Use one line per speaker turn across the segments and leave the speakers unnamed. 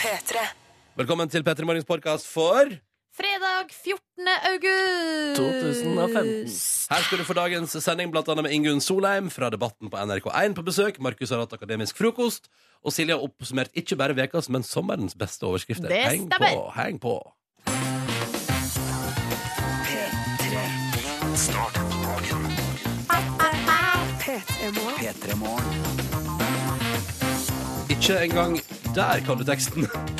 P3.
Velkommen til Petter Morgens podkast for
Fredag 14. august
2015.
Her skal du få dagens sending blant annet med Ingunn Solheim fra Debatten på NRK1 på besøk. Markus har hatt akademisk frokost. Og Silje har oppsummert ikke bare ukas, men sommerens beste overskrifter.
Det
heng på,
stemmer.
heng på.
P3-morgen.
Ikke engang der kan du teksten.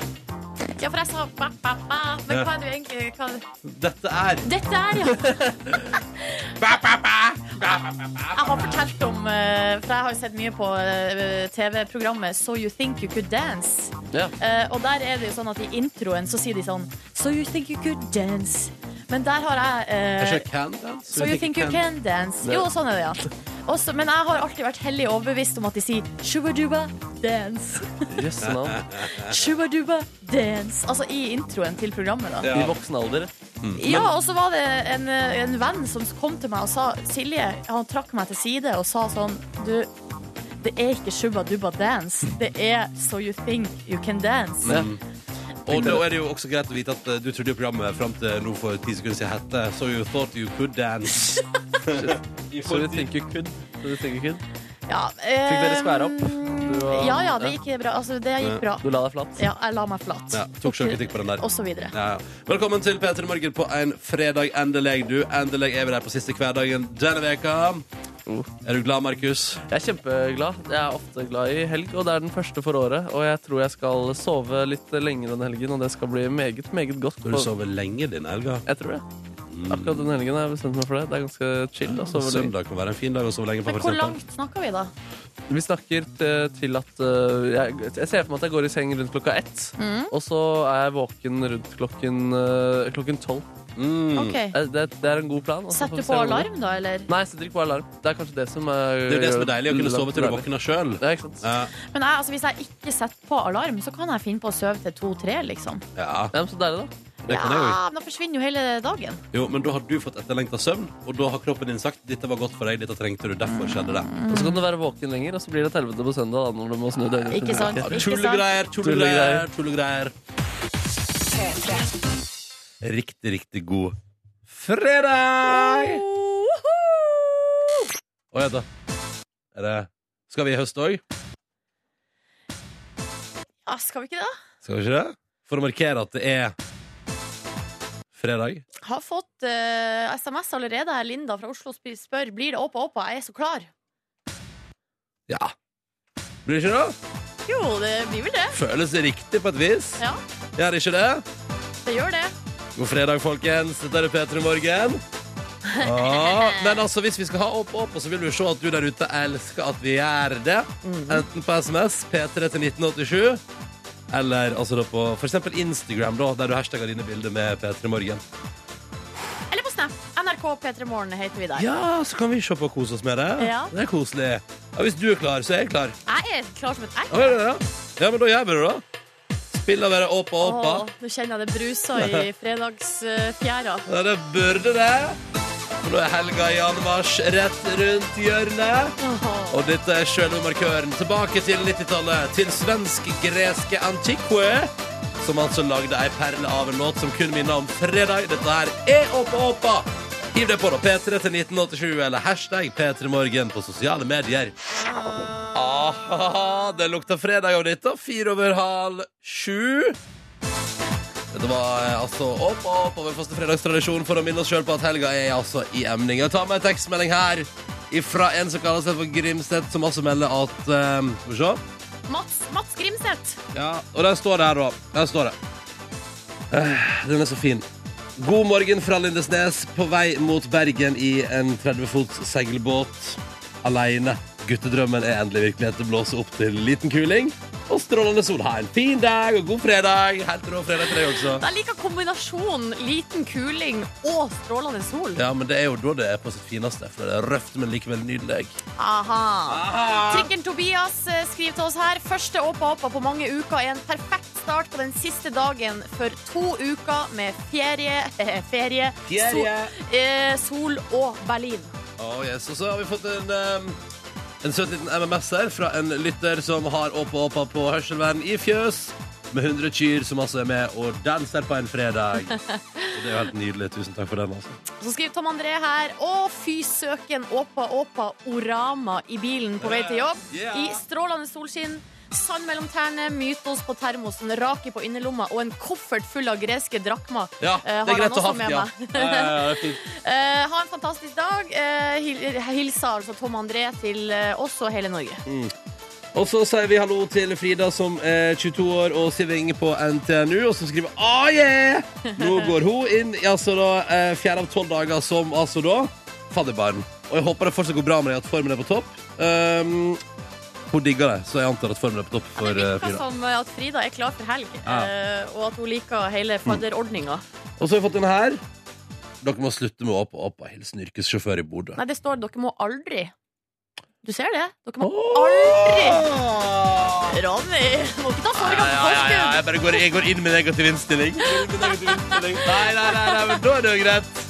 Ja, for jeg sa ba, ba, ba. Men hva er det egentlig hva er det?
Dette er
Dette er, ja. Jeg har fortalt om eh, For jeg har jo sett mye på eh, TV-programmet So You Think You Could Dance.
Ja.
Eh, og der er det jo sånn at i introen så sier de sånn So You Think You Could Dance. Men der har jeg eh,
Kanskje Can Dance?
So you think you can dance?
Ja.
Jo, sånn er det, ja. Også, men jeg har alltid vært hellig overbevist om at de sier shubaduba dance.
Jøsse navn.
Shubaduba dance. Altså i introen til programmet, da.
I voksen alder.
Ja, og så var det en, en venn som kom til meg og sa Silje, han trakk meg til side og sa sånn Du, det er ikke shubaduba dance. Det er so you think you can dance.
Ja.
Og da er det jo også greit å vite at eh, du trodde jo programmet fram til nå for ti sekunder siden hette So You Thought You Could Dance.
Så du tenker kun. Så du tenker kun.
Ja,
Fikk dere skvære opp?
ehm,
Du var-
Ja, ja, det gikk bra. Altså, det gikk bra.
Du la deg flat.
Ja, jeg la meg flat.
Ja, tok selvkritikk på den der.
Og så videre.
Ja, ja. Velkommen til P3 Morgen på en fredag. Endelig, du. Endelig er vi der på siste hverdagen denne veka.
Oh.
Er du glad, Markus?
Jeg er kjempeglad. Jeg er ofte glad i helg, og det er den første for året. Og jeg tror jeg skal sove litt lenger denne helgen, og det skal bli meget, meget godt.
Bør du sove lenge denne helga?
Jeg tror det. Akkurat denne helgen har jeg bestemt meg for det. Det er ganske chill å sove lenge.
Søndag kan være en fin dag å sove lenge på,
Men
for
hvor
eksempel.
langt snakker vi, da?
Mm. Vi snakker t- til at øh, jeg, jeg ser for meg at jeg går i seng rundt klokka ett.
Mm.
Og så er jeg våken rundt klokken øh, Klokken tolv.
Mm.
Ok.
Eh, Det, det er en god plan. og så får
Setter
vi
du
se
på
om det går.
alarm, da, eller?
Nei, jeg setter ikke på alarm. Det er kanskje det som
Det er jo det som er deilig, å kunne sove til du våkner sjøl.
Ja, ikke sant?
Men jeg, altså, hvis jeg ikke setter på alarm, så kan jeg finne på å sove til to-tre, liksom.
Ja,
Ja, men så deilig, da.
det kan jeg jo.
Ja, men da forsvinner jo hele dagen.
Jo, men da har du fått etterlengta søvn, og da har kroppen din sagt 'dette var godt for deg', 'dette trengte du',
Mm.
derfor skjedde det.
Og så kan du være våken lenger, og så blir det et helvete på søndag da, når du må snu døgnet.
Ikke sant?
Ja,
Ikke sant?
Tullegreier, tullegreier, tullegreier. Riktig, riktig god fredag! Å ja da. Er det Skal vi i høst òg?
Ja, skal vi ikke det?
Skal vi ikke det? For å markere at det er fredag.
Har fått eh, SMS allerede. her. Linda fra Oslo sp- spør Blir det åpa åpa. Jeg er så klar.
Ja. Blir det ikke det?
Jo, det blir vel det.
Føles riktig på et vis.
Ja,
Gjør det ikke det?
det gjør det.
God fredag, folkens. Dette er P3 Morgen. Ja, men altså, hvis vi skal ha opp, opp, så vil vi se at du der ute elsker at vi gjør det.
Mhm.
Enten på SMS, P3 til 1987, eller altså da på for eksempel Instagram, da, der du hashtagger dine bilder med P3 Morgen.
Eller på Snap. NRK P3 Morgen heter vi der.
Ja, så kan vi se på og kose oss med det.
Ja.
Det er koselig. Ja, hvis du er klar, så er jeg klar.
Jeg er klar som et egg.
Ja, ja, ja. ja men da gjør vi det, da. Spiller bare opp og opp. da.
Åh, Nå kjenner jeg det bruser i fredagsfjæra.
Ja, det burde det. For nå er helga i anmarsj rett rundt hjørnet. Og dette er sjølve markøren tilbake til 90-tallet, til svensk-greske Antiquae, som altså lagde ei perle av en låt som kun minner om fredag. Dette her er Åpa Åpa! Hiv deg på, da. P3 til 1987, eller hashtag P3morgen på sosiale medier. Aha, det lukter fredag av dette. Fire over halv sju. Dette var eh, altså opp og opp over faste fredagstradisjon for å minne oss sjøl på at helga er altså i emning. Jeg tar med en tekstmelding her ifra en som kaller seg for Grimstedt, som altså melder at eh, Skal vi se.
Mats, Mats Grimseth.
Ja, og der står det her, da. Der står det. Eh, Den er så fin. God morgen fra Lindesnes, på vei mot Bergen i en 30 fots seilbåt. Aleine. Guttedrømmen er endelig virkelighet. Det blåser opp til liten kuling. Og strålende sol. Ha en fin dag og god fredag. Helt rå fredag til deg også.
Jeg liker kombinasjonen liten kuling og strålende sol.
Ja, men det er jo da det er på sitt fineste. For det er røft, men likevel nydelig.
Aha.
Ah.
Trikken Tobias eh, skriver til oss her. Første åpa åpa på mange uker er en perfekt start på den siste dagen for to uker med ferie, ferie, eh, sol, eh, sol og Berlin.
Å, yes, Og så har vi fått en um, En søt liten MMS-er fra en lytter som har åpa åpa på hørselvern i fjøs. Med 100 kyr som altså er med og danser på en fredag. Og det er jo helt nydelig. Tusen takk for den. altså.
Så skriver Tom André her Å fy søken, åpa åpa orama i bilen på vei til jobb
Yeah.
I strålende solskinn Sand mellom tærne, mytos på termosen Rake på innerlomma og en koffert full av greske drakma
Ja, det
Eh, har
er greit
han
å ha
også med
ja.
meg.
Ja, ja, ja, det er fint.
Eh, Ha en fantastisk dag Eh, hil Hilsa altså Tom André til eh, oss og hele Norge
Og så sier vi hallo til Frida som er 22 år og siving på NTNU, og som skriver ah, yeah! Nå går hun inn i altså da eh, fjerde av tolv dager som altså da fadderbarn. Og jeg håper det fortsatt går bra med deg, at formen er på topp. Um, hun digger det, så jeg antar at formen er på topp
Det
for eh,
virker
Frida.
som at Frida er klar for helg
Ja.
eh, Og at hun liker hele fadderordninga
Og så har vi fått den her. Dere må slutte med å opp og opp og hilse en yrkessjåfør i Bodø.
Nei, det står dere må aldri Du ser det? Dere må
Åh!
aldri Ronny, må ikke ta
Ja,
sorga
ja,
på
ja,
forskudd.
jeg bare går, jeg går inn med negativ innstilling. Nei, nei, nei, nei, men da er det jo greit.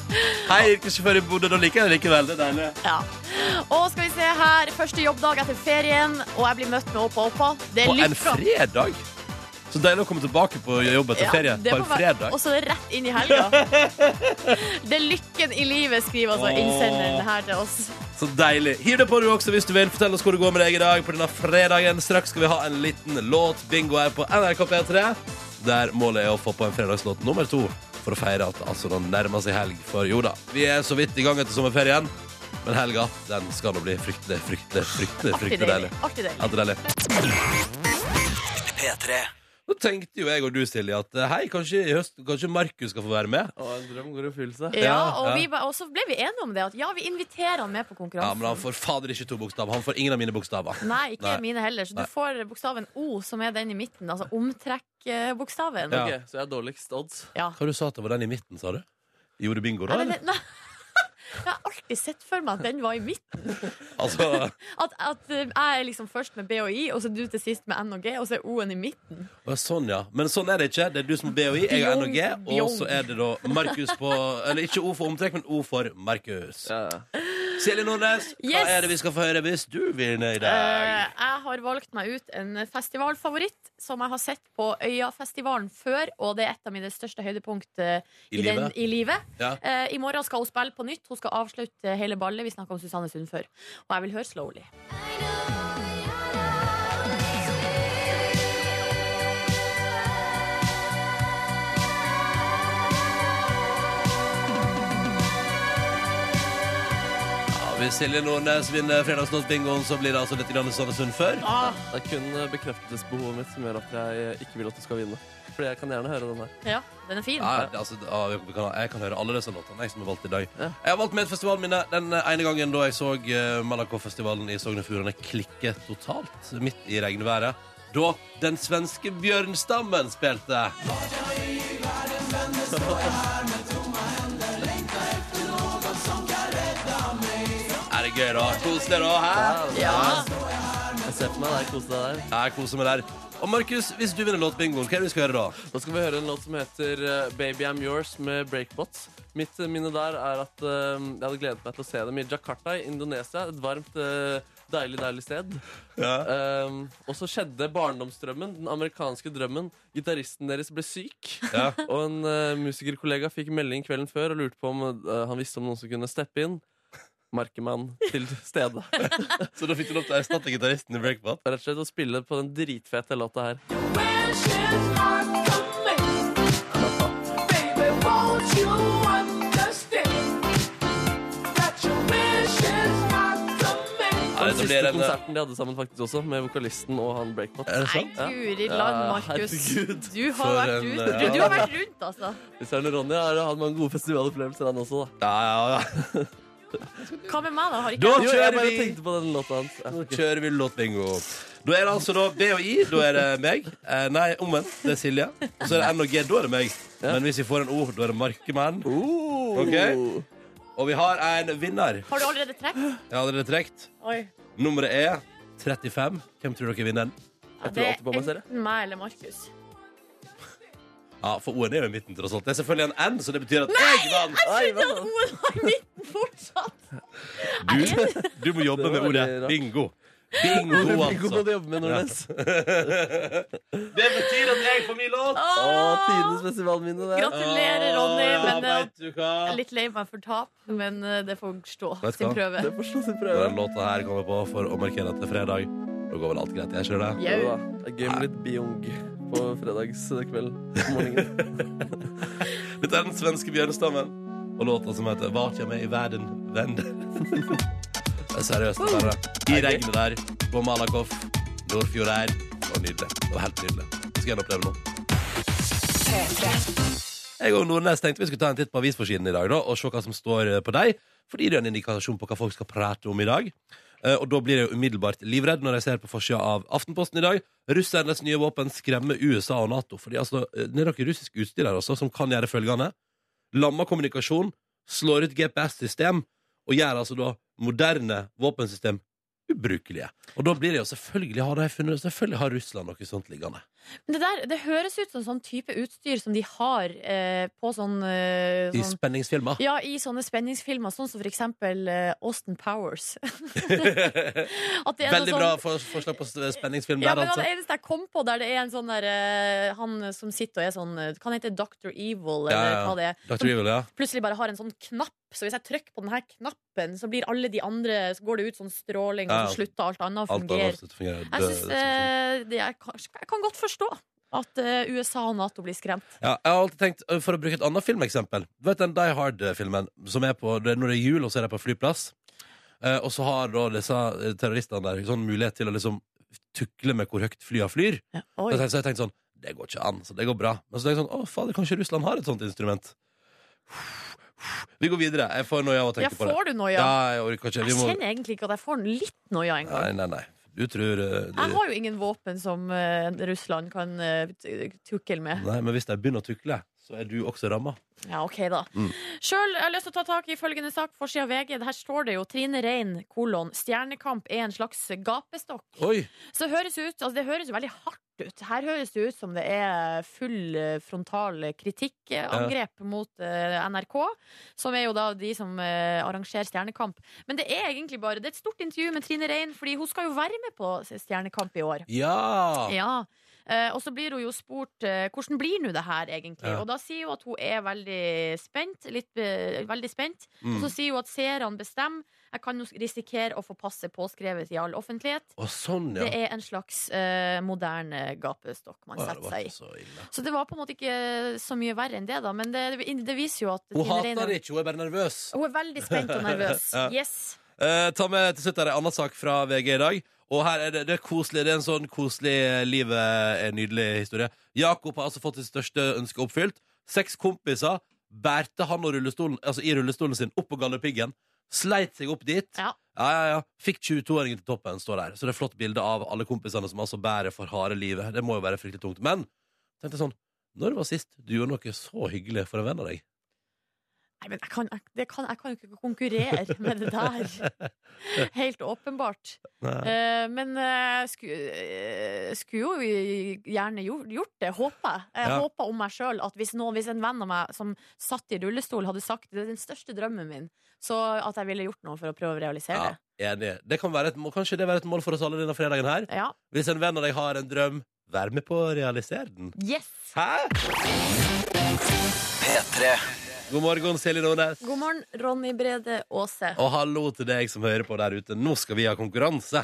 Hei, yrkessjåfør i Bodø. Da liker jeg det likevel. Det er deilig.
Ja. Og skal vi se her, første jobbdag etter ferien, og jeg blir møtt med Åpa Åpa. Det er
På en
lykka.
fredag? Så deilig å komme tilbake på jobb etter
Ja,
ferie
det
på
må
en
være-
fredag.
Og så er det rett inn i helga. Det er lykken i livet, skriver altså
Åh.
innsenderen her til oss.
Så deilig. Hiv deg på du også hvis du vil. Fortell oss hvor det går med deg i dag på denne fredagen. Straks skal vi ha en liten låtbingo her på NRK P3, der målet er å få på en fredagslåt nummer to for å feire at altså den nærmer seg helg. For jo da, vi er så vidt i gang etter sommerferien, men helga den skal nå bli fryktelig, fryktelig, fryktelig,
Artig
fryktelig
deilig.
deilig.
Artig deilig.
Ja, det er deilig. Nå tenkte jo jeg og du, Silje, at eh, hei, kanskje i høst Kanskje Markus skal få være med?
Å, en drøm går i oppfyllelse.
Ja, og,
ja.
vi, ba- og så ble vi enige om det. At ja, vi inviterer han med på
Ja, men
konkurransen.
han får fader ikke to bokstaver. Han får ingen av mine bokstaver.
Nei, ikke
Nei.
mine heller. Så du
Nei.
får bokstaven O, som er den i midten. Altså omtrekkbokstaven.
Ja.
Ja.
Ok, så jeg har dårligst odds.
ja.
Hva du sa at det var den i midten, sa du? Gjorde bingo da,
Nei, men
eller?
det- nei. Jeg har alltid sett for meg at den var i midten.
Altså,
At, at eh, jeg er liksom først med B og I, og så du til sist med N og G, og så er O-en i midten.
Å, Sånn, ja. Men sånn er det ikke. Det er du som har BHI, jeg har NOG, og så er det da Markus på Eller ikke O for omtrekk, men O for Markus.
Ja, ja.
Silje Nordnes, hva
Yes.
er det vi skal få høre hvis du vinner i
Eh,
dag?
jeg har valgt meg ut en festivalfavoritt som jeg har sett på Øyafestivalen før, og det er et av mine største høydepunkt eh,
I
i, den,
livet?
i livet.
Ja.
Eh, I morgen skal hun spille på nytt. Hun skal avslutte hele ballet. Vi snakka om Susanne Sund før. Og jeg vil høre Slowly.
Ja, hvis Silje Nordnes vinner fredagslåtbingoen, så blir det altså litt grann sånn som før.
Det er kun eh, bekreftelsesbehovet mitt som gjør at jeg eh, ikke vil at du skal vinne. Fordi jeg kan gjerne høre den her.
Ja, den er fin.
Ja, det, altså, ja, vi kan, jeg kan høre alle disse låtene jeg som har valgt i dag.
Ja.
Jeg har valgt medfestivalen mine den ene gangen da jeg så eh, Malakoffestivalen i Sogn og Fjordane klikke totalt midt i regnværet. Da den svenske bjørnstammen spilte. Er det gøy, da? Koselig, da? Hæ?
Ja.
Jeg ser for meg deg kose deg der.
Ja, Jeg koser meg der. Og Markus, hvis du vinner låtbingoen, hva er det vi skal gjøre da?
Nå skal vi høre en låt som heter eh, Baby I'm Yours med Breakbot. Mitt eh, minne der er at eh, jeg hadde gledet meg til å se dem i Jakarta i Indonesia. Et varmt, eh, deilig, deilig sted. Um, og så skjedde barndomsdrømmen, den amerikanske drømmen. Gitaristen deres ble syk,
Ja.
og en eh, musikerkollega fikk melding kvelden før og lurte på om eh, han visste om noen som kunne steppe inn. Markemann til stede. Det
Så da fikk du lov til å erstatte gitaristen i Breakbot?
er Rett og slett å spille på den dritfete låta her.
Ja,
Den
dette blir
siste
en, eh,
konserten de hadde sammen, faktisk også, med vokalisten og han Breakbot.
Er det
Nei,
sant?
guri land,
Ja,
Markus.
herregud.
Du har
For
vært
en,
rundt,
eh,
du, du har vært rundt altså.
Søren Ronny har hatt mange gode festivalopplevelser, han også. da
Ja, ja, ja.
Hva med meg, da? Har
Da
ikke
Jo, jeg
kjører
bare
vi.
tenkte på den låta hans.
Nå
Ja,
kjører vi låtbingo. Da er det altså da B og I. Da er det meg. Eh, nei, omvendt. Det er Silje. Og så er det N og G. Da er det meg. Men hvis vi får en O, da er det Markemann.
Oh.
Ok. Og vi har en vinner.
Har du allerede trukket?
Jeg har allerede trukket.
Oi.
Nummeret er 35. Hvem tror dere vinner den?
Ja,
tror
det
alltid på meg, ser
er
jeg.
enten meg eller Markus.
Ja, for O-en er jo i midten, tross alt. Det er selvfølgelig en N, så det betyr at jeg vant.
Nei, hva?
Noen var i midten fortsatt!
Du, du må jobbe med ordet bingo. Bingo,
Hvor bingo må
altså.
du jobbe med, Nordnes?
Det betyr at jeg får min låt!
Å,
Åh,
tidenes festivalminne, det.
Gratulerer, Ronny.
Ah,
Men eh,
vet du hva?
jeg er litt lei meg for tap, men eh, det får stå
Vet du
sin
hva?
prøve.
Det får slå sin
Og
prøve.
Den låta her kommer på for å markere at det er fredag. Da går vel alt greit, jeg skjønner det.
Jau.
Ja, da. Det er gøy med litt biong på fredagskvelden. Morgenen.
Dette er den svenske bjørnestammen. Og låta som heter 'Vart jag med i världen vänder'. Det er Seriøst, bare. I regnet der, på Malakoff, Nordfjord her. Det var nydelig. Det var helt nydelig. Det skal jeg oppleve nå. Jeg og Nordnes tenkte vi skulle ta en titt på avisforsiden i dag da, og se hva som står eh, på deg. Fordi det er en indikasjon på hva folk skal prate om i dag. Eh, Og da blir jeg jo umiddelbart livredd når jeg ser på forsida av Aftenposten i dag. Russernes nye våpen skremmer USA og Nato. Fordi altså, det er noe russisk utstyr der også som kan gjøre følgende. Lamma kommunikasjon, slår ut GPS-system og gjør altså da moderne våpensystem ubrukelige. Og da blir det jo selvfølgelig har, de funnet, selvfølgelig har Russland noe sånt liggende.
Men det, der, det høres ut som sånn type utstyr som de har eh, på sånn, eh,
I
sånn
spenningsfilmer.
Ja, i sånne spenningsfilmer, sånn som for eksempel eh, Austin Powers. At det er noe
Veldig
sånn-
bra for, forslag på s- spenningsfilm
Ja,
der,
men
altså.
Det eneste jeg kom på, der det er en sånn der eh, Han som sitter og er sånn eh, Kan hete Dr. Evil, eller
Ja, ja.
hva det er.
Dr. Evil, ja.
Plutselig bare har en sånn knapp, så hvis jeg trykker på denne knappen, så blir alle de andre Så går det ut sånn stråling,
Ja,
og så slutter alt annet å
Alt
fungere.
annet fungerer.
Jeg, synes,
død-
eh, det, jeg, kan, jeg kan godt forstå at eh, USA og Nato blir skremt.
Ja, jeg har alltid tenkt, ø, For å bruke et annet filmeksempel Du vet den Die Hard-filmen Som er på, det, er Når det er jul, og så er det på flyplass Eh, Og så har da disse eh, terroristene der Sånn mulighet til å liksom Tukle med hvor høyt flya flyr Så
Oi.
jeg- Så jeg tenkte sånn, det går ikke an, så det går bra Men så tenkte jeg sånn, å fader, kanskje Russland har et sånt instrument Vi går videre Jeg får noe av å
Ja,
tenke på det
får du noia?
Ja, jeg orker ikke
Jeg
Vi må...
kjenner egentlig ikke at jeg får litt noia
Nei,
engang.
nei, nei Du tror eh,
Jeg
du...
har jo ingen våpen som eh, Russland kan eh, t- tukle med.
Nei, men hvis de begynner å tukle Så er du også rammet
Ja, ok da
Mm.
Selv, jeg har lyst til å ta tak i følgende sak Forsida av VG, her står det jo Trine Rein, kolon Stjernekamp er en slags gapestokk
Oi,
Så det høres ut, altså det høres jo veldig hardt ut Her høres det ut som det er full eh, frontal kritikk eh, Angrep mot eh, NRK Som er jo da de som eh, arrangerer Stjernekamp Men det er egentlig bare, det er et stort intervju med Trine Rein Fordi hun skal jo være med på Stjernekamp i år
ja
ja. Eh, og så blir hun jo spurt eh, hvordan blir nå det her egentlig.
Ja.
Og da sier hun at hun er veldig spent. Litt, eh, veldig spent.
Mm.
Og så sier hun at seerne bestemmer. Jeg kan jo risikere å få passet påskrevet i all offentlighet.
Og sånn, ja
Det er en slags eh, moderne gapestokk man
Å, ja, det
setter
var
seg
ikke
i.
så ille
Så det var på en måte ikke så mye verre enn det, da. Men det, det viser jo at
Hun
Trine Reiner-
hater det ikke, hun er bare nervøs.
Hun er veldig spent og nervøs.
Ja.
Yes.
Eh, ta med til slutt her en annen sak fra VG i dag. Og her er det, det er koselig. Det er en sånn koselig eh, livet er nydelig historie. Jakob har altså fått sitt største ønske oppfylt. Seks kompiser bærte han og rullestolen, altså i rullestolen sin opp på Galdhøpiggen. Sleit seg opp dit.
Ja.
Ja, ja, ja. Fikk 22-åringen til toppen, står der. Så det er flott bilde av alle kompisene som altså bærer for harde livet. Det må jo være fryktelig tungt. Men tenkte jeg sånn, når var sist du gjorde noe så hyggelig for en venn av deg?
Nei, men jeg kan, jeg, det kan, jeg kan jo ikke konkurrere med det der. Helt åpenbart.
Nei.
Eh, men eh, sku- eh, skulle jo i- gjerne gjort, gjort det, håper jeg. Jeg
Ja.
håper om meg sjøl at hvis, noen, hvis en venn av meg som satt i rullestol, hadde sagt det er den største drømmen min, så at jeg ville gjort noe for å prøve å realisere
Ja,
det.
enig. Det kan være et, må- kanskje det være et mål for oss alle denne fredagen her.
Ja.
Hvis en venn av deg har en drøm, vær med på å realisere den.
Yes!
Hæ? God morgen, Silje Nordnes.
God morgen, Ronny Brede Aase.
Og hallo til deg som hører på der ute. Nå skal vi ha konkurranse.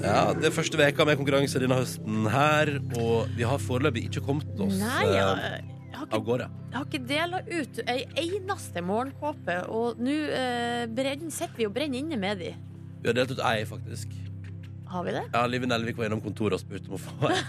Ja, Det er første veka med konkurranse denne høsten her, og vi har foreløpig ikke kommet oss
Nei,
eh,
jeg, jeg
av
har ikke,
gårde.
jeg har ikke dela ut ei eneste morgenkåpe, og nå eh, brenn- sitter vi og brenner inne med de.
Vi har delt ut ei, faktisk.
Har vi det?
Ja, Liv Nelvik var innom kontoret og spurte om å få ei.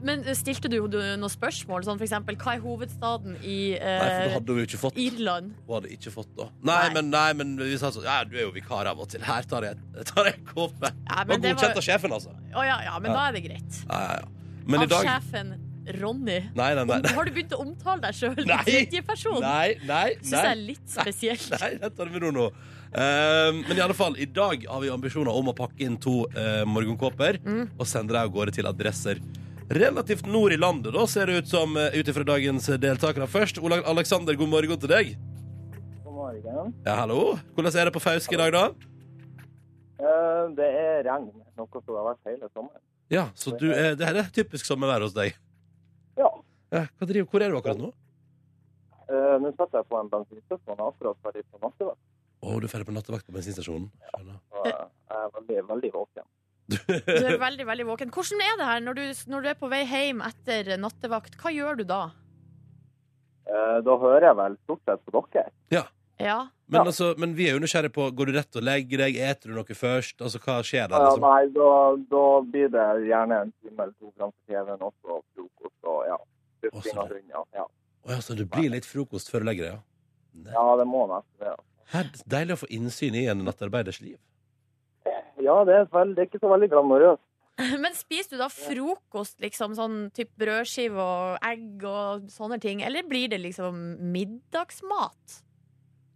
Men eh, stilte du, du noen spørsmål, sånn for eksempel hva er hovedstaden i
Nei, for da
eh,
hadde hun jo ikke fått
Irland?
Hun hadde ikke fått da. Nei,
Nei.
men, nei, men vi sa sånn Ja, du er jo vikar av og til. Her tar jeg, tar jeg en kåpe.
Ja,
Og
men det var-
godkjent av sjefen, altså.
Å ja, ja, men
Ja.
da er det greit.
Ja, ja, ja. Men i
Av
dag
sjefen Ronny.
Nei, nei, nei.
Har du begynt å omtale deg sjøl i
Nei.
tredjeperson?
Nei, nei,
Syns
nei.
jeg er litt spesielt.
Nei, det tar vi ro nå. Ehm, men i alle fall, i dag har vi ambisjoner om å pakke inn to eh, morgenkåper
Mm.
og sende dem av gårde til adresser relativt nord i landet, da, ser det ut som, eh, ut ifra dagens deltakere. Først, Ola Aleksander, god morgen til deg.
God morgen.
Ja, hallo. Hvordan er det på Fauske i dag, da?
Eh, Det er regn, noe som har vært hele sommeren.
Ja, så du, eh, det her er typisk sommervær hos deg.
Ja.
Ja, hva driver, hvor er du akkurat nå?
Eh, Nå setter jeg på en bensinstasjon og er akkurat ferdig på nattevakt.
Å, du er ferdig på nattevakt på bensinstasjonen. Skjønner.
og Jeg er veldig, veldig våken.
Du er veldig, veldig våken. Hvordan er det her når du, når du er på vei hjem etter nattevakt? Hva gjør du da?
Eh, Da hører jeg vel stort sett på dere.
Ja.
Men,
Ja.
altså, men vi er jo nysgjerrig på Går du rett og legger deg? Eter du noe først? Altså, hva skjer der?
Ja,
Liksom?
nei, da, da blir det gjerne en time eller to fram til TV-en også, og frokost og ja.
Også
Dufting og
det.
unna. Ja.
Å ja, så det blir litt frokost før du legger deg, ja?
ja, det må nesten det.
Her, deilig å få innsyn i en nattarbeiders liv.
Ja, det er, vel, det er ikke så veldig glamorøst.
Men spiser du da frokost, liksom? Sånn type brødskive og egg og sånne ting? Eller blir det liksom middagsmat?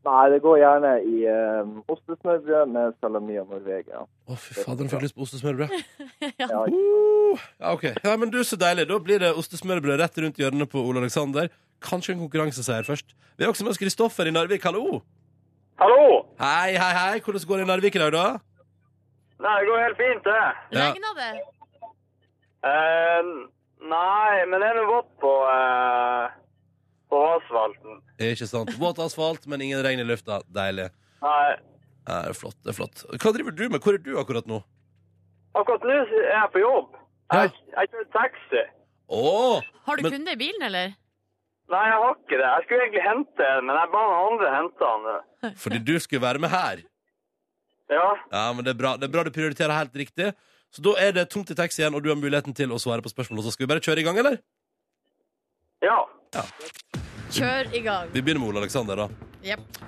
Nei, det går gjerne i eh, ostesmørbrød med salami og Norvegia.
Å, fy fader, nå fikk jeg lyst på ostesmørbrød.
Ja,
Uh, ja, ok. Ja, men du, så deilig. Da blir det ostesmørbrød rett rundt hjørnet på Ole Aleksander. Kanskje en konkurranseseier først. Vi har også med oss Kristoffer i Narvik. Hallo!
Hallo!
Hei, hei, hei. Hvordan går det i Narvik i dag, da?
Nei, det går helt fint, det.
Ja.
Regner det?
Eh, nei, men det er noe vått på, eh, på asfalten.
Ikke sant. Våt asfalt, men ingen regn i lufta. Deilig.
Nei,
Ja, det er flott. det er flott. Hva driver du med? Hvor er du akkurat nå?
akkurat nå er jeg på jobb. Jeg, jeg kjører taxi.
Å!
Har du
Men-
kunde i bilen, eller?
Nei, jeg har ikke det. Jeg skulle egentlig hente en, men jeg ba noen andre hente han.
Fordi du skulle være med her.
Ja,
Ja, men det er bra, det er bra du prioriterer helt riktig. Så da er det tomt i taxi igjen, og du har muligheten til å svare på spørsmål. Så skal vi bare kjøre i gang, eller?
ja.
Kjør i gang.
Vi begynner med Ole Aleksander, da.
Jepp.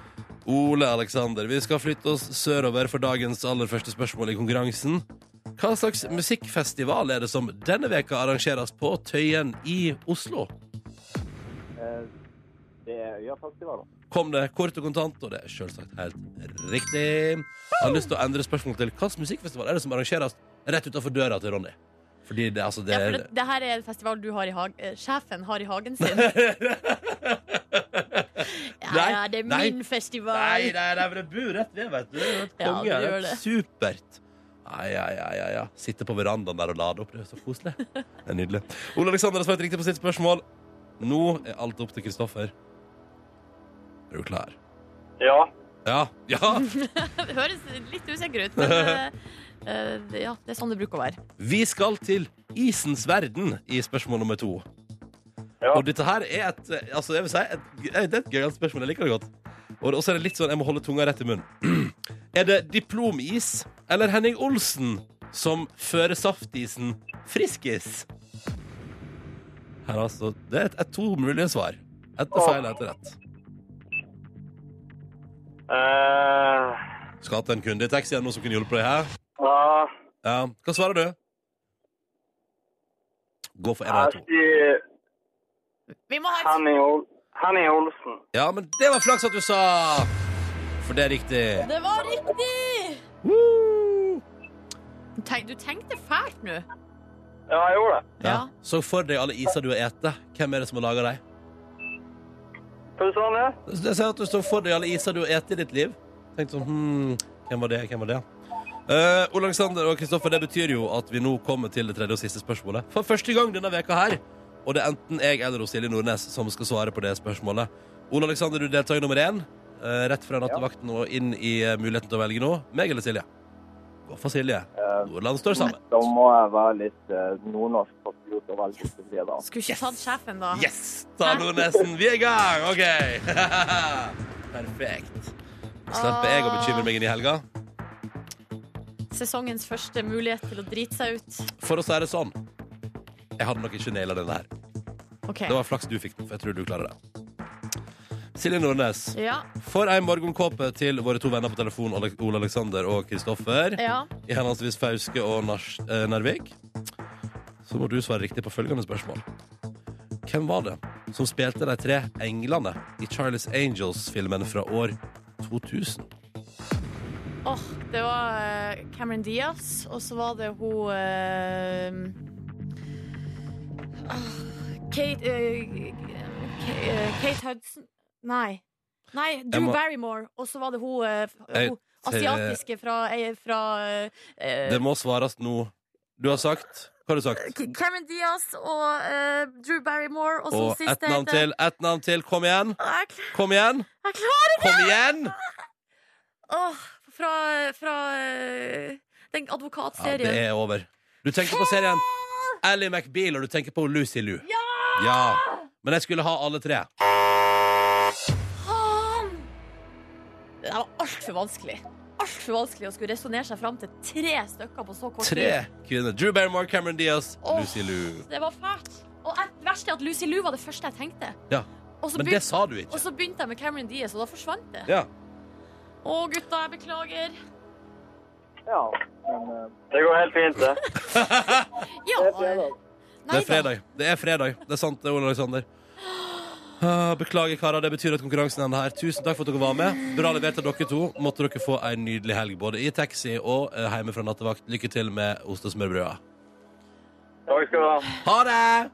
Ole Aleksander, vi skal flytte oss sørover for dagens aller første spørsmål i konkurransen. Hva slags musikkfestival er det som denne veka arrangeres på Tøyen i Oslo?
eh, det er Øyafestivalen.
Kom det kort og kontant, og det er selvsagt helt riktig. Jeg har lyst til å endre spørsmålet til hvilken musikkfestival er det som arrangeres rett utenfor døra til Ronny? Fordi det, altså, det
Ja, for
er
det, det her er en festival du har i hag... eh, Sjefen har i hagen sin. Ja, ja, det er
nei.
min festival.
Nei, nei, nei, men det bor rett ved, vet du. Det er et
Ja,
Konge.
det
det
gjør
er
det.
Supert. Ai, ai, ai, ai, ai. Sitte på verandaen der og lade opp. Det er så koselig. Det er nydelig. Ole Aleksander har svart riktig på sitt spørsmål. Nå er alt opp til Kristoffer. Er du klar?
Ja.
Ja. Ja!
Det høres litt usikker ut, men eh, eh, det- ja, det er sånn det bruker å være.
Vi skal til isens verden i spørsmål nummer to.
Ja.
Og dette her er et eh, Altså, jeg vil si et, Det er et gøyalt spørsmål. Jeg liker det godt. Og så er det litt sånn Jeg må holde tunga rett i munnen. Er det diplomis eller Henning Olsen som fører saftisen Friskis? Her altså Det er et, et to mulige svar. Ett er feil, ett er rett.
Eh,
Skal hatt en kunde i taxien nå som kunne hjulpet deg her.
ja.
Ja. Hva svarer du? Gå for en av de
Jeg
to.
sier
Vi må ha et
Henning, Ol Henning Olsen.
Ja, men det var flaks at du sa For det er riktig
Det var riktig! Tenk, du tenkte fælt nå.
Ja, jeg gjorde det.
Ja.
Så for deg alle iser du har ete Hvem er det som har laget deg?
Hva sa han, ja?
Det sier at du står for deg alle iser du har ete i ditt liv Tenk sånn, hmm, hvem var det, hvem var det? Eh, Ole Alexander og Kristoffer, det betyr jo at vi nå kommer til det tredje og siste spørsmålet For første gang denne veka her Og det er enten jeg eller Silje Nordnes som skal svare på det spørsmålet Ole Alexander, du er deltaker nummer én eh, Rett fra nattevakten og inn i eh, muligheten til å velge nå Meg eller Silje? Gå for Silje Nordland står sammen
Da må jeg være litt eh, nordnorsk patriot og velge bort det, da.
Skulle ikke
Yes.
tatt sjefen, da.
Yes! Da er Nordnesen, vi er i gang! OK. Perfekt. Da slipper jeg å bekymre meg inn i helga.
Sesongens første mulighet til å drite seg ut.
For å si det sånn Jeg hadde nok ikke naila denne her.
Ok.
Det var flaks du fikk den, for jeg tror du klarer det. Silje Nordnes,
Ja,
for ei morgenkåpe til våre to venner på telefon, Ole Ole Aleksander og Kristoffer,
ja.
i henholdsvis Fauske og Nars- eh, Narvik. Så må du svare riktig på følgende spørsmål. Hvem var det som spilte de tre englene i Charles Angels-filmen fra år 2000?
Åh, det var eh, Cameron Diaz, og så var det hun eh, ah, Kate eh, Ka- eh, Kate Hudson Nei. Nei, Drew
må-
Barrymore, og så var det hun, eh,
Jeg-
hun, Asiatiske fra, eh, fra eh,
Det må svares nå. Du har sagt Hva har du sagt?
K- Cameron Diaz og eh, Drew Barrymore og som
Og
siste
ett navn til. Ett navn til. Kom igjen.
Jeg, kl-
Kom igjen.
jeg klarer det!
Kom igjen!
Åh, fra fra eh, den
Ja, det
advokatserien.
er over. Du tenker på serien Ally McBeal, og du tenker på Lucy Lou.
Ja!
Ja. Men jeg skulle ha alle tre.
Faen! Det der var altfor vanskelig. Altfor vanskelig å skulle resonnere seg fram til tre stykker på så kort
Tre
tid.
kvinner. Drew Barrymore, Cameron Diaz,
Åh.
Lucy Lou.
Det var fælt. Og jeg- det verste er at Lucy Lou var det første jeg tenkte.
Ja.
Og så
Men
begyn-
det sa du
og
ikke.
så begynte jeg med Cameron Diaz, og da forsvant det.
Ja.
Å, gutta, jeg beklager.
Ja, men eh,
Det går helt fint, det.
Ja.
det er fredag.
Det er fredag. Det er fredag. Det er sant, det, Ole Alexander. Ah, Beklager, karer. Det betyr at konkurransen ender her. Tusen takk for at dere var med. Bra levert av dere to. Måtte dere få ei nydelig helg, både i taxi og eh, hjemme fra nattevakt. Lykke til med ost- og smørbrøda.
Takk skal du ha.
Ha det!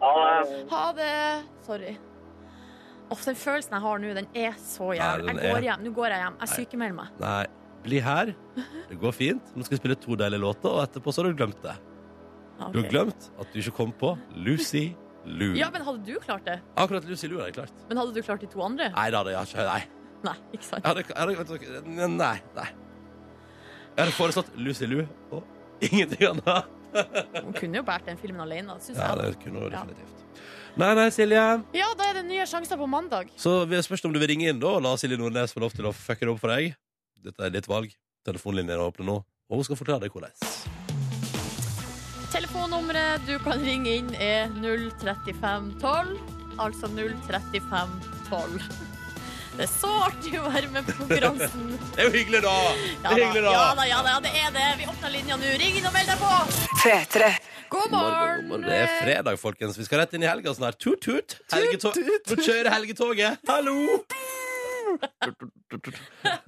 Ha det.
Ha det. Sorry. Åh, den følelsen jeg har nå, den er så jævlig.
Nei, den
Jeg
er-
går hjem. Nå går jeg hjem. Jeg sykemelder meg.
Nei, bli her. Det går fint. Nå skal vi spille to deilige låter, og etterpå så har du glemt det.
Ja,
Du har
ok.
glemt at du ikke kom på Lucy Lou.
Ja, men hadde du klart det?
Akkurat Lucy Lou har jeg klart.
Men hadde du klart de to andre?
Nei da, det har jeg ikke. Nei.
Nei, ikke sant?
Jeg hadde, jeg hadde, vet dere, nei, nei. Jeg hadde foreslått Lucy Lou og ingenting annet.
Hun kunne jo båret den filmen alene, syns
Ja,
jeg.
det kunne du definitivt. Nei, nei, Silje.
Ja, da er det nye sjanser på mandag.
Så vi spørs om du vil ringe inn da, og la Silje Nordnes få lov til å fucke det opp for deg. Dette er ditt valg. Telefonlinjen er åpen nå, og hun skal forklare deg hvordan.
Telefonnummeret du kan ringe inn, er 03512. Altså 03512. Det er så artig å være med på konkurransen.
Det er jo hyggelig, da!
Ja
Det
da,
er hyggelig, da!
ja da, ja da, ja, det er det. Vi åpner linja nå. Ring inn og meld deg på!
P3.
Morgen,
God morgen!
god morgen. Det er fredag, folkens. Vi skal rett inn i helga snart. Tut, tut! Helgetog. Nå kjører helgetoget. Hallo!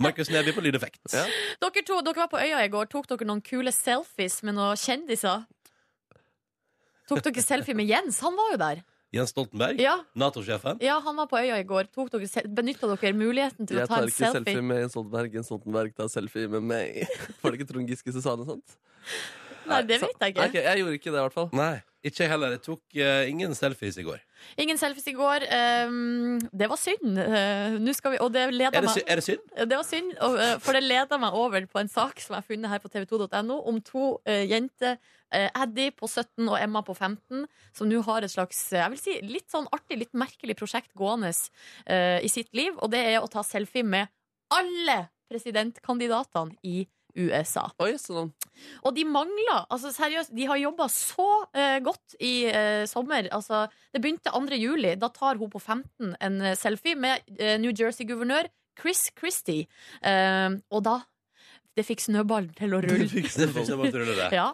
Markus Neby på lydeffekt.
Ja.
Dere to dere var på øya i går. Tok dere noen kule selfies med noen kjendiser? Tok dere selfie med Jens? Han var jo der.
Jens Stoltenberg,
Ja,
Nato-sjefen.
ja han var på øya i går. Tok dere, sel- benyttet dere muligheten til
Jeg
å ta
tar
en
ikke selfie,
selfie?
med Jens Stoltenberg. Jens Stoltenberg tar selfie med meg. Var det ikke Trond Giske som sa noe sånt?
Nei, det vet jeg
Nei,
ikke.
ok, jeg gjorde ikke det, i hvert fall.
Nei, ikke jeg heller. Jeg tok eh, ingen selfies i går.
Ingen selfies i går. Um, det var synd. Uh, nå skal vi, og det leder
Er det,
meg
sy er det synd?
Det var synd, og, eh, for det leder meg over på en sak som jeg har funnet her på tv2.no, om to eh, jenter, eh, Eddie på 17 og Emma på 15, som nå har et slags eh, jeg vil si, litt sånn artig, litt merkelig prosjekt gående eh, i sitt liv, og det er å ta selfie med alle presidentkandidatene i USA.
Oi, sånn.
Og de mangler altså seriøst, De har jobba så eh, godt i eh, sommer. Altså, det begynte 2. juli. Da tar hun på 15 en eh, selfie med eh, New Jersey-guvernør Chris Christie. Eh, og da Det fikk snøballen til å
Det
rulle.
fikser jeg bare til å rulle det.
Ja.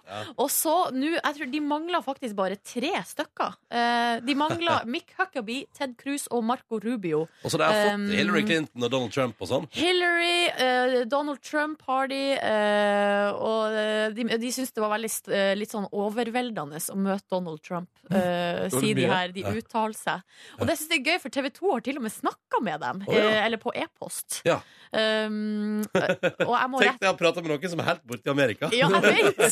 Og så nå Jeg tror de mangler faktisk bare tre stykker. Eh, de mangler Mick Huckaby, Ted Cruz og Marco Rubio.
Og så har jeg fått
Um,
Hillary Clinton og Donald Trump og sånn.
Hillary, eh, Donald Trump Party eh, Og eh, de, de syntes det var veldig st- eh, litt sånn overveldende å møte Donald Trump. eh,
Mm.
Gjorde
sier de
mye.
her. De
Ja.
uttaler seg. Og det syns jeg er gøy, for TV 2 har til og med snakka med dem.
Å, ja.
eh, eller på e-post.
Ja.
Um, og jeg må
Tenk
rette
deg å prate med noen som er helt borte i Amerika.
ja, jeg vet!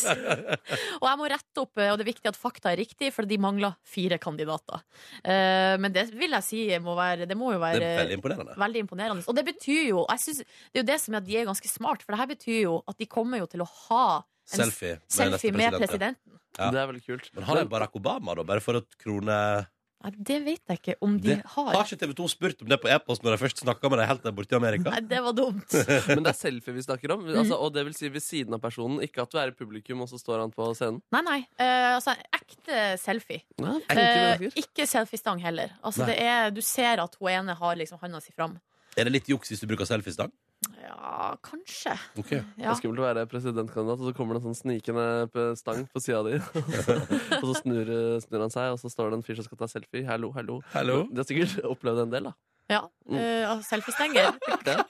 Og jeg må rette opp, eh, og det er viktig at fakta er riktig, for de mangler fire kandidater. Eh, men det vil jeg si må være Det må jo
Det
være
er veldig imponerende.
Veldig imponerende. Og det betyr jo jeg synes, Det er jo det som er at de er ganske smart for det her betyr jo at de kommer jo til å ha en s-
Selfie med
selfie
neste president.
med
ja.
presidenten.
Ja.
Det er veldig kult.
Men har de Barack Obama, da? Bare for å krone
Nei, det vet jeg ikke om de
Det
har.
Har ikke TV 2 spurt om det på e-post når de først snakka med deg helt der borte i Amerika?
Nei, det var dumt.
Men det er selfie vi snakker om. Altså, og det vil si ved siden av personen. Ikke at du er i publikum, og så står han på scenen.
Nei, nei. Eh, altså, en ekte selfie.
Ja,
Eh, ikke selfiestang heller. Altså,
Nei.
det er, du ser at hun ene har liksom handa si fram.
Er det litt juks hvis du bruker selfiestang?
Ja, kanskje.
Okay.
Det
Ja.
er skummelt å være presidentkandidat, og så kommer det en sånn snikende p- stang på sida di. og så snur, eh, snur han seg, og så står det en fyr som skal ta selfie. Hallo, hallo.
Hallo?
De har sikkert opplevd en del, da.
ja.
Mm.
Eh, og selfiestenger.
Ja.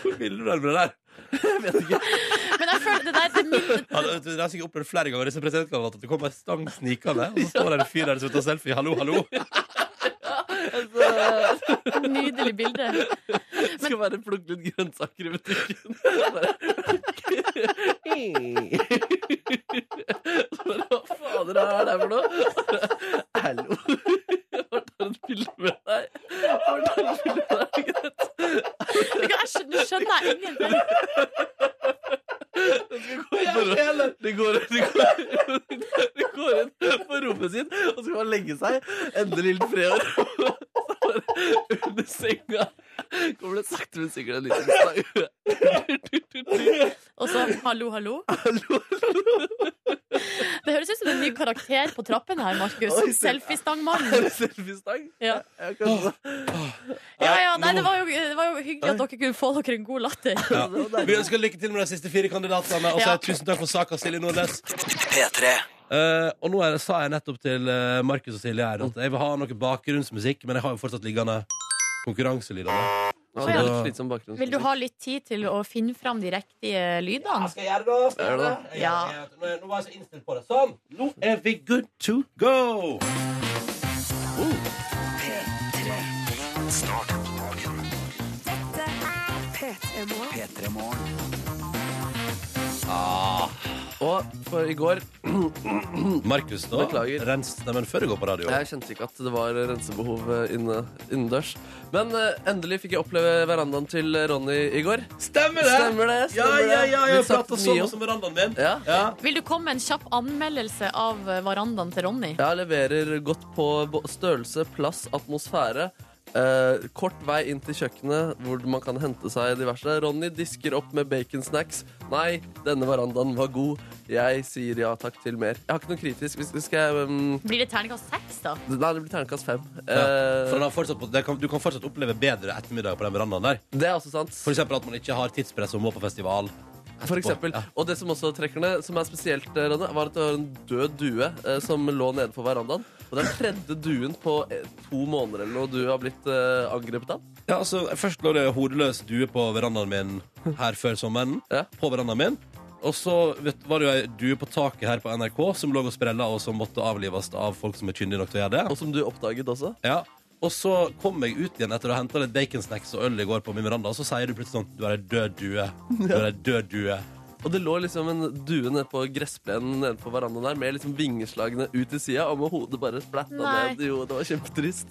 Hvor ville du deg med det der?
Men jeg føler det der det minner,
Ja, det- det har jeg sikkert opplevd flere ganger disse presidentkandidatene at det kommer en stang snikende, og så står det en fyr der som tar selfie. Hallo, hallo.
Altså,
Nydelig bilde.
skal bare plukke litt grønnsaker i butikken. Bare, Så bare, Hva fader er det her for noe? Hallo. Hva tar et bilde med deg? Hva tar et bilde med deg? Greit.
Jeg skjønner, nå skjønner jeg ingenting.
De går, de, går, de går inn på rommet sitt og skal bare legge seg. Endelig litt fred og ro. Så bare Under senga kommer det sakte, men sikkert en liten stang.
Og så hallo, hallo.
Hallo,
Det høres ut som en ny karakter på trappen her, Markus.
Oi, se- er
Selfiestangmannen.
det selfiestang?
Ja.
Jeg kan-
Ja, ja, nei, det var, jo, det var jo hyggelig at dere kunne få dere en god latter.
Vi ønsker lykke til med de siste fire kandidatene. Og så
Ja.
er tusen takk for saka, Silje Nordnes. Eh, og nå er det, sa jeg nettopp til eh, Markus og Silje her at jeg vil ha noe bakgrunnsmusikk, men jeg har jo fortsatt liggende konkurranselydene.
Ja, det er litt sånn slitsom bakgrunn.
Vil du ha litt tid til å finne fram de riktige lydene?
Skal jeg gjøre det, da? Skal jeg gjøre det? Jeg
Ja.
gjør det. Nå er- Nå var jeg så innstilt på det. Sånn! Nå er vi good to go!
P3 Morgen.
Og for i går
Markus, da.
Beklager.
Rens stemmen før du går på radio.
Jeg kjente ikke at det var rensebehov eh, inne, innendørs. Men eh, endelig fikk jeg oppleve verandaen til Ronny i går.
Stemmer det!
Stemmer det,
ja,
stemmer
ja,
det.
ja,
Vi
jeg
satt
prata sånn
mye om-
som verandaen min.
Ja.
Vil du komme med en kjapp anmeldelse av eh, verandaen til Ronny?
Jeg leverer godt på bo- størrelse, plass, atmosfære. Eh, kort vei inn til kjøkkenet, hvor man kan hente seg diverse. Ronny disker opp med baconsnacks. Nei, denne verandaen var god. Jeg sier ja takk til mer. Jeg har ikke noe kritisk. Hvis- Skal jeg um,
Blir det terningkast seks, da?
Nei, det blir terningkast fem.
Ja, for den
Eh,
har fortsatt, på- det kan, du kan fortsatt oppleve bedre ettermiddag på den verandaen der.
det er også sant.
For eksempel at man ikke har tidspress og må på festival.
For eksempel.
Ja.
Og det som også trekker ned, som er spesielt, eh, Ronny, var at det var en død due eh, som lå nede på verandaen. Og det er den tredje duen på eh, to måneder eller noe du har blitt eh, angrepet av.
Ja, altså, først lå det hodeløs due på verandaen min her før sommeren.
Ja.
På verandaen min. Og så vet, var det jo ei due på taket her på NRK som lå og sprella, og som måtte avlives av folk som er kyndige nok til å gjøre det.
Og som du oppdaget også.
Ja. Og så kom jeg ut igjen etter å ha henta litt baconsnacks og øl i går på min veranda, og så sier du plutselig sånn Du er ei død due. Du er ei død due.
Og det lå liksom en due nede på gressplenen nede på verandaen der med liksom vingeslagene ut til sida, og med hodet bare splatta
Nei.
ned. Jo, det var kjempetrist.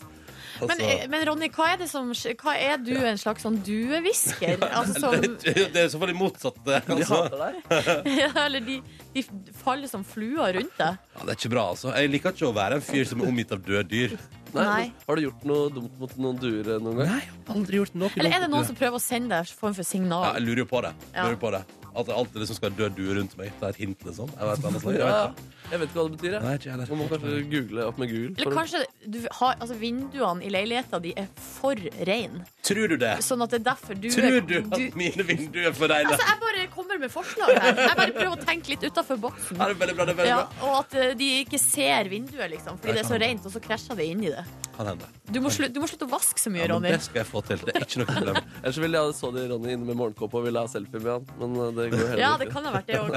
Altså-
Men, eh, men Ronny, hva er, det som, skj- hva er du en slags sånn duehvisker? Altså, som-
Det er i så fall det motsatte.
De
Altså.
hater deg.
ja, eller de, de faller som fluer rundt deg.
Ja, det er ikke bra, altså. Jeg liker ikke å være en fyr som er omgitt av døde dyr.
Nei.
Nei.
Har du gjort noe dumt mot noen duer eh, noen gang?
Nei, jeg har aldri gjort noe
Eller er det noen som prøver å sende deg en form for
Ja, jeg
signal?
lurer jo på det.
Ja.
Lurer på det. At det alltid liksom skal dø duer rundt meg. Det er et hint, liksom. Jeg vet, hva det er. jeg
Ja,
vet det.
jeg vet ikke hva det betyr.
Nei,
Jeg.
ikke
Man
heller.
må kanskje google opp med Google.
Eller
for å-
kanskje du har, altså, vinduene i leiligheta di er for reine,
Tror du det?
sånn at det er derfor du
Tror du at
du-
mine vinduer er for reine?
Altså, jeg bare kommer med forslag her. Jeg bare prøver å tenke litt utafor boksen.
Er det veldig bra, det er veldig
Ja,
bra.
og at eh, de ikke ser vinduet, liksom, fordi
Nei,
det er så
kan-
rent, og så krasjer det inn i det.
Kan hende.
Du må, slutte, du må slutte å vaske så mye,
Ja, men
Ronny.
det skal jeg få til. Det er ikke noe problem.
Ellers så ville jeg så de Ronny inne med morgenkåpe og ville ha selfie med han. Men eh, det går jo heller
Ja, det kan ha vært det òg.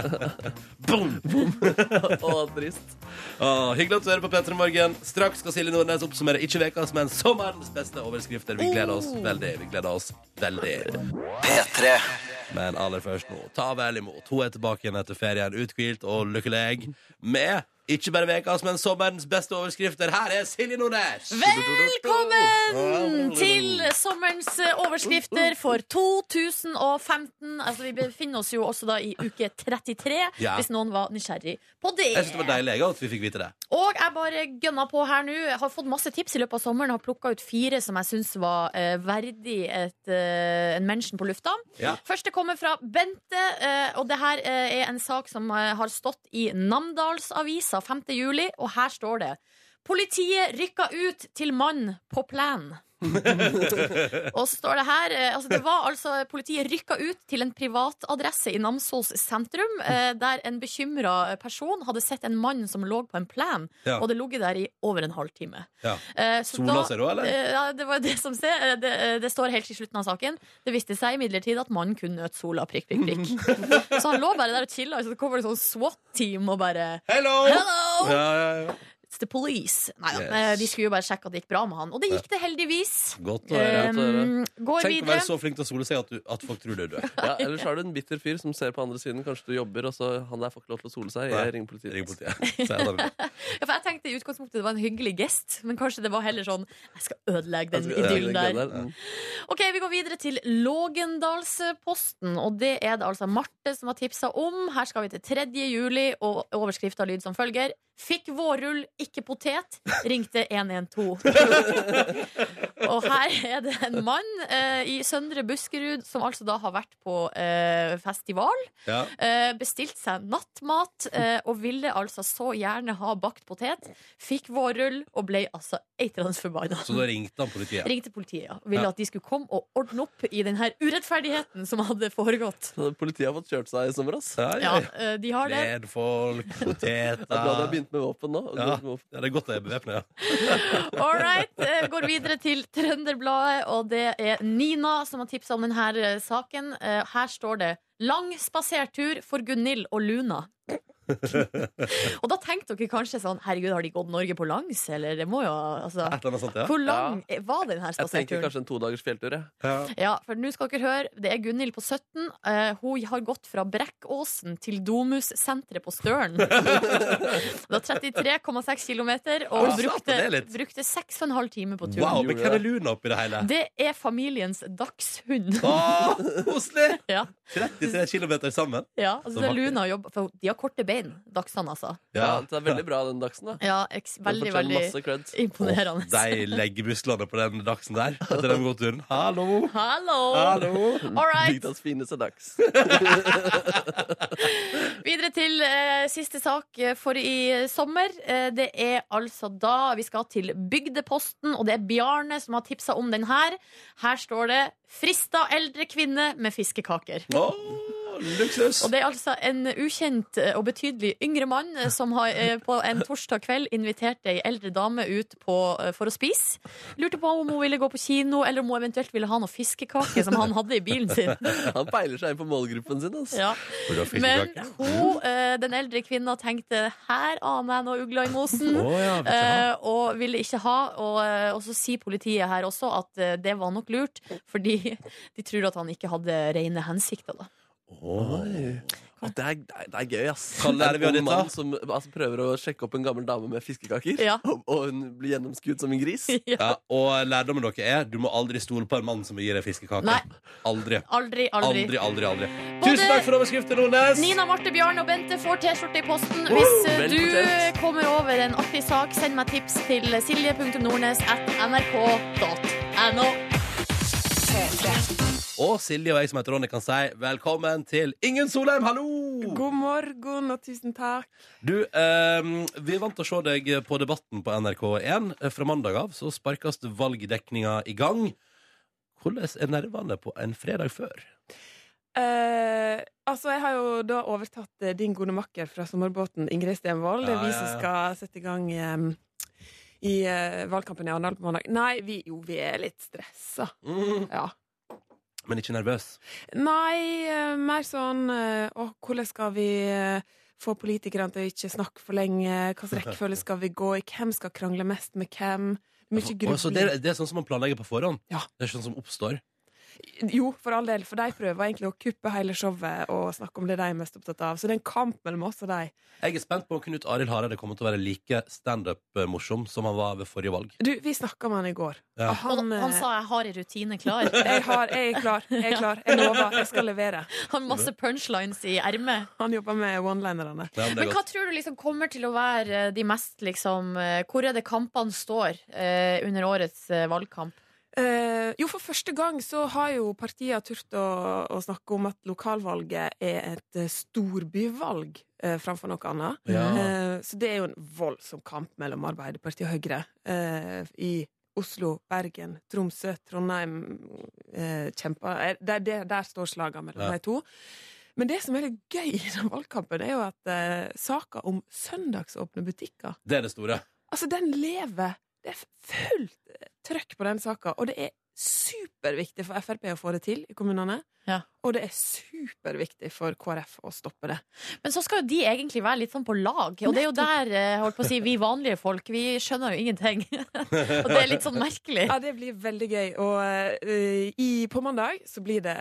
ikke. Å, trist.
Å, hyggelig at du hører på P3 Morgen. Straks skal Silje Nordnes oppsummere ikke ukas, men sommerens beste overskrifter. Vi gleder oss
Oh.
veldig. Vi gleder oss veldig. Men aller først nå, ta vel imot. Hun er tilbake igjen etter ferien, uthvilt og lykkelig. Med ikke bare ukas, men sommerens beste overskrifter. Her er Silje Nordnes!
Velkommen til sommerens eh, overskrifter for 2015. Altså, vi befinner oss jo også da i uke 33,
Ja.
hvis noen var nysgjerrig på det.
Jeg synes det var deilig jeg, at vi fikk vite det.
Og jeg bare gønna på her nå. Jeg har fått masse tips i løpet av sommeren. Jeg har plukka ut fire som jeg syns var eh, verdig et, eh, en mention på lufta.
Ja.
Første kommer fra Bente, eh, og det her eh, er en sak som eh, har stått i Namdalsavisa 5. juli, og her står det Politiet rykka ut til mann på plan. og så står det her eh, altså Det var altså Politiet rykka ut til en privatadresse i Namsos sentrum, eh, der en bekymra person hadde sett en mann som lå på en plan,
Ja.
og det ligget der i over en halvtime.
Ja.
Eh, så
Sola
da-
ser du, eller?
Eh, Ja, det var jo det som ser. eh, Det, eh, det står helt i slutten av saken. Det viste seg imidlertid at mannen kun nøt sola, prikk, prikk, prikk. så han lå bare der og chilla, så det kommer det sånn SWAT-team og bare
Hello!
Hello!
Ja, ja, ja.
It's the police. Nei da,
Yes.
eh, de skulle jo bare sjekke at det gikk bra med han. Og det gikk det heldigvis.
Godt å høre.
godt å høre.
Um, går
Tenk å
videre.
være så flink til å sole seg at, du, at folk tror det er du. er.
Ja, ellers har du en bitter fyr som ser på andre siden. Kanskje du jobber, og så han der får ikke lov til å sole seg.
Nei.
Jeg ringer politiet.
Ring politiet. Så er det det.
Ja, for jeg tenkte i utgangspunktet det var en hyggelig gest, men kanskje det var heller sånn Jeg skal ødelegge den
Jeg skal-
idyllen
jeg
der.
gleder meg.
Ok, Vi går videre til Lågendalsposten, og det er det altså Marte som har tipsa om. Her skal vi til 3. juli, og overskrifta lyd som følger. Fikk vårrull, ikke potet. Ringte 112. og her er det en mann eh, i Søndre Buskerud som altså da har vært på eh, festival.
Ja.
Eh, bestilt seg nattmat eh, og ville altså så gjerne ha bakt potet. Fikk vårrull og ble altså eitrende forbanna.
Så da ringte han politiet.
Ringte politiet ja. ville
Ja.
at de skulle komme og ordne opp i den her urettferdigheten som hadde foregått.
Så Politiet har fått kjørt seg i sommer, ass.
Ja, ja.
Ja, eh, de har det.
Led folk, poteter
Det er bra de har begynt med våpen nå. og
Ja.
begynt med våpen.
Ja, det er godt jeg er bevæpna. Ja.
All right. eh, Går videre til Trønderbladet, og det er Nina som har tipsa om denne saken. Eh, Her står det 'Lang spasertur for Gunhild og Luna'. og da tenkte dere kanskje sånn Herregud, har de gått Norge på langs, eller? Det må jo
Et
altså
eller annet sånt, ja.
Hvor lang var den her
Jeg tenker
spaserturen?
kanskje en todagers fjelltur. jeg.
ja.
Ja, for nå skal dere høre. Det er Gunhild på 17. Eh, hun har gått fra Brekkåsen til Domus-senteret på Støren. det var 33,6 km,
Oi,
og hun
satan, det
brukte,
er litt.
brukte 6,5 timer på turen.
Wow, men hvem er Luna oppi det hele?
Det er familiens dagshund.
Åh, koselig!
ja,
33 km sammen.
ja, altså
Så
det er
vakkert.
Luna og jobber For de har korte bein, dagsene, altså.
Ja, det er veldig bra den dagsen. da
Ja, eks, veldig,
Den fortjener
veldig
masse cred.
imponerende.
Åh, De legger musklene på den dagsen der etter den gåturen. Hallo!
Hallo!
Hallo!
All right.
Bygdas fineste dags.
Videre til eh, siste sak eh, for i sommer. Eh, det er altså da vi skal til Bygdeposten, og det er Bjarne som har tipsa om den her. Her står det 'Frista eldre kvinne med fiskekaker'.
Åh, luksus!
Og det er altså en ukjent eh, og betydelig yngre mann eh, som har eh, på en torsdag kveld invitert ei eldre dame ut på, eh, for å spise. Lurte på om hun ville gå på kino, eller om hun eventuelt ville ha noe fiskekake som han hadde i bilen sin.
Han peiler seg inn på målgruppen sin. ass.
Ja.
Hvor du har
Men
fiskekake.
hun, eh, den eldre kvinna, tenkte her aner jeg noe ugler i mosen.
Åh, ja, vet du hva?
eh, og ville ikke ha. Og, eh, og så sier politiet her også at eh, det var nok lurt, fordi de tror at han ikke hadde rene hensikter. Da.
Åh.
Å, det, er, det er- det er gøy, ass.
Hva lærer vi av
En ung
dette?
mann som altså, prøver å sjekke opp en gammel dame med fiskekaker,
Ja.
og, og hun blir gjennomskuet som en gris.
Ja, og lærdommen dere er du må aldri stole på en mann som gir deg fiskekake.
Nei.
Aldri.
Aldri, aldri.
Aldri, aldri, aldri.
Både-
Tusen takk for overskriften, Nordnes!
Nina, Marte, Bjarne og Bente får T-skjorte i posten. Hvis eh,
Vel
du
fortjent.
kommer over en artig sak, send meg tips til silje.nordnes at nrk.no.
Og Silje og jeg som heter Ronny kan si velkommen til Ingen Solheim, hallo!
God morgen og tusen takk.
Du, ehm, vi vant å se deg på Debatten på NRK1. Eh, Fra mandag av så sparkes valgdekninga i gang. Hvordan er nervene på en fredag før?
Eh, altså, Jeg har jo da overtatt eh, din gode makker fra sommerbåten, Ingrid Stenvold. Det
Ja,
er vi
ja,
som
ja.
skal sette i gang eh, i eh, valgkampen i Arendal på mandag. Nei, vi, jo, vi er litt stressa. Ja.
Men ikke nervøs.
Nei, eh, mer sånn eh, Å, hvordan skal vi eh, få politikerne til å ikke snakke for lenge? Hvilken rekkefølge skal vi gå i? Hvem skal krangle mest med hvem? Mye
Og så
grubling.
det, er- det er sånn som man planlegger på forhånd.
Ja.
Det er sånn som oppstår.
Jo, for all del, for de prøver egentlig å kuppe hele showet og snakke om det de er mest opptatt av. Så det er en kamp mellom oss og de.
Jeg er spent på om Knut Arild Hareide kommer til å være like standup-morsom som han var ved forrige valg.
Du, vi snakka med han i går.
Ja.
Og
Og
Han,
han sa jeg har en rutine klar.
eh, jeg, har, jeg er klar. Jeg er klar. Jeg lover. Jeg skal levere.
Han har masse punchlines i ermet.
Han jobber med one-linerne.
Ja, men det er
Men hva
godt.
tror du liksom kommer til å være eh, de mest liksom eh, Hvor er det kampene står eh, under årets eh, valgkamp?
Eh, jo, for første gang så har jo partiene turt å, å snakke om at lokalvalget er et eh, storbyvalg eh, framfor noe annet.
Ja.
Eh, så det er jo en voldsom kamp mellom Arbeiderpartiet og Høyre eh, i Oslo, Bergen, Tromsø, Trondheim eh, kjemper eh, der, der, der står slagene mellom
Ja.
de to. Men det som er litt gøy i den valgkampen, er jo at eh, saka om søndagsåpne butikker
Det er det store.
Altså, den lever. Det er fullt trøkk på den saka, og det er superviktig for Frp å få det til i kommunene.
Ja.
Og det er superviktig for KrF å stoppe det.
Men så skal jo de egentlig være litt sånn på lag, og det er jo der eh, holdt på å si, vi vanlige folk Vi skjønner jo ingenting. og det er litt sånn merkelig.
Ja, det blir veldig gøy. Og eh, i, på mandag så blir det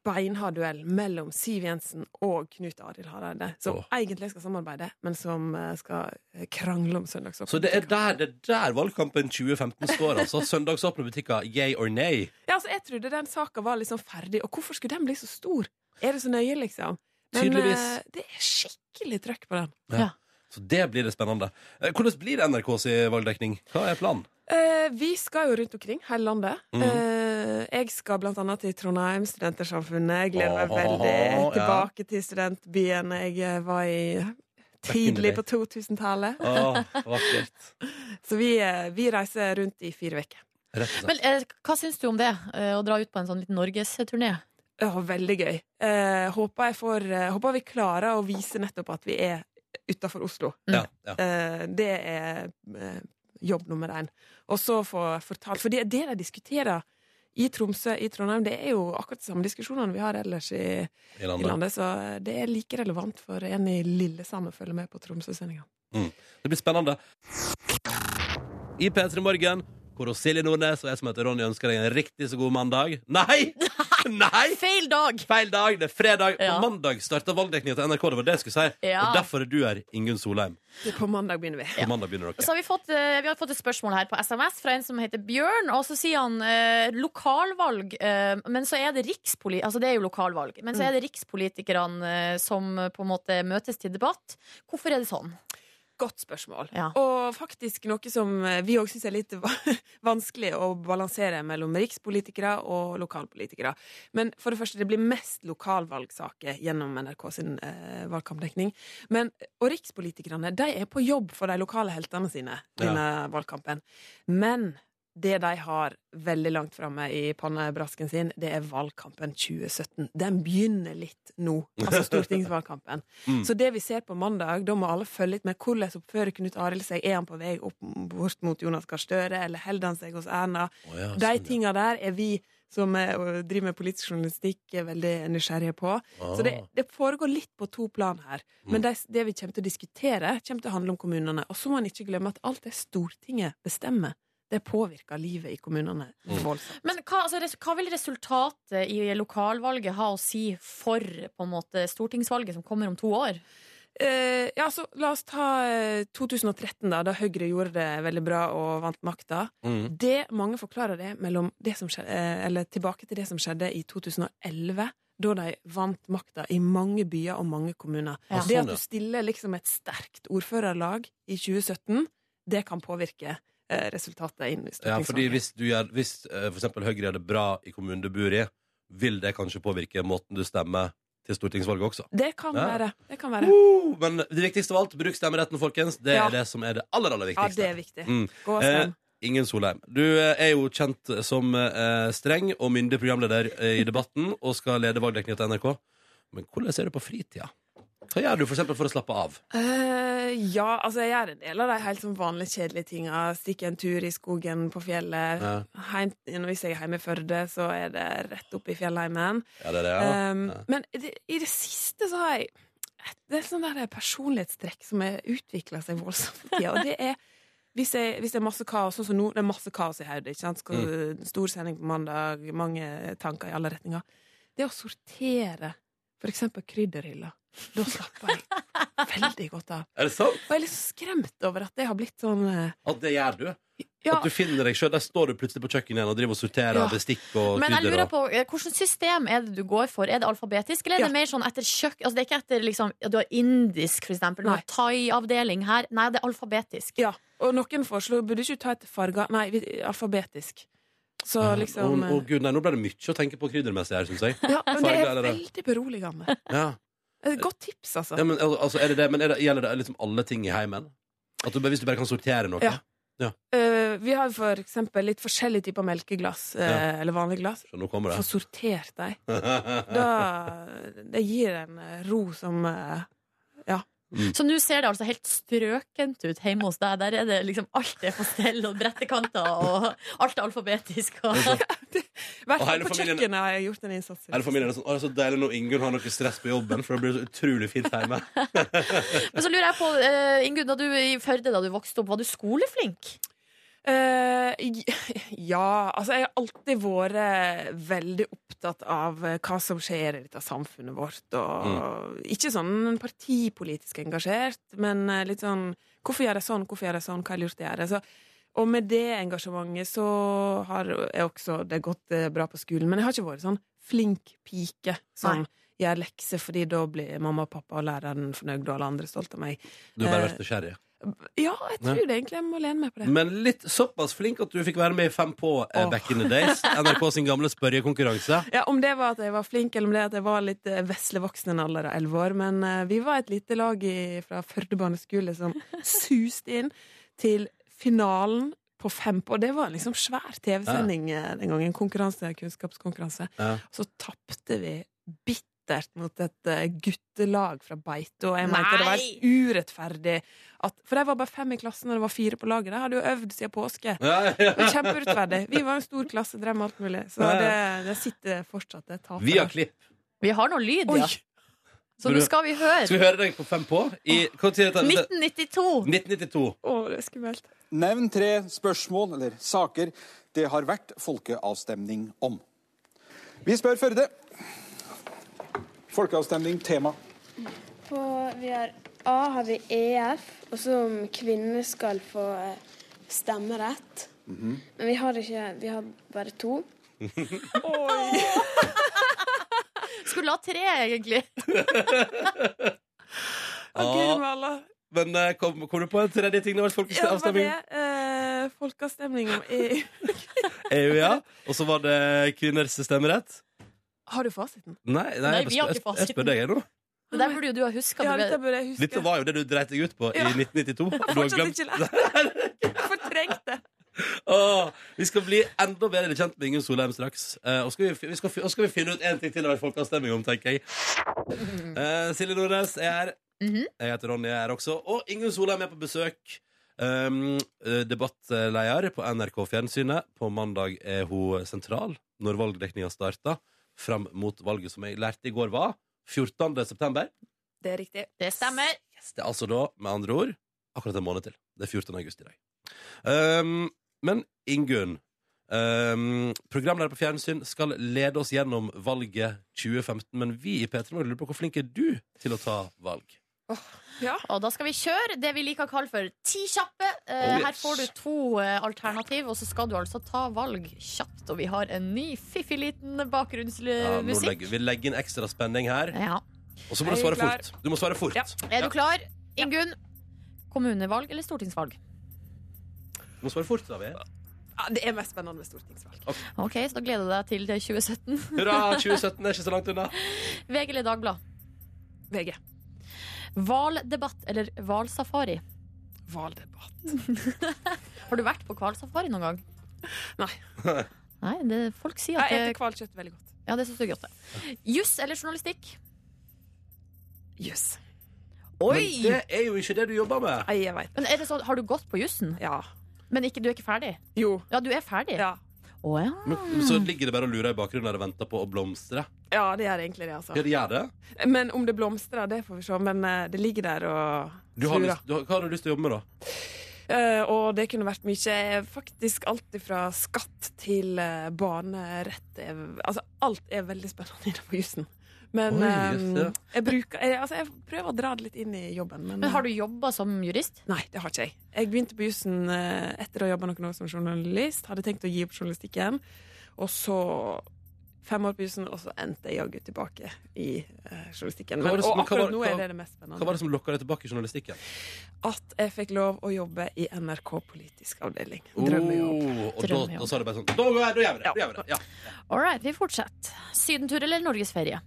beinhard duell mellom Siv Jensen og Knut Arild Hareide, som
Åh.
egentlig skal samarbeide, men som eh, skal krangle om søndagsåpne.
Så det er der, det er der valgkampen 2015 står, altså. Søndagsåpne butikker, yay or nay.
Ja, altså, jeg trodde den saka var liksom ferdig, og hvorfor skulle den bli så stor? Er det så nøye, liksom? Men
Tydeligvis.
eh, det er skikkelig trøkk på den.
Så det blir det spennende. Eh, Hvordan blir NRKs valgdekning? Hva er planen?
Eh, vi skal jo rundt omkring, hele landet.
Mhm.
Eh, jeg skal blant annet til Trondheim, Studentersamfunnet. Jeg gleder meg
Åh,
veldig
ja.
tilbake til studentbyen jeg eh, var i
in the
tidlig
day.
på 2000-tallet.
Åh, vakkert.
Så vi, eh, vi reiser rundt i fire uker.
Rett og slett.
Men eh, hva syns du om det, eh, å dra ut på en sånn liten norgesturné?
Åh, veldig gøy. Eh, håper, jeg får, eh, håper vi klarer å vise nettopp at vi er utafor Oslo.
Ja, ja.
Eh, det er eh, jobb nummer én. Og så få fortalt For det, det de diskuterer i Tromsø, i Trondheim, det er jo akkurat de samme diskusjonene vi har ellers i,
I
i
landet.
landet. Så eh, det er like relevant for en i Lillesand å følge med på Tromsø-sendinga.
Mm. Det blir spennende. I P3 Morgen, hvor hos Silje Nordnes og jeg som heter Ronny ønsker deg en riktig så god mandag. Nei! Nei!
Feil dag!
Feil dag, det er fredag.
Ja.
Og mandag starter valgdekningen til NRK. Det var det jeg skulle si.
Ja.
Og derfor er du her, Ingunn Solheim.
På mandag begynner vi.
På mandag begynner dere.
Så har vi, fått, eh, vi har fått et spørsmål her på SMS fra en som heter Bjørn. Og så sier han eh, lokalvalg, eh, men så er det rikspoli... Altså det er jo lokalvalg, men så er det rikspolitikerne eh, som eh, på en måte møtes til debatt. Hvorfor er det sånn?
Godt spørsmål.
Ja.
Og faktisk noe som eh, vi òg syns er litt va- vanskelig å balansere mellom rikspolitikere og lokalpolitikere. Men for det første, det blir mest lokalvalgsaker gjennom NRK sin eh, valgkampdekning. Men, eh, og rikspolitikerne de er på jobb for de lokale heltene sine
Ja.
denne valgkampen. Men det de har veldig langt framme i pannebrasken sin, det er valgkampen 2017. Den begynner litt nå, altså stortingsvalgkampen.
Mm.
Så det vi ser på mandag, da må alle følge litt med hvordan oppfører Knut Arild seg. Er han på vei opp bort mot Jonas Gahr Støre, eller holder han seg hos Erna?
Å, ja,
De
sånn, ja.
tinga der er vi som eh, og driver med politisk journalistikk, er veldig nysgjerrige på.
Ah.
Så det, det foregår litt på to plan her. Men
Mm.
det, det vi kommer til å diskutere, kommer til å handle om kommunene. Og så må en ikke glemme at alt det Stortinget bestemmer, det påvirker livet i kommunene
Mm.
voldsomt.
Men hva, altså, res- hva vil resultatet i lokalvalget ha å si for på en måte, stortingsvalget som kommer om to år?
Eh, ja, så la oss ta eh, 2013, da, da Høyre gjorde det veldig bra og vant makta.
Mm.
Det mange forklarer det mellom det som skjedde, eh, eller tilbake til det som skjedde i 2011, da de vant makta i mange byer og mange kommuner. Det
Ja.
at
Sånn, ja.
du stiller liksom et sterkt ordførerlag i 2017, det kan påvirke eh, resultatet inn i
Ja, fordi
stortingsvalget.
hvis, du gjør, hvis eh, for eksempel Høyre gjør det bra i kommunen du bor i, vil det kanskje påvirke måten du stemmer til stortingsvalget også.
det kan
Ja. Uh,
være. Det kan være.
Woo! Men det viktigste av alt, bruk stemmeretten, folkens. Det
Ja.
er det som er det aller, aller
Ja, det
viktigste.
er viktig.
Mm.
Gå og
Eh,
stem.
Ingen Solheim. Du eh, er jo kjent som eh, streng og myndig programleder eh, i debatten og skal lede valgdekningen til NRK. Men hvordan er det på fritida? Hva gjør du for, eksempel for å slappe av?
Eh, ja, altså jeg gjør en del av de helt sånn vanlige kjedelige tinga. Stikke en tur i skogen på fjellet.
Ja,
Heim, hvis jeg er hjemme i Førde, så er det rett opp i fjellheimen.
ja det er det, ja.
Um,
ja.
Men i det, i det siste så har jeg Det er sånn der personlighetstrekk som har utvikla seg voldsomt. i tida, og det er hvis, jeg, hvis det er masse kaos, sånn som nå, det er masse kaos i hodet. ikke sant? Skal, Stor sending på mandag, mange tanker i alle retninger. Det å sortere f.eks. krydderhylla, da slapper jeg veldig godt av.
Er det sant?
Og jeg er litt så skremt over at det har blitt sånn eh,
At det gjør du?
Ja,
At du finner deg sjøl? Der står du plutselig på kjøkkenet igjen og driver og sorterer
Ja.
bestikk og
Men jeg
krydder.
lurer
og-
på, eh, Hvilket system er det du går for? Er det alfabetisk, eller er
Ja.
det mer sånn etter kjøkk... Altså, det er ikke etter liksom, ja, Du har indisk, for eksempel. Du
Nei.
har thai-avdeling her. Nei, det er alfabetisk.
ja. Og noen foreslo burde ikke ta etter farger. Nei, vi- alfabetisk. Så liksom eh,
Å, å, gud, nei, nå ble det mye å tenke på kryddermessig her, syns jeg.
Ja, men det
Farger,
er
eller?
veldig beroligende.
Ja.
Det er Et godt tips, altså.
Ja, men, al- altså, er det det, men er det, gjelder det liksom alle ting i heimen? At du, bare- hvis du bare kan sortere noe?
Ja. Eh, vi har for eksempel litt forskjellige typer melkeglass, eh, eller vanlige glass.
Så nå kommer
Få
det.
sortert dem. Da, det gir en eh, ro som eh,
Mm.
Så nå ser det altså helt strøkent ut hjemme hos deg. Der er det liksom alt er på stell, og brettekanter, og alt er alfabetisk. Og...
I hvert
Og
fall
hele
på
familien-
kjøkkenet har jeg gjort en innsats.
Hele familien er sånn, å, det er så deilig når Ingunn har noe stress på jobben, for det blir så utrolig fint hjemme.
Men så lurer jeg på, eh, Ingunn, da du i Førde da du vokste opp, var du skoleflink?
Eh, j- ja, altså jeg har alltid vært eh, veldig opptatt av eh, hva som skjer i dette samfunnet vårt. Og
Mm.
Ikke sånn partipolitisk engasjert, men eh, litt sånn Hvorfor gjør jeg sånn, hvorfor gjør jeg sånn, hva er lurt å gjøre? Så, og med det engasjementet så har jeg også det gått eh, bra på skolen. Men jeg har ikke vært sånn flink pike sånn, som gjør lekser, fordi da blir mamma og pappa og læreren fornøyd, og alle andre stolt av meg. Eh,
Du har bare vært nysgjerrig.
Ja, jeg tror det egentlig. Jeg må lene meg på det.
Men litt såpass flink at du fikk være med i Fem på eh,
Åh.
back in the days. NRK sin gamle spørrekonkurranse.
Ja, Om det var at jeg var flink, eller om det at jeg var litt eh, veslevoksen i en alder av elleve år. Men eh, vi var et lite lag i, fra Førde barneskole som suste inn til finalen på fem på. Og det var en liksom svær TV-sending eh, den gangen. Konkurranse, kunnskapskonkurranse.
Ja.
Så tapte vi bittert mot et eh, guttelag fra Beito. Og jeg mente det var helt urettferdig. At, for jeg var bare fem i klassen, og det var fire på laget. De hadde jo øvd siden påske.
Ja, ja.
Det var Kjempeurettferdig. Vi var en stor klasse, drev med alt mulig. Så
Ja, ja.
det, det sitter fortsatt det tapet.
Vi har klipp.
Vi har noe lyd, ja. Så nå skal vi
Skal
høre.
vi høre deg på Fem på? I, hva tid er det?
1992.
1992.
Å, det er skummelt.
Nevn tre spørsmål eller saker det har vært folkeavstemning om. Vi spør Førde. Folkeavstemning tema.
På, vi har A har vi EF, og så om kvinner skal få eh, stemmerett. Men vi har ikke Vi har bare to.
Skulle ha tre, egentlig.
Å, Gud, med alle.
Men eh, kom, kom du på en tredje ting? Det har
Ja, det
vært
var
folkeavstemning.
det. Eh, folkeavstemning om EU.
EU, Eh, ja. Og så var det kvinners stemmerett.
Har du fasiten?
Nei, nei,
Nei,
jeg,
vi har
spør,
ikke
jeg, jeg spør deg jeg, nå.
Det der burde jo du ha huska.
Ja, dette burde jeg huske.
Dette var jo det du dreit deg ut på
Ja.
i 1992. Du har
Fortsatt
glemt
ikke lært. Fortrengt det.
Åh, vi skal bli enda bedre kjent med Ingunn Solheim straks. Eh, og, skal vi, vi skal, og skal vi finne ut en ting til det har vært folkeavstemning om, tenker jeg. Eh, Silje Nordnes er her. Jeg heter Ronny, jeg er her også. Og Ingunn Solheim er på besøk. Um, eh, debattleder på NRK Fjernsynet. På mandag er hun sentral når valgdekninga starter. Fram mot valget som jeg lærte i går var 14. september.
Det er riktig.
Det stemmer.
Det er altså da, med andre ord, akkurat en måned til. Det er 14. august i dag. Um, men Ingunn, um, programleder på fjernsyn, skal lede oss gjennom valget 2015. Men vi i P3 Morgen lurer på hvor flink er du til å ta valg?
Og da skal vi kjøre det vi liker å kalle for ti kjappe. Eh,
Oh, yes.
Her får du to eh, alternativ, og så skal du altså ta valg kjapt. Og vi har en ny fiffig liten
Eh,
Ja, nå
bakgrunnsmusikk.
legger, vi legger inn ekstra spenning her.
Ja,
Og så må du
Er
svare
vi klar?
fort. Du må svare fort.
Ja.
Er du klar, Ingunn? Kommunevalg eller stortingsvalg?
Du må svare fort, sa vi.
Ja, det er mest spennende med stortingsvalg.
Ok, så da gleder du deg til det 2017.
Hurra, 2017 er ikke så langt unna.
VG eller Dagblad?
VG.
Hvaldebatt eller hvalsafari?
Valdebatt.
Har du vært på hvalsafari noen gang?
Nei.
Nei, det, folk sier at
Jeg spiser
det,
hvalkjøtt veldig godt.
ja, det synes du er godt. det. Juss eller journalistikk?
Jøss.
Men det er jo ikke det du jobber med.
Nei, jeg veit det.
Men er det sånn, Har du gått på jussen,
Ja.
men ikke, du er ikke ferdig?
Jo.
Ja, du er ferdig?
Ja.
Å ja.
Men, så ligger det bare og lurer i bakgrunnen der og venter på å blomstre.
ja, det gjør egentlig det,
Ja,
altså.
det gjør det.
Men om det blomstrer, det får vi se. Men eh, det ligger der og
Du har
Tror
lyst, du, har- hva har du lyst til å jobbe med, da?
Eh, og det kunne vært mye. Faktisk alt fra skatt til eh, banerett. Er, altså, alt er veldig spennende innenfor jussen. Men
Oi,
eh,
jøss, ja.
jeg, bruker, jeg, altså, jeg prøver å dra det litt inn i jobben. Men, eh,
Men har du jobba som jurist?
Nei, det har ikke jeg. Jeg begynte på jussen eh, etter å ha jobba noen år som journalist. Hadde tenkt å gi opp journalistikken. Og så fem år på jussen, og så endte jeg jaggu tilbake i eh, journalistikken.
Hva var
Men,
det
og
som- men hva var-
akkurat nå
hva-
er det det mest
Hva var
spennende.
det som lokka deg tilbake i journalistikken?
At jeg fikk lov å jobbe i NRK politisk avdeling. Drømmejobb.
Oh, og da,
Drømmejobb.
da sa du bare sånn Da gjør jeg- da gjør vi det! Da
Ja.
gjør vi det. Ja.
All right, vi fortsetter. Sydentur eller norgesferie?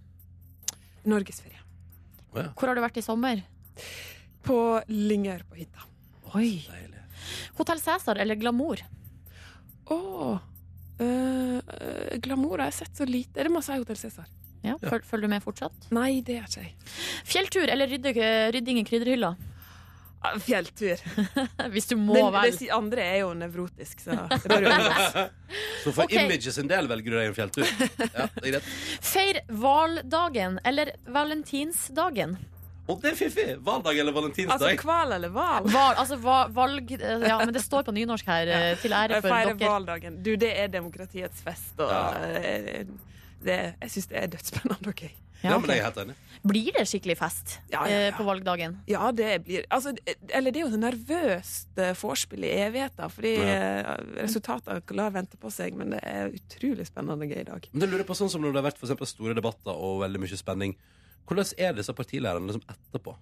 Norgesferie.
Hvor har du vært i sommer?
På Lyngør på hytta.
Oi.
Deilig.
Hotell Cæsar eller Glamour?
eh, Å! øh, øh, glamour har jeg sett så lite. Er det masse Hotell Cæsar?
Ja, føl, Følger du med fortsatt?
Nei, det gjør ikke jeg.
Fjelltur eller rydde, rydding i krydderhylla?
Fjelltur.
Hvis du må
Den,
vel.
det andre er jo nevrotisk, så det bør jo unngås.
Så for
Ok.
imaget sin del velger du deg en fjelltur. Ja, det er greit.
Feir hvaldagen eller valentinsdagen.
Og det er fiffig! Hvaldag eller
Altså
valentinsdag?
hval eller hval?
Val, altså va- valg eh, Ja, men det står på nynorsk her, eh, til ære for
Feire
dere.
hvaldagen. Du, det er demokratiets fest, og
Ja.
eh, det, jeg syns det er dødsspennende og gøy.
Ja,
Ja, men jeg
ok.
er helt enig.
Blir det skikkelig fest
Ja, ja,
eh,
ja.
på valgdagen?
Ja, det blir altså, Eller det er jo et nervøst eh, vorspiel i evigheter, fordi eh, resultatene lar vente på seg, men det er utrolig spennende og gøy i dag.
Men det lurer jeg på sånn som når det har vært for eksempel store debatter og veldig mye spenning. Hvordan er disse partilærerne liksom etterpå?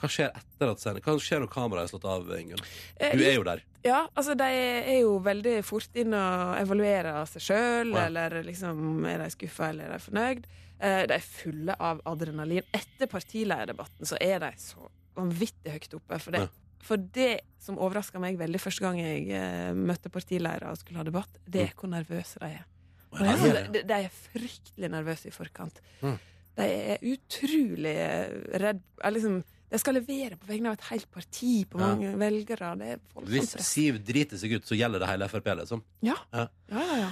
Hva skjer etter at scenen? Hva skjer når kameraet er slått av, Ingunn?
Eh,
Du er jo der.
Ja, altså de er jo veldig fort inn og evaluerer seg sjøl,
Ja.
eller liksom er de skuffa, eller er de fornøyd? Eh, De er fulle av adrenalin. Etter partilederdebatten så er de så vanvittig høyt oppe. For det,
Ja.
for det som overraska meg veldig første gang jeg eh, møtte partiledere og skulle ha debatt, det er hvor nervøse de er.
Mm. Å,
Og jeg
ja,
tror
ja.
de, de er fryktelig nervøse i forkant.
Mm.
De er utrolig redd er liksom, De skal levere på vegne av et helt parti på
Ja.
mange velgere. Det er voldsomt
Hvis
stress.
Siv driter seg ut, så gjelder det hele Frp, liksom.
Ja.
Ja.
Ja, ja, ja.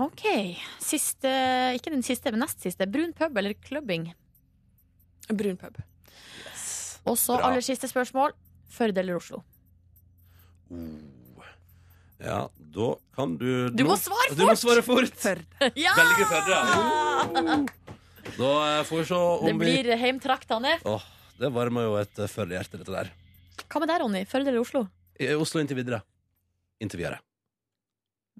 OK. Siste, ikke den siste, men nest siste. Brun pub eller clubbing?
Brun pub.
Og så
Bra.
aller siste spørsmål. Førde eller Oslo?
Oh. Ja, da kan du
Du
nå-
må svare
Du må svare fort!
Førde.
Ja!
Velger Førde. ja. Oh. Da eh, får vi se om
Det blir heimtraktene.
vi Åh, Det varmer jo et eh, Førde-hjerte, dette der.
Hva med deg, Ronny? Førde eller Oslo?
I Oslo inntil videre. Inntil videre.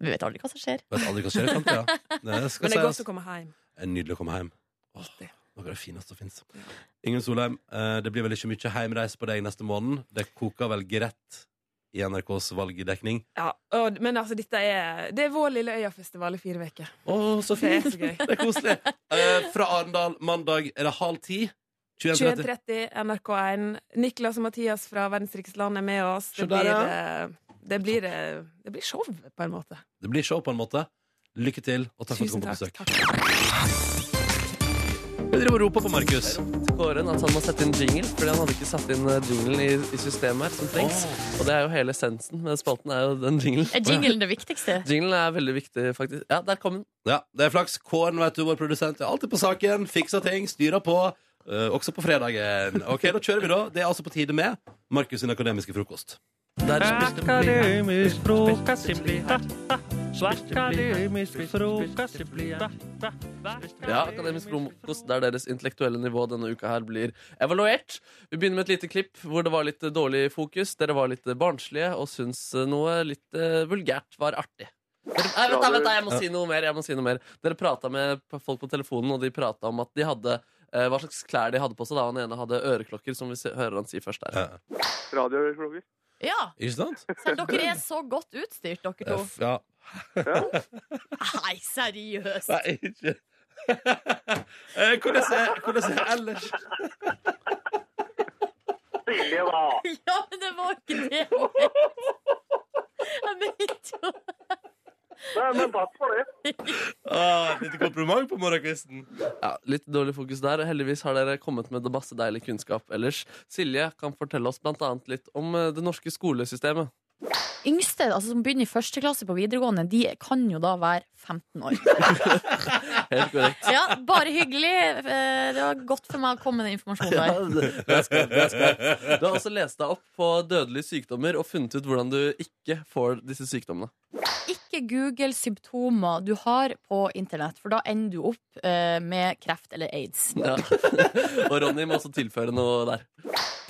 Vi vet aldri hva som skjer.
Vet aldri hva som skjer i framtida. Det skal
Men det er
sies.
godt å komme hjem.
Det er nydelig å komme hjem. Åh,
Alltid.
noe av det fineste som fins. Ingen Solheim, eh, det blir vel ikke mye heimreis på deg neste måned. Det koker vel greit i NRKs valgdekning.
Ja, og, men altså, dette er Det er vår lille Øyafestival i fire uker.
Å, så
Det er
fint!
så gøy.
Det er koselig. Eh, fra Arendal mandag er det halv ti. 21.30.
21.30 NRK1. Niklas og Mathias fra Verdens rikeste land er med oss. Det
Se der,
blir,
ja.
eh, det blir, eh, det blir show, på en måte.
Det blir show, på en måte. Lykke til, og takk for at du
Tusen
kom på
takk.
besøk.
takk.
Jeg driver og roper på Markus.
Kåren at han må sette inn jingle, fordi han hadde ikke satt inn eh, jinglen i, i systemet her som trengs. Og det er jo hele essensen med spalten, er jo den jinglen.
Er jinglen det viktigste?
Jinglen er veldig viktig, faktisk. Ja, der kom den.
Ja, det er flaks. Kåren, vet du, vår produsent, er alltid på saken, fikser ting, styrer på. eh, også på fredagen. Ok, da kjører vi, da. Det er altså på tide med Markus' sin akademiske frokost.
Der
Akademisk frokost i blida. Akademisk frokost i blida.
Ja, Akademisk frokost, der deres intellektuelle nivå denne uka her blir evaluert. Vi begynner med et lite klipp hvor det var litt eh, dårlig fokus. Dere var litt eh, barnslige og syns eh, noe litt eh, vulgært var artig. Dere, nei, vent, da, vent, da, jeg må si noe mer. Jeg må si noe mer. Dere prata med p- folk på telefonen, og de prata om at de hadde eh, hva slags klær de hadde på seg. da Han ene hadde øreklokker, som vi se- hører han si først der.
Ja.
Radioklokker.
Ja,
Ikke sant?
selv dere er så godt utstyrt, dere to.
F, ja.
Nei, seriøst.
Nei, ikke Eh, Hvordan er hvordan er det ellers?
Det var
Ja, men det var ikke det jeg mente. Jeg mente jo
Nei, men takk for det.
Ah, Litt kompliment på morgenkvisten.
Ja, litt dårlig fokus der. Heldigvis har dere kommet med det masse deilig kunnskap ellers. Silje kan fortelle oss blant annet litt om eh, det norske skolesystemet.
Yngste, altså som begynner i første klasse på videregående, de kan jo da være 15 år.
Helt korrekt.
Ja, bare hyggelig. Eh, Det var godt for meg å komme med den informasjonen
Ja,
der.
det det er skarpt, det er skarpt. Du har også lest deg opp på dødelige sykdommer og funnet ut hvordan du ikke får disse sykdommene.
Ikke google symptomer du har på internett, for da ender du opp eh, med kreft eller aids.
Ja. Og Ronny må også tilføre noe der.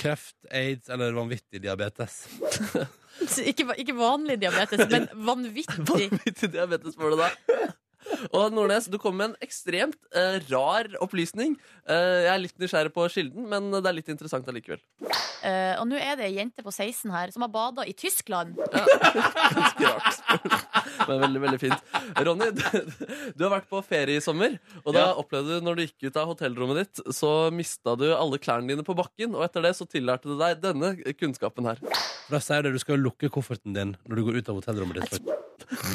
Kreft, aids eller vanvittig diabetes?
Ikke, va- ikke vanlig diabetes, men vanvittig.
Vanvittig diabetes får du da. Og Nordnes, du kom med en ekstremt eh, rar opplysning. Eh, jeg er litt nysgjerrig på kilden, men det er litt interessant allikevel.
Eh, og nå er det ei jente på 16 her som har bada i Tyskland.
Ganske rart. Men veldig, veldig fint. Ronny, du, du har vært på ferie i sommer. Og da
Ja.
opplevde du når du gikk ut av hotellrommet ditt, så mista du alle klærne dine på bakken. Og etter det så tillærte du deg denne kunnskapen her.
For da sier det du skal lukke kofferten din når du går ut av hotellrommet ditt.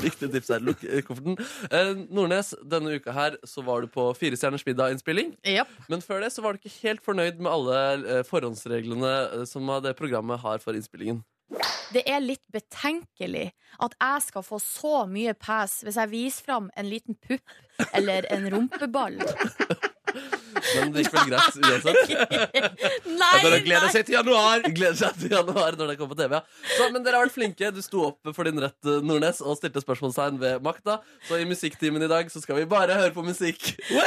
Viktig tips her. Lukk eh, kofferten. Eh, Nordnes, denne uka her så var du på Fire stjerners middag-innspilling. Men før det så var du ikke helt fornøyd med alle eh, forhåndsreglene eh, som eh, det programmet har for innspillingen.
Det er litt betenkelig at jeg skal få så mye pass hvis jeg viser fram en liten pupp eller en rumpeball.
Men det gikk vel greit uansett.
Nei,
dere gleder seg til januar! Gleder seg til januar når det kommer på TV, ja. Så, men dere har vært flinke. Du sto opp for din rett, eh, Nordnes, og stilte spørsmålstegn ved makta. Så i musikktimen i dag så skal vi bare høre på musikk.
Og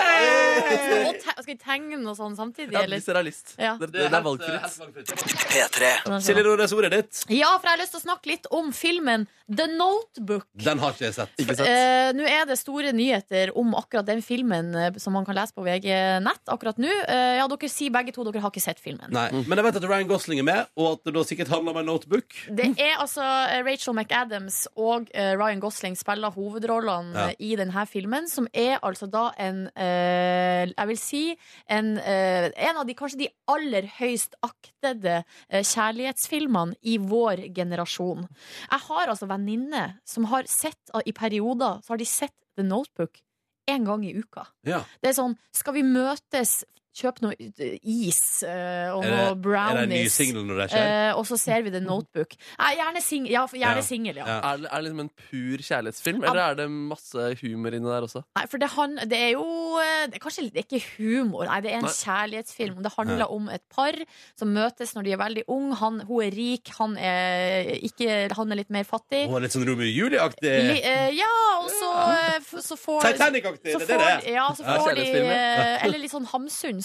te skal vi tegne noe sånn samtidig,
Ja,
eller?
hvis dere har lyst.
Ja.
Det, det er eh, valgfritt. P3.
Silje Nordnes, ordet er ditt.
Ja, for jeg har lyst til å snakke litt om filmen The Notebook.
Den har ikke jeg sett.
Eh, Nå er det store nyheter om akkurat den filmen eh, som man kan lese på VG Nett akkurat nå. Eh, ja, dere sier begge to dere har ikke sett filmen.
Nei. Men jeg vet at Ryan Gosling er med, og at det da sikkert handler om en notebook.
Det er altså eh, Rachel McAdams og eh, Ryan Gosling spiller hovedrollene
Ja.
eh, i denne filmen, som er altså da en eh, Jeg vil si en, eh, en av de kanskje de aller høyst aktede eh, kjærlighetsfilmene i vår generasjon. Jeg har altså venninner som har sett eh, i perioder så har de sett The Notebook én gang i uka.
Ja.
Det er sånn Skal vi møtes? Kjøp noe eh, is eh, og
Er det- er
noe
det en
brownies.
ny single når det skjer?
Eh, og så ser vi The Notebook. Nei, gjerne sing ja, for- gjerne singel, ja.
Er, det- er det liksom en pur kjærlighetsfilm, eller er det masse humor inni der også?
Nei, for det, han, det er jo eh, det er Kanskje det er ikke humor, nei, det er en
Nei.
kjærlighetsfilm. Det
Ja.
handler om et par som møtes når de er veldig ung Han, Hun er rik, han er, ikke, han er litt mer fattig.
Hun er litt sånn Romeo og Julie-aktig.
Li- eh, ja, og så, eh, f- så får
Titanic-aktig, det
så
er det
får-
det er.
Ja, så
Ja,
får de
kjærlighetsfilmer.
eh, Eller litt sånn hamsunsk.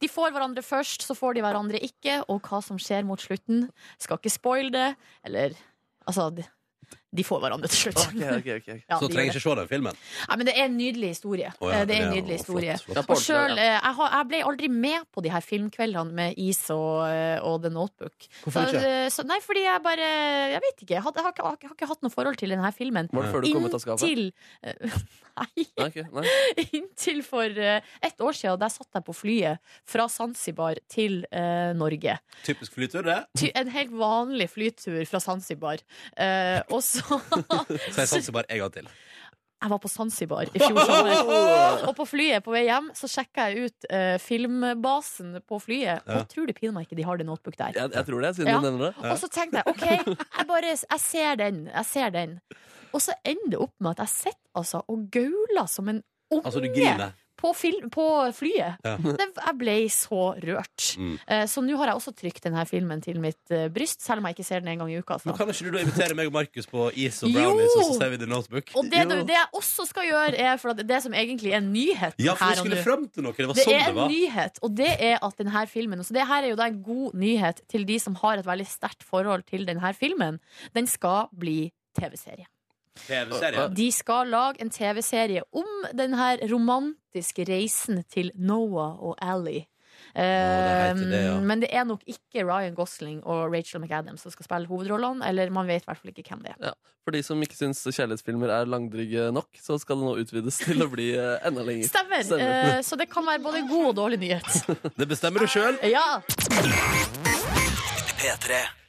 De får hverandre først, så får de hverandre ikke, og hva som skjer mot slutten, skal ikke spoile det. Eller altså de, de får hverandre til slutt.
Ok, ok, ok.
Ja,
så
de
trenger
gjør
ikke se den filmen.
Nei, men det er en nydelig historie.
Å ja,
Eh, det er
det er
en
jo
nydelig historie.
flott, flott.
Og selv, eh, jeg, har, jeg ble aldri med på de her filmkveldene med is og, eh, og The Notebook.
Hvorfor
Så,
ikke?
eh, Så, nei, fordi jeg bare Jeg vet ikke. Jeg, hadde, jeg, har, ikke- jeg har ikke hatt noe forhold til denne filmen.
Var det før du kom ut av skapet?
Inntil eh,
Nei, ok, nei.
Inntil for eh, ett år siden, der satt jeg på flyet fra Zanzibar til eh, Norge.
Typisk flytur, det.
Ty en helt vanlig flytur fra Zanzibar. Eh, og så
Så jeg satser bare en gang til.
Jeg var på Zanzibar i fjor sommer. Og på flyet på vei hjem så sjekka jeg ut eh, filmbasen på flyet.
Ja.
Og tror du pinadø ikke de har det notebook der.
Jeg, jeg tror det, siden
Ja.
du nevner det.
Og så tenkte jeg OK, jeg bare Jeg ser den. Jeg ser den. Og så ender det opp med at jeg sitter altså og gauler som en unge
Altså, du griner.
på, fil- på flyet.
Ja.
Det, jeg ble så rørt.
Mm.
Eh, Så nå har jeg også trykt denne filmen til mitt eh, bryst, selv om jeg ikke ser den en gang i uka.
Men
altså.
kan ikke du da invitere meg og Markus på is og
Jo!
brownies, og så ser vi The Notebook?
Og det, det jeg også skal gjøre, er for at det som egentlig er en nyhet
Ja, for vi
her og
skulle
nå.
fram til noe. Det var
Det
sånn
er
det
en
var.
nyhet, og det er at denne filmen Så det her er jo da en god nyhet til de som har et veldig sterkt forhold til denne filmen. Den skal bli TV-serie.
TV-serie.
De skal lage en TV-serie om denne romantiske reisen til Noah og Ally. Ehm,
det heter det, ja.
Men det er nok ikke Ryan Gosling og Rachel McAdams som skal spille hovedrollene. Eller man vet i hvert fall ikke hvem det er.
Ja. For de som ikke syns kjærlighetsfilmer er langdrygge nok, så skal det nå utvides til å bli eh, enda lenger.
Stemmer! Eh, Så det kan være både god og dårlig nyhet.
Det bestemmer
Ah.
du sjøl.
Ja.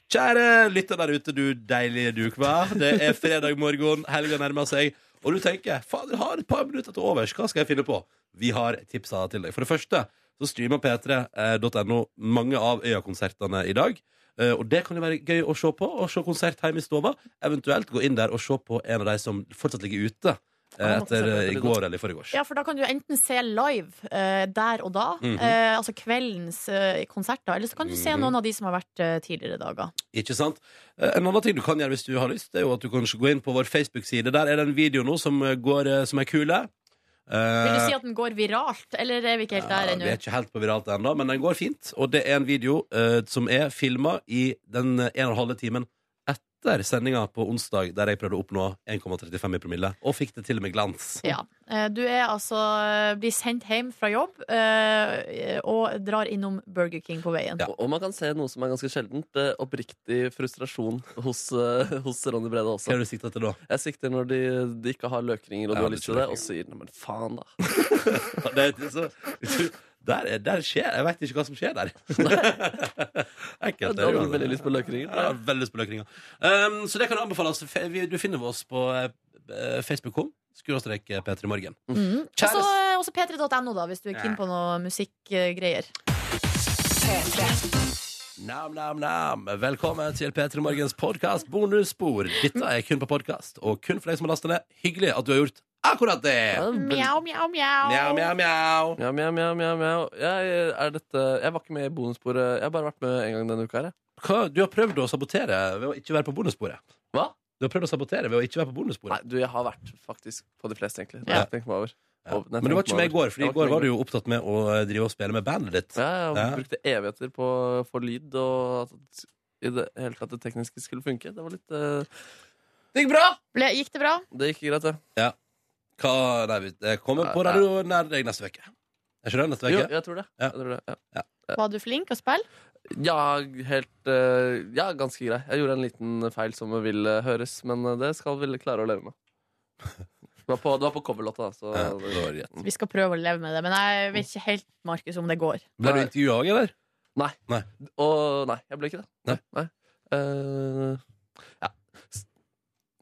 Kjære lytter der ute, du deilige du, hva? Det er fredag morgen, helga nærmer seg. Og du tenker fader, jeg har et par minutter til overs, hva skal jeg finne på? Vi har tipsa til deg. For det første så streamer p3.no mange av Øya-konsertene i dag. Eh, Og det kan jo være gøy å se på. Å se konsert hjemme i stova. Eventuelt gå inn der og se på en av de som fortsatt ligger ute eh,
Ja,
etter eh, i går eller i forgårs.
Ja, for da kan du enten se live eh, der og da,
Mhm.
eh, altså kveldens eh, konserter, eller så kan du se
Mhm.
noen av de som har vært eh, tidligere dager.
Ikke sant? Eh, En annen ting du kan gjøre hvis du har lyst, det er jo at du kan gå inn på vår Facebook-side. Der er det en video nå som, eh, går, eh, som er kule. Eh,
Vil du si at den går viralt, eller er vi ikke helt der
Ja, vi er
ennå?
ikke helt på viralt ennå, men den går fint. Og det er en video eh, som er filma i den eh, en og en halve timen etter sendinga på onsdag, der jeg prøvde å oppnå 1,35 i promille, og fikk det til og med glans.
Ja. Eh, Du er altså eh, blir sendt hjem fra jobb eh, og drar innom Burger King på veien.
Og- Og man kan se noe som er ganske sjeldent. eh, Oppriktig frustrasjon hos, eh, hos Ronny Brede også.
Hva er det du sikter til da?
Jeg sikter når de, de ikke har løkringer,
Ja,
og du har
det
lyst til
tror
det,
jeg
og sier nei, men faen, da.
det, er så, der, er- der skjer Jeg veit ikke hva som skjer der. Ekkelt.
Jeg hadde veldig lyst på løkringer.
Ja, veldig lyst på løkringer. Um, så det kan anbefales. Fe- vi- Du finner oss på eh, eh, Facebook-kom. Skråstrek P3 Morgen.
Mm. Også, også p3.no, da, hvis du er keen på noe musikkgreier.
Nam, nam, nam. Velkommen til P3 Morgens podkast bonusspor. Dette er kun på podkast, og kun for deg som har lasta ned. Hyggelig at du har gjort akkurat det!
Mjau, mjau,
Mjau,
mjau.
mjau, mjau.
Mjau, mjau, mjau, mjau, mjau. Jeg, er dette, jeg var ikke med i bonussporet. Jeg har bare vært med en gang denne uka. her jeg.
Hva? Du har prøvd å sabotere ved å ikke være på bonussporet.
Hva?
Du har prøvd å sabotere ved å ikke være på
Nei,
bonussporet.
du, jeg har vært faktisk på de fleste, egentlig.
Ja.
Ja. Jeg meg over.
Ja.
Og- når jeg
Men du var
tenkte
ikke
meg
med i
over.
går, for i går
Jeg ikke
var du
med
jo opptatt med å eh, drive og spille med bandet ditt.
i går. Jeg
Ja.
brukte evigheter på å få lyd, og at i det hele tatt det tekniske skulle funke. Det var litt eh,
Det gikk bra!
Ble, gikk det bra?
Det gikk greit, det.
Ja. Hva Nei, vi- det kommer på
Nei,
radio nær deg neste uke. Er ikke det neste
Jo,
uke?
jeg tror det. Jeg tror det ja.
Var du flink å spille?
Ja, helt eh, Ja, ganske grei. Jeg gjorde en liten feil som vil eh, høres, men eh, det skal vi klare å leve med. Det var på, det var på coverlåta, da, så
Vi skal prøve å leve med det, men jeg vet ikke helt, Markus, om det går.
Ble du intervjua òg, eller?
Nei.
Nei.
Og nei, jeg ble ikke det. Nei. nei. Eh, ja. S-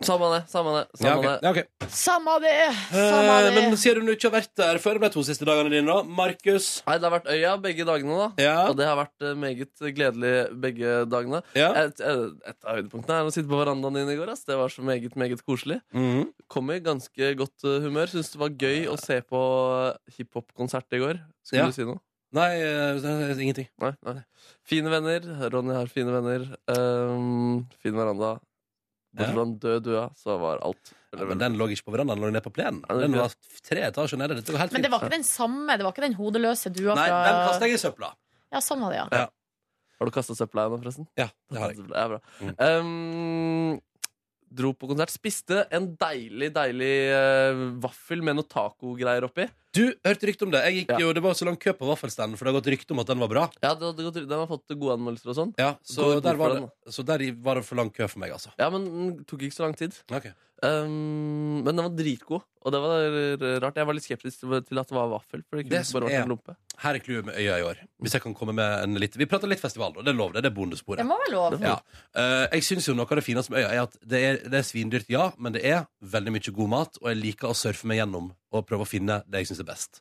Samme det, samme det. Samme
Ja, ok.
det.
Ja, ok.
Samme det! Samme
Eh,
det.
men sier du nå ikke har vært der før de to siste dagene dine, da? Markus?
Nei, det har vært Øya begge dagene, da.
Ja.
Og det har vært eh, meget gledelig begge dagene. Et, et, et av høydepunktene er å sitte på verandaen din i går. Ass. Det var så meget, meget koselig.
Mhm.
Kom i ganske godt eh, humør. Syns det var gøy å se på eh, hiphop-konsert i går. Skulle
Ja.
du si noe?
Nei, eh, det er ingenting.
Nei, nei. Fine venner. Ronny har fine venner. Um, fin veranda. Bortsett fra en død dua, så var alt
Ja, men den lå ikke på verandaen, den lå nede på plenen.
det er
Den
bra.
var tre etasjer nede. Dette går helt
Men det
fint.
var ikke den samme, det var ikke den hodeløse dua
Nei,
fra
den kastet jeg i søpla.
Ja, sånn var det, ja.
Har du kasta søpla ennå, forresten?
Ja, det har jeg. Mm.
Det er bra. Um, dro på konsert. Spiste en deilig, deilig eh, vaffel med noe tacogreier oppi.
Du hørte rykte om det. Jeg gikk jo, Det var så lang kø på vaffelstanden, for det har gått rykte om at den var bra.
Ja, det, det, den har fått gode anmeldelser og sånn.
Ja, så,
Gå bort
der
for
var
den,
det, så der var det for lang kø for meg, altså.
Ja, men den tok ikke så lang tid.
Ok.
Um, men den var dritgod, og det var r- rart. Jeg var litt skeptisk til til at det var vaffel. For det kunne
Det som
bare vært
er,
en lompe
her er clouet med Øya i år. Hvis jeg kan komme med en litt Vi prater litt festival, da. Det er lov, det. Det er bonussporet.
Det må være lov.
Ja. Eh, jeg syns jo noe av det fineste med øya er at det er, det er svindyrt, ja, men det er veldig mye god mat, og jeg liker å surfe meg gjennom og prøve å finne det jeg syns er best.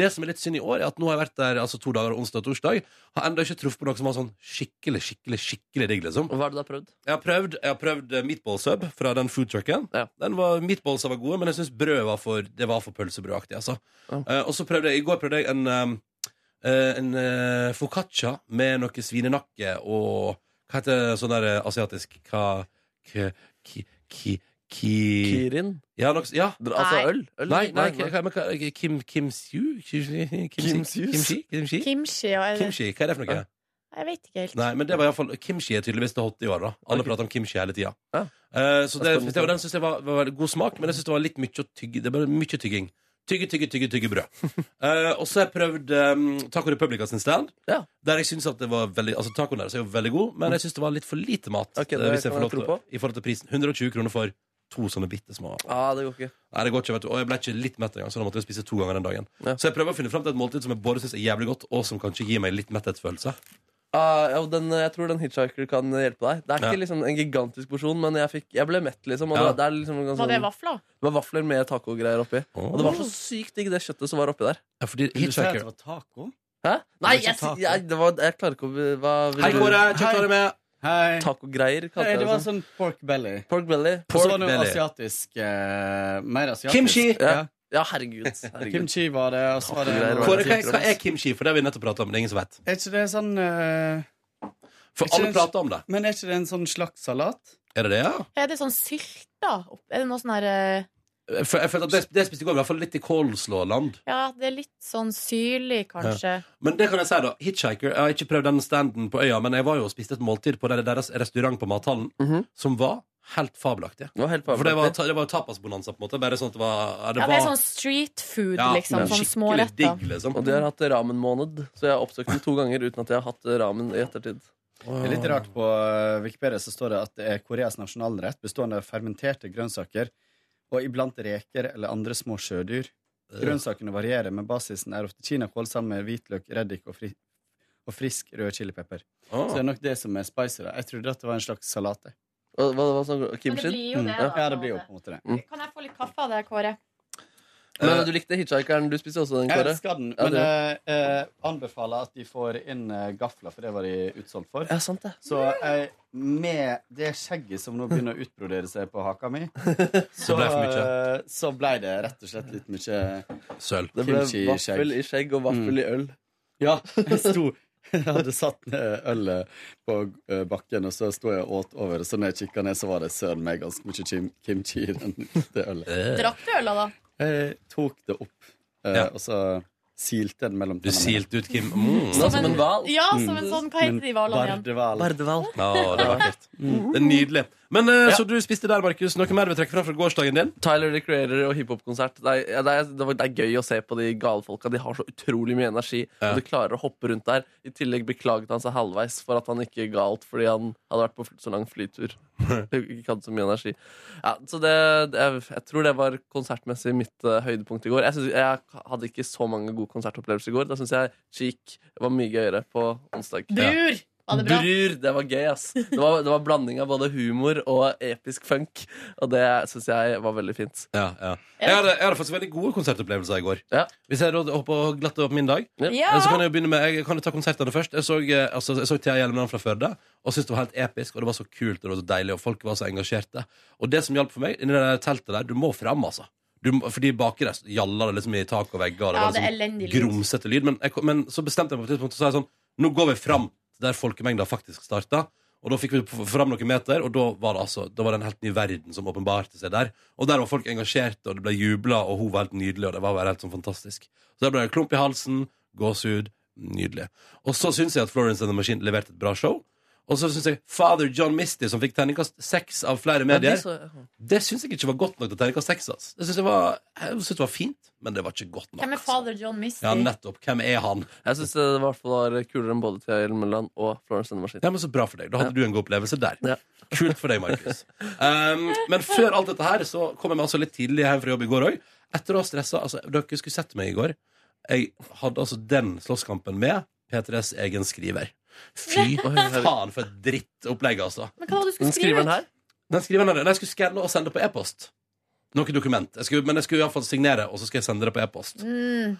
Det som er litt synd i år, er at nå har jeg vært der altså, to dager, onsdag og torsdag, har ennå ikke truffet på noe som var sånn skikkelig, skikkelig, skikkelig digg, liksom.
Hva er det du har prøvd?
Jeg har prøvd, jeg har prøvd eh, meatball sub fra den food trucken. Den var, meatballsa var gode, men jeg syns brød var for, det var for pølsebrødaktig, altså. Eh, og så prøvde jeg, i går prøvde jeg en um, eh, en eh, focaccia med noe svinenakke og Hva heter det sånn der eh, asiatisk Hva k, ki, ki, ki.
Kirin?
Ja, noe, ja.
altså øl? Øl?
Nei, nei,
Nei, nei.
Hva, men hva, Kim, Kim Siu? Kim, Kim,
Kimsius?
Kimchi? Kimchi?
Kimchi, ja. er det-
Kimchi, Hva er det for noe?
Jeg vet ikke helt.
Nei, men det var i hvert fall Kimchi er tydeligvis det hotte i år, da. Alle prater om kimchi hele tida. Eh, så det,
Jeg skal
det, og den synes jeg var, var veldig god smak, men jeg synes det var litt mye å tygge. Det ble mye tygging. Tygge, tygge, tygge, tygge brød. Eh, og så har jeg prøvd um, Taco Republica sin stand. Der jeg synes at det var veldig Altså Tacoen deres er jo veldig god, men jeg synes det var litt for lite mat.
Ok, det
eh, hvis jeg får
kan
lov
jeg
til,
tro på.
I forhold til prisen. 120 kroner for to sånne bitte små.
Ja, Ah, det går ikke.
Nei, det går ikke, vet du. Og jeg ble ikke litt mett engang, så da måtte jeg spise to ganger den dagen. Så jeg prøver å finne fram til et måltid som jeg både synes er jævlig godt, og som kanskje gir meg litt metthetsfølelse.
Ah, ja, og den, jeg tror den hitchhiker kan hjelpe deg. Det er ikke
Ja.
liksom en gigantisk porsjon, men jeg, fikk, jeg ble mett, liksom. Og
Ja.
det, det er liksom
altså-
en ganske
Var det
sånn-
vafler?
Det var vafler med tacogreier oppi. Og det var så sykt digg, det kjøttet som var oppi der.
Ja, fordi
Vil du si at det var taco?
Hæ? Nei,
Det var
jeg,
ikke taco.
jeg, det var, jeg klarer ikke å be- hva, vil
Hei,
du-
Kåre, kjekt å ha deg med. Hei.
Tacogreier, kalte
Nei,
jeg
det
det.
var
som.
sånn pork belly.
Pork belly.
Og så var det
Pork
noe
belly.
asiatisk eh, Mer asiatisk.
Kimchi.
Ja,
ja herregud. herregud.
Kimchi var det. Og så var det
Kåre,
noe-
hva, hva er kimchi? For det har vi nettopp pratet om. Det er ingen som vet.
Er ikke det sånn eh,
For
er ikke
alle
det-
prater om det.
Men er ikke det en sånn slags salat?
Er det det, ja?
Er det sånn sylta? Er det noe sånn her eh,
For, jeg følte at det, det spiste i går, i hvert fall litt i coleslaw-land.
Ja, det er litt sånn syrlig, kanskje.
Men det kan jeg si, da. Hitchhiker. Jeg har ikke prøvd den standen på øya, men jeg var jo og spiste et måltid på der- deres restaurant på Mathallen, som var helt fabelaktig.
Det var helt
For det var, ta- det var jo tapasbonanza, på en måte. Bare sånn at det var
Ja, det er sånn street food, liksom. Sånn småretter.
liksom.
Og de har hatt ramen-måned, så jeg har oppsøkt den to ganger uten at jeg har hatt ramen i ettertid.
Det er litt rart På eh, Wikipedia så står det at det er Koreas nasjonalrett bestående av fermenterte grønnsaker og iblant reker eller andre små
Øh.
sjødyr. Grønnsakene varierer, men basisen er ofte kinakål sammen med hvitløk, reddik og, fri og frisk rød chilipepper.
Ah.
Så det er nok det som er spicy. Da. Jeg trodde at det var en slags salat. jeg.
Hva, hva, hva sa du?
Men det blir jo det, da,
Mm. Ja,
på en
det blir jo
måte.
på en måte det.
Mm. Kan jeg få litt kaffe av deg, Kåre?
Men du likte Hitchhikeren. Du spiste også den,
Jeg
Kåre.
elsker den,
Ja,
men
du-
eh, eh, anbefaler at de får inn eh, gafler, for det var de utsolgt for.
Ja, sant det.
Så jeg, med det skjegget som nå begynner å utbrodere seg på haka mi, så,
ble det for mye.
eh, så ble det rett og slett litt mye
sølv.
Det ble vaffel i skjegg og vaffel
Mm.
i øl.
Ja, jeg sto jeg hadde satt ned ølet på eh, bakken, og så sto jeg og åt over. Så når jeg kikka ned, så var det søren meg ganske mye kim kimchi i den, det
Eh.
ølet.
Drakk du øla, da?
Jeg tok det opp, eh, og så silte den mellom
Du silte ut Kim. Mm.
Som en- Ja, som en sånn- hva heter de hvalene igjen?
Bardeval.
Ja, det er vakkert. Det er nydelig. Men eh, Så du spiste der, Markus. Noe mer du vil trekke fram fra gårsdagen din?
Tyler the Creator og hiphop-konsert. Det, er- ja, det, er- det var- det er gøy å se på de gale folka. De har så utrolig mye energi, og de klarer å hoppe rundt der. I tillegg beklaget han seg halvveis for at han ikke ga alt fordi han hadde vært på fl- så lang flytur. ikke hadde så mye energi. Ja, så det, det, jeg, jeg tror det var konsertmessig mitt eh, høydepunkt i går. Jeg, synes, jeg hadde ikke så mange gode konsertopplevelser i går. Da syns jeg Cheek var mye gøyere på onsdag.
Brur! Var det bra?
Brur! Det var gøy, ass. Det var, det var blanding av både humor og episk funk, og det syns jeg var veldig fint.
Ja, ja. Jeg hadde, jeg hadde faktisk veldig gode konsertopplevelser i går. Hvis jeg råd- hopper glatt over min dag, eh,
Ja.
så kan jeg jo begynne med Jeg kan jo ta konsertene først. Jeg så, eh, altså, jeg så Thea Hjelmeland fra Førde og syntes det var helt episk. Og det var så kult og det var så deilig, og folk var så engasjerte. Og det som hjalp for meg, inni det der teltet der Du må fram, altså. Du, må- fordi baki der gjalla det liksom i tak og vegger. Og det
Ja,
var
det er
liksom
elendig lyd.
grumsete lyd. Men, jeg, kom- men så bestemte jeg meg på et tidspunkt og sa jeg sånn Nå går vi fram til der folkemengda faktisk starta. Og da fikk vi f- fram noen meter, og da var det altså Da var det en helt ny verden som åpenbarte seg der. Og der var folk engasjerte, og det ble jubla, og hun var helt nydelig, og det var bare helt sånn fantastisk. Så der ble det klump i halsen, gåsehud. Nydelig. Og så syns jeg at Florence and the Machine leverte et bra show. Og så syns jeg Father John Misty, som fikk terningkast seks av flere
Ja, de
medier,
så-
det syns jeg ikke var godt nok til terningkast seks. ass. Jeg syns det, var- jeg synes det var fint, men det var ikke godt nok. altså.
Hvem er fader John Misty?
Ja, nettopp. Hvem er han?
Jeg syns det i hvert fall var kulere enn både Thea Hjelmeland og Florence and the Machine.
Ja, men Så bra for deg. Da hadde du en god opplevelse der. Kult for deg, Markus. Um, men før alt dette her så kom jeg meg altså litt tidlig hjem fra jobb i går òg. Etter å ha stressa altså, Dere skulle sett meg i går. Jeg hadde altså den slåsskampen med P3s egen skriver. Fy faen, for et drittopplegg, altså.
Men hva var det du skulle Den skrive skriveren ut? her?
Den skriveren her, nei, Jeg skulle skanne og sende på e-post. Noe dokument. Jeg skulle, men jeg skulle iallfall signere, og så skal jeg sende det på e-post.
Mm.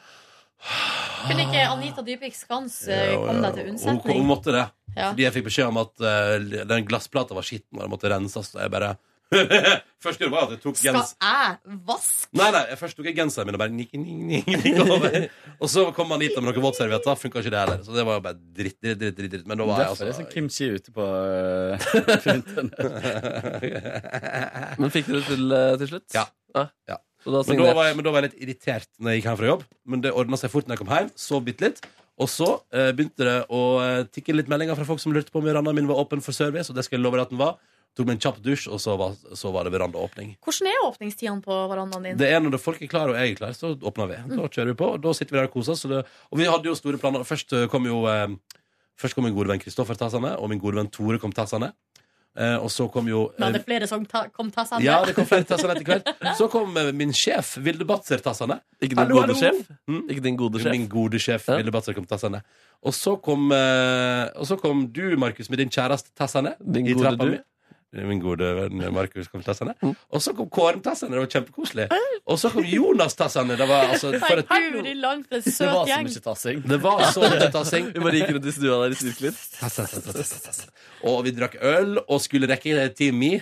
Kunne ikke Anita Dybvik Skans eh, komme deg til
Og Hun, hun
unnsetning?
måtte det.
Ja.
Fordi jeg fikk beskjed om at eh, den glassplata var skitten, og den måtte renses. Og jeg bare Først gjorde jeg bare at jeg tok
Skal
gens...
jeg vaske?
Nei, nei, jeg først tok jeg genseren min og bare nik, nik, nik, nik, over. Og så kom Anita med noen våtservietter. Funka ikke det heller. Så det var jo bare dritt, dritt, dritt. dritt, dritt. Men da var jeg
Derfor er det
altså
sånn kimchi ute på eh, på internett.
Men fikk du det til, eh, til slutt?
Ja. Ja.
Så da
men, da
signert.
var jeg, men da var jeg litt irritert når jeg gikk hjem fra jobb. Men det ordna seg fort når jeg kom hjem. Sov bitte litt. Og så eh, begynte det å eh, tikke litt meldinger fra folk som lurte på om verandaen min var åpen for service. Og det skal jeg love deg at den var. Tok meg en kjapp dusj, og så var, så var det verandaåpning.
Hvordan er åpningstidene på verandaen din?
Det er når folk er klare og jeg er klar, så åpner vi. Da kjører vi på, og da sitter vi der og koser oss. så det- Og vi hadde jo store planer. Først eh, kom jo eh, Først kom min gode venn Kristoffer tassende, og min gode venn Tore kom tassende. Eh, og så kom jo eh,
Men hadde flere som ta, kom til seg
ja, det kom flere tassene etter hvert. Så kom eh, min sjef, Vilde Batzer, Mm, tassene.
Ikke din gode sjef? Ikke din gode sjef?
Min gode sjef, Vilde Batzer, kom tassene. Og så kom, eh, og så kom du, Markus, med din kjæreste tassene.
Din
i
gode
trappa
du. Mm.
mi. Min gode venn eh, Markus kom tassene. Og så kom Kåren tassene, det var kjempekoselig. Og så kom Jonas tassene. Det var altså for et
Nei, guri land, for en søt gjeng.
tassing.
Det var så mye tassing.
Vi bare gikk rundt i stua der i sirkler.
Og vi drakk øl og skulle rekke en time i.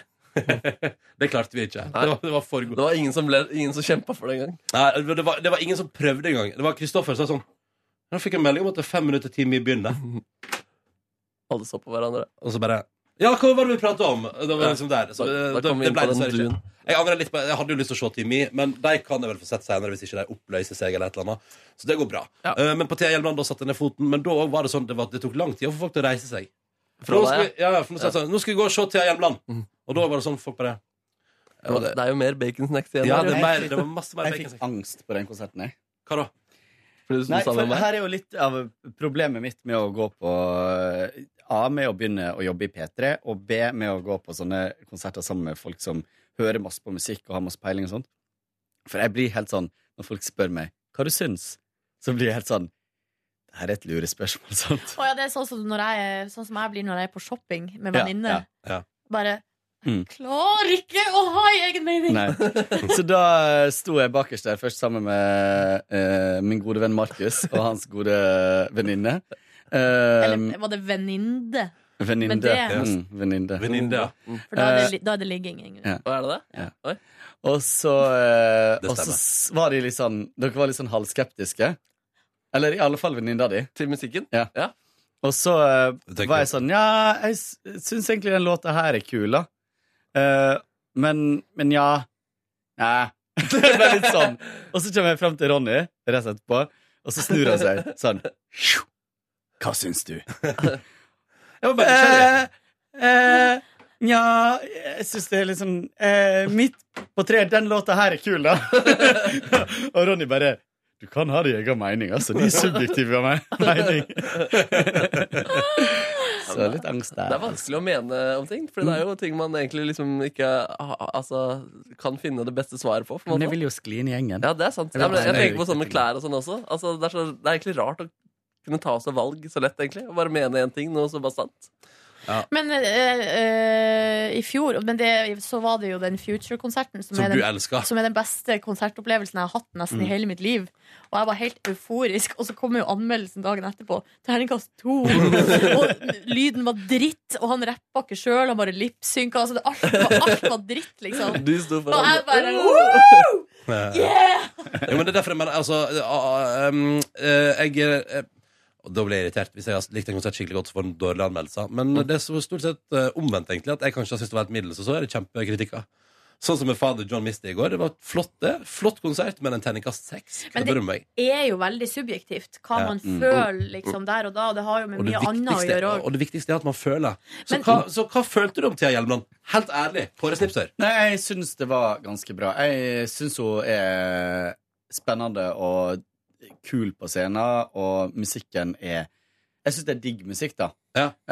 det klarte vi ikke. Det var, det var for godt.
Det var ingen som, ble- ingen som kjempa for det engang.
Nei, det var, det var ingen som prøvde engang. Det var Kristoffer som sa sånn Nå fikk jeg melding om at det er fem minutter til vi begynner.
Alle så på hverandre.
Og så bare Ja, hva var det vi pratet om? Det var liksom der. Så,
Da- da
det,
kom vi
det
inn
ble
på den
dessverre ikke.
duen.
Jeg angrer litt på Jeg hadde jo lyst til å se Timmy, men de kan jeg vel få sett senere hvis ikke de oppløser seg eller et eller annet. Så det går bra. Eh, men på Thea Hjelmeland da satte jeg ned foten, men da var det sånn det, var, det tok lang tid å få folk til å reise seg.
Fra
nå, skal,
deg, Mhm.
vi- ja, ja, for nå, sa jeg sånn, nå skal vi gå og se Thea Hjelmeland. Og da var det sånn folk bare
Det, var, det er jo mer baconsnacks igjen.
Ja,
her,
det, er
jo.
mer, det var masse mer
Jeg fikk angst på den konserten, jeg.
Hva da?
Fordi du
Nei,
sa
for
det om meg?
her er jo litt av problemet mitt med å gå på eh, A, med å begynne å jobbe i P3, og B, med å gå på sånne konserter sammen med folk som hører masse på musikk og har masse peiling og sånt. For jeg blir helt sånn, når folk spør meg hva du syns, så blir jeg helt sånn her er et lurespørsmål, sant?
Å ja, det er sånn som, når jeg, er- sånn som jeg blir når jeg er på shopping med
Ja,
venninner.
ja, ja.
Bare
Mm.
klarer ikke å ha en egen mening!
Nei. Så da eh, sto jeg bakerst der først sammen med eh, min gode venn Markus og hans gode venninne. Eh,
Eller var det venninne?
Venninne.
Men det-
Mm, venninne.
For da er det, li- da er det ligging. Ingrid.
Ja.
Og er det det? Oi.
Og så, eh,
Det
og så
stemmer.
s- var de litt sånn Dere var litt sånn halvskeptiske. Eller i alle fall venninna di.
Til musikken?
Ja. Og så eh, var jeg sånn Ja, jeg s- syns egentlig den låta her er kul, da. Eh, men, men ja Nei. Det var litt sånn. Og så kommer jeg fram til Ronny rett etterpå, og så snur han seg sånn. Hva syns du?
Jeg var bare nysgjerrig.
Eh, Nja, jeg syns det er litt sånn eh, Midt på treet, den låta her er kul, da. og Ronny bare Du kan ha din egen mening, altså. De er subjektive av meg. Mening. Så litt angst
Det
der.
er vanskelig å mene om ting, for det er
Mm.
jo ting man egentlig liksom ikke ha- altså, kan finne det beste svaret på. på en
Men jeg
måte.
vil jo skli inn i gjengen.
Ja, det er sant.
Jeg
Ja,
vil
men jeg
være
tenker på
med.
sånn med klær og sånn også. Altså, det, er så, det er egentlig rart å kunne ta seg valg så lett, egentlig. Og bare mene én ting, noe så bastant.
Men eh, eh, i fjor Men det, så var det jo den Future-konserten som,
Som
er den-
du elsker.
Som er den beste konsertopplevelsen jeg har hatt nesten i
Mm.
hele mitt liv. Og jeg var helt euforisk, og så kom jo anmeldelsen dagen etterpå. Terningkast to! og lyden var dritt, og han rappa ikke sjøl, han bare lipsynka. Altså, det- alt, var- alt var dritt, liksom.
Du sto
Og jeg
foran.
bare Woo!
Eh,
Yeah!
Jo, men det er derfor jeg mener altså, ah, ah, um, eh, Jeg eh, og Da blir jeg irritert Hvis jeg har likt en konsert skikkelig godt Så får den dårlige anmeldelser Men det er så stort sett eh, omvendt egentlig At jeg kanskje har syntes det var et middel Så så er det kjempekritikker Sånn som med Father John Misty i går Det var flott det Flott konsert Men en terningkast 6
Men
Det
det
berømmer meg
er jo veldig subjektivt hva
Ja.
man
Mm.
føler liksom, der og da. Og det har jo med
og det,
mye annet å
viktigste,
gjøre òg.
og det viktigste er at man føler Så,
Men-
hva, så hva følte du om Thea Hjelmeland? Helt ærlig, Kåre Snipser
Nei, jeg syns det var ganske bra. Jeg syns hun er spennende og kul på scenen, og musikken er Jeg syns det er digg musikk, da.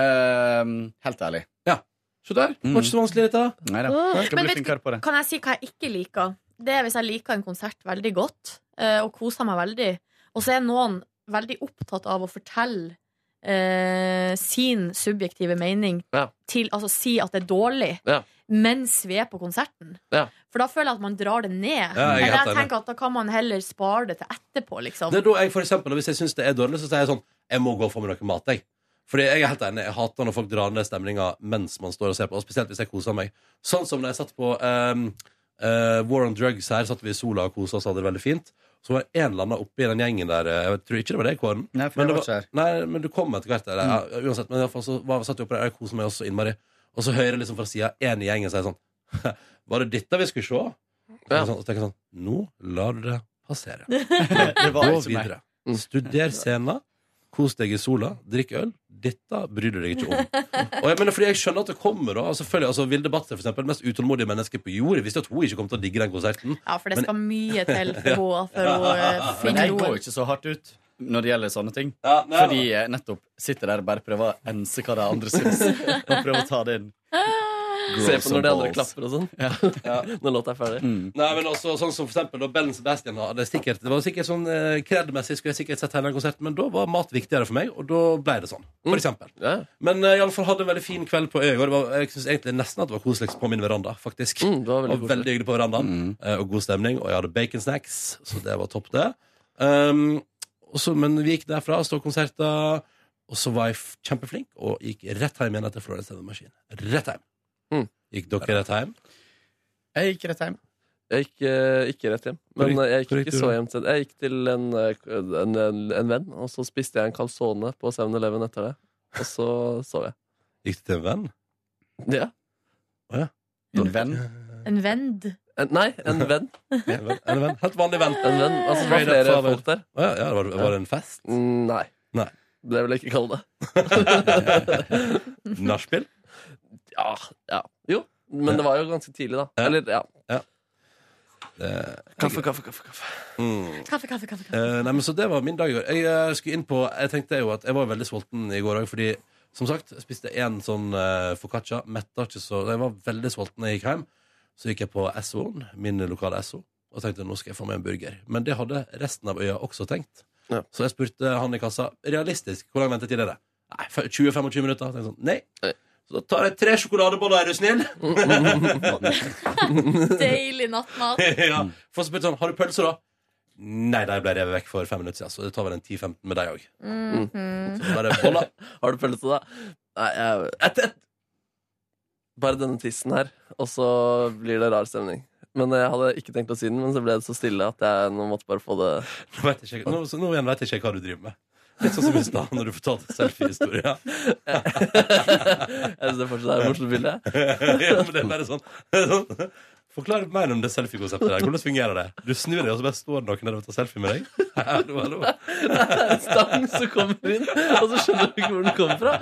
Ehm, helt ærlig.
Ja. Se der. Det var ikke så vanskelig, dette.
Nei da.
Åh,
Jeg skal
men
bli
vet
flinkere på det.
Kan jeg si hva jeg ikke liker? Det er hvis jeg liker en konsert veldig godt eh, og koser meg veldig, og så er noen veldig opptatt av å fortelle eh, sin subjektive mening
Ja.
til Altså si at det er dårlig,
Ja.
mens vi er på konserten.
Ja.
For da føler jeg at man drar det ned.
Ja, jeg er helt
Eller jeg
enig.
tenker at da kan man heller spare det til etterpå, liksom.
Det er da jeg for eksempel, Hvis jeg syns det er dårlig, så sier jeg sånn Jeg må gå og få meg noe mat. jeg Fordi jeg er helt enig, jeg hater når folk drar ned stemninga mens man står og ser på. Og Spesielt hvis jeg koser meg. Sånn som da jeg satt på ehm, eh, War on Drugs her, satt vi i sola og kosa oss og hadde det veldig fint. Så var det en eller annen oppe i den gjengen der eh, Jeg tror ikke det var deg, Kåren.
Nei, for
men,
jeg
det
var ikke Mm.
nei, men du kom etter hvert. Der, ja, uansett, men i alle fall så var, satt jeg oppe der, jeg koser meg også innmari. Og så hører jeg liksom fra sida en i gjengen si sånn Var det dette vi skulle se? Og sånn, og så tenker jeg sånn Nå lar du det passere.
Det var
Gå
ikke meg.
videre. Mm. Studer scenen. Kos deg i sola, drikk øl. Dette bryr du deg ikke om. Og jeg mener, fordi jeg skjønner at det kommer da altså, selvfølgelig, altså, Vilde Batzer, for eksempel, det mest utålmodige mennesket på jord, visste at hun ikke kom til å digge den konserten.
Ja, for det
Men-
skal mye til for henne for å eh,
Men
finne
jeg går
roen.
ikke så hardt ut når det gjelder sånne ting.
nei,
Fordi jeg nettopp sitter der og bare prøver å ense hva de andre syns. Og prøver å ta det inn.
Se på når de andre
Gross balls. Mm.
klapper og sånn. Når låta er ferdig.
Nei, men også sånn som for eksempel da Ben Sebastian hadde sikkert, Det var sikkert sånn eh, kredmessig skulle jeg sikkert sett hele den konserten, men da var mat viktigere for meg, og da ble det sånn. For eksempel. Men eh, i alle fall hadde en veldig fin kveld på øya. i går. Det var- Jeg syns egentlig nesten at det var koseligst på min veranda, faktisk.
Mm, det var veldig
Og Mm. veldig hyggelig på
Sånn.
verandaen,
Mm.
eh, og god stemning, og jeg hadde bacon snacks, så det var topp, det. Um, og så- men vi gikk derfra, stod konserter, og så var jeg f- kjempeflink, og gikk rett hjem igjen etter Florence and the Machine. Rett hjem. Gikk dere rett hjem?
Jeg gikk rett hjem.
Jeg gikk eh, ikke rett hjem, men
Hvor gikk-
eh, jeg gikk
hvor gikk
ikke
du
så
da?
hjem til Jeg gikk til en, eh, en, en, en venn, og så spiste jeg en calzone på 7-Eleven etter det. Og så sov jeg.
Gikk du til en venn?
Ja.
En venn?
En vend.
En, nei, en venn.
En venn, en venn. Helt vanlig venn.
En venn. Altså, det var
Straight up
flere
father.
folk der.
Å ja, ja, det var, var det en fest?
Mm, Nei.
Nei.
Det vil jeg ikke kalle det.
Nachspiel?
Ja, ja. Jo, men det var jo ganske tidlig, da. Eller, ja. Kaffe, kaffe, kaffe. kaffe.
Mm.
Kaffe, kaffe, kaffe. kaffe.
Eh, nei, men så det var min dag i går. Jeg eh, skulle inn på Jeg tenkte jo at jeg var veldig sulten i går òg, fordi som sagt, jeg spiste én sånn uh, foccaccia. Metta ikke så Jeg var veldig sulten da jeg gikk hjem. Så gikk jeg på SO-en, min lokale SO, og tenkte nå skal jeg få meg en burger. Men det hadde resten av øya også tenkt. Så jeg spurte han i kassa realistisk hvor lang ventetid er det. Nei, 20-25 minutter. Tenkte jeg sånn, nei. Så da tar jeg tre sjokoladeboller, er du snill?
Deilig nattmat.
ja. For så spurte han har du pølser, da. Nei, de ble revet vekk for fem minutter siden, så det tar vel en 10-15 med deg òg.
Mhm.
Har du pølse, da? Nei, jeg et, et. Bare denne tissen her, og så blir det rar stemning. Men jeg hadde ikke tenkt å si den, men så ble det så stille at jeg nå måtte bare få det
Nå, vet jeg ikke, nå, så nå igjen vet jeg ikke hva du driver med. Litt sånn som i stad, når du fortalte selfie-historia.
Jeg synes det fortsatt er et morsomt bilde.
ja, men det er bare sånn. sånn. Forklar mer om det selfie-konseptet der. Hvordan fungerer det? Du snur deg, og så bare står det noen der og tar selfie med deg? Hallo, hallo.
En stang som kommer inn, og så skjønner du ikke hvor den kommer fra.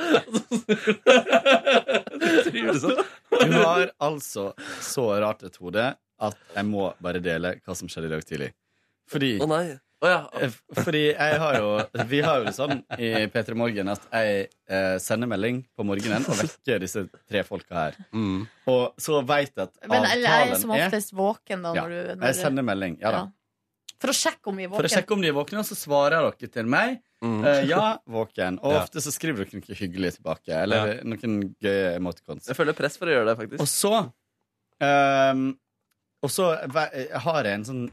sånn?
Du har altså så rart et hode at jeg må bare dele hva som skjedde i dag tidlig. Fordi
Å nei. Å ja.
Eh, Fordi jeg har jo Vi har jo det sånn i P3 Morgen at jeg eh, sender melding på morgenen og vekker disse tre folka her.
Mm.
Og så veit jeg at
Men eller jeg er som
avtalen er
oftest våken da,
ja,
når du
Jeg
når
sender melding. Ja da.
Ja. For å sjekke om vi er
For å
våken.
sjekke om de er våkne, og så svarer dere til meg.
Mm.
eh, ja, våken. Og
Ja.
ofte så skriver dere noe hyggelig tilbake. Eller noen gøye emoticons.
Jeg føler press for å gjøre det, faktisk.
Og så ehm, Og så ve- jeg har jeg en sånn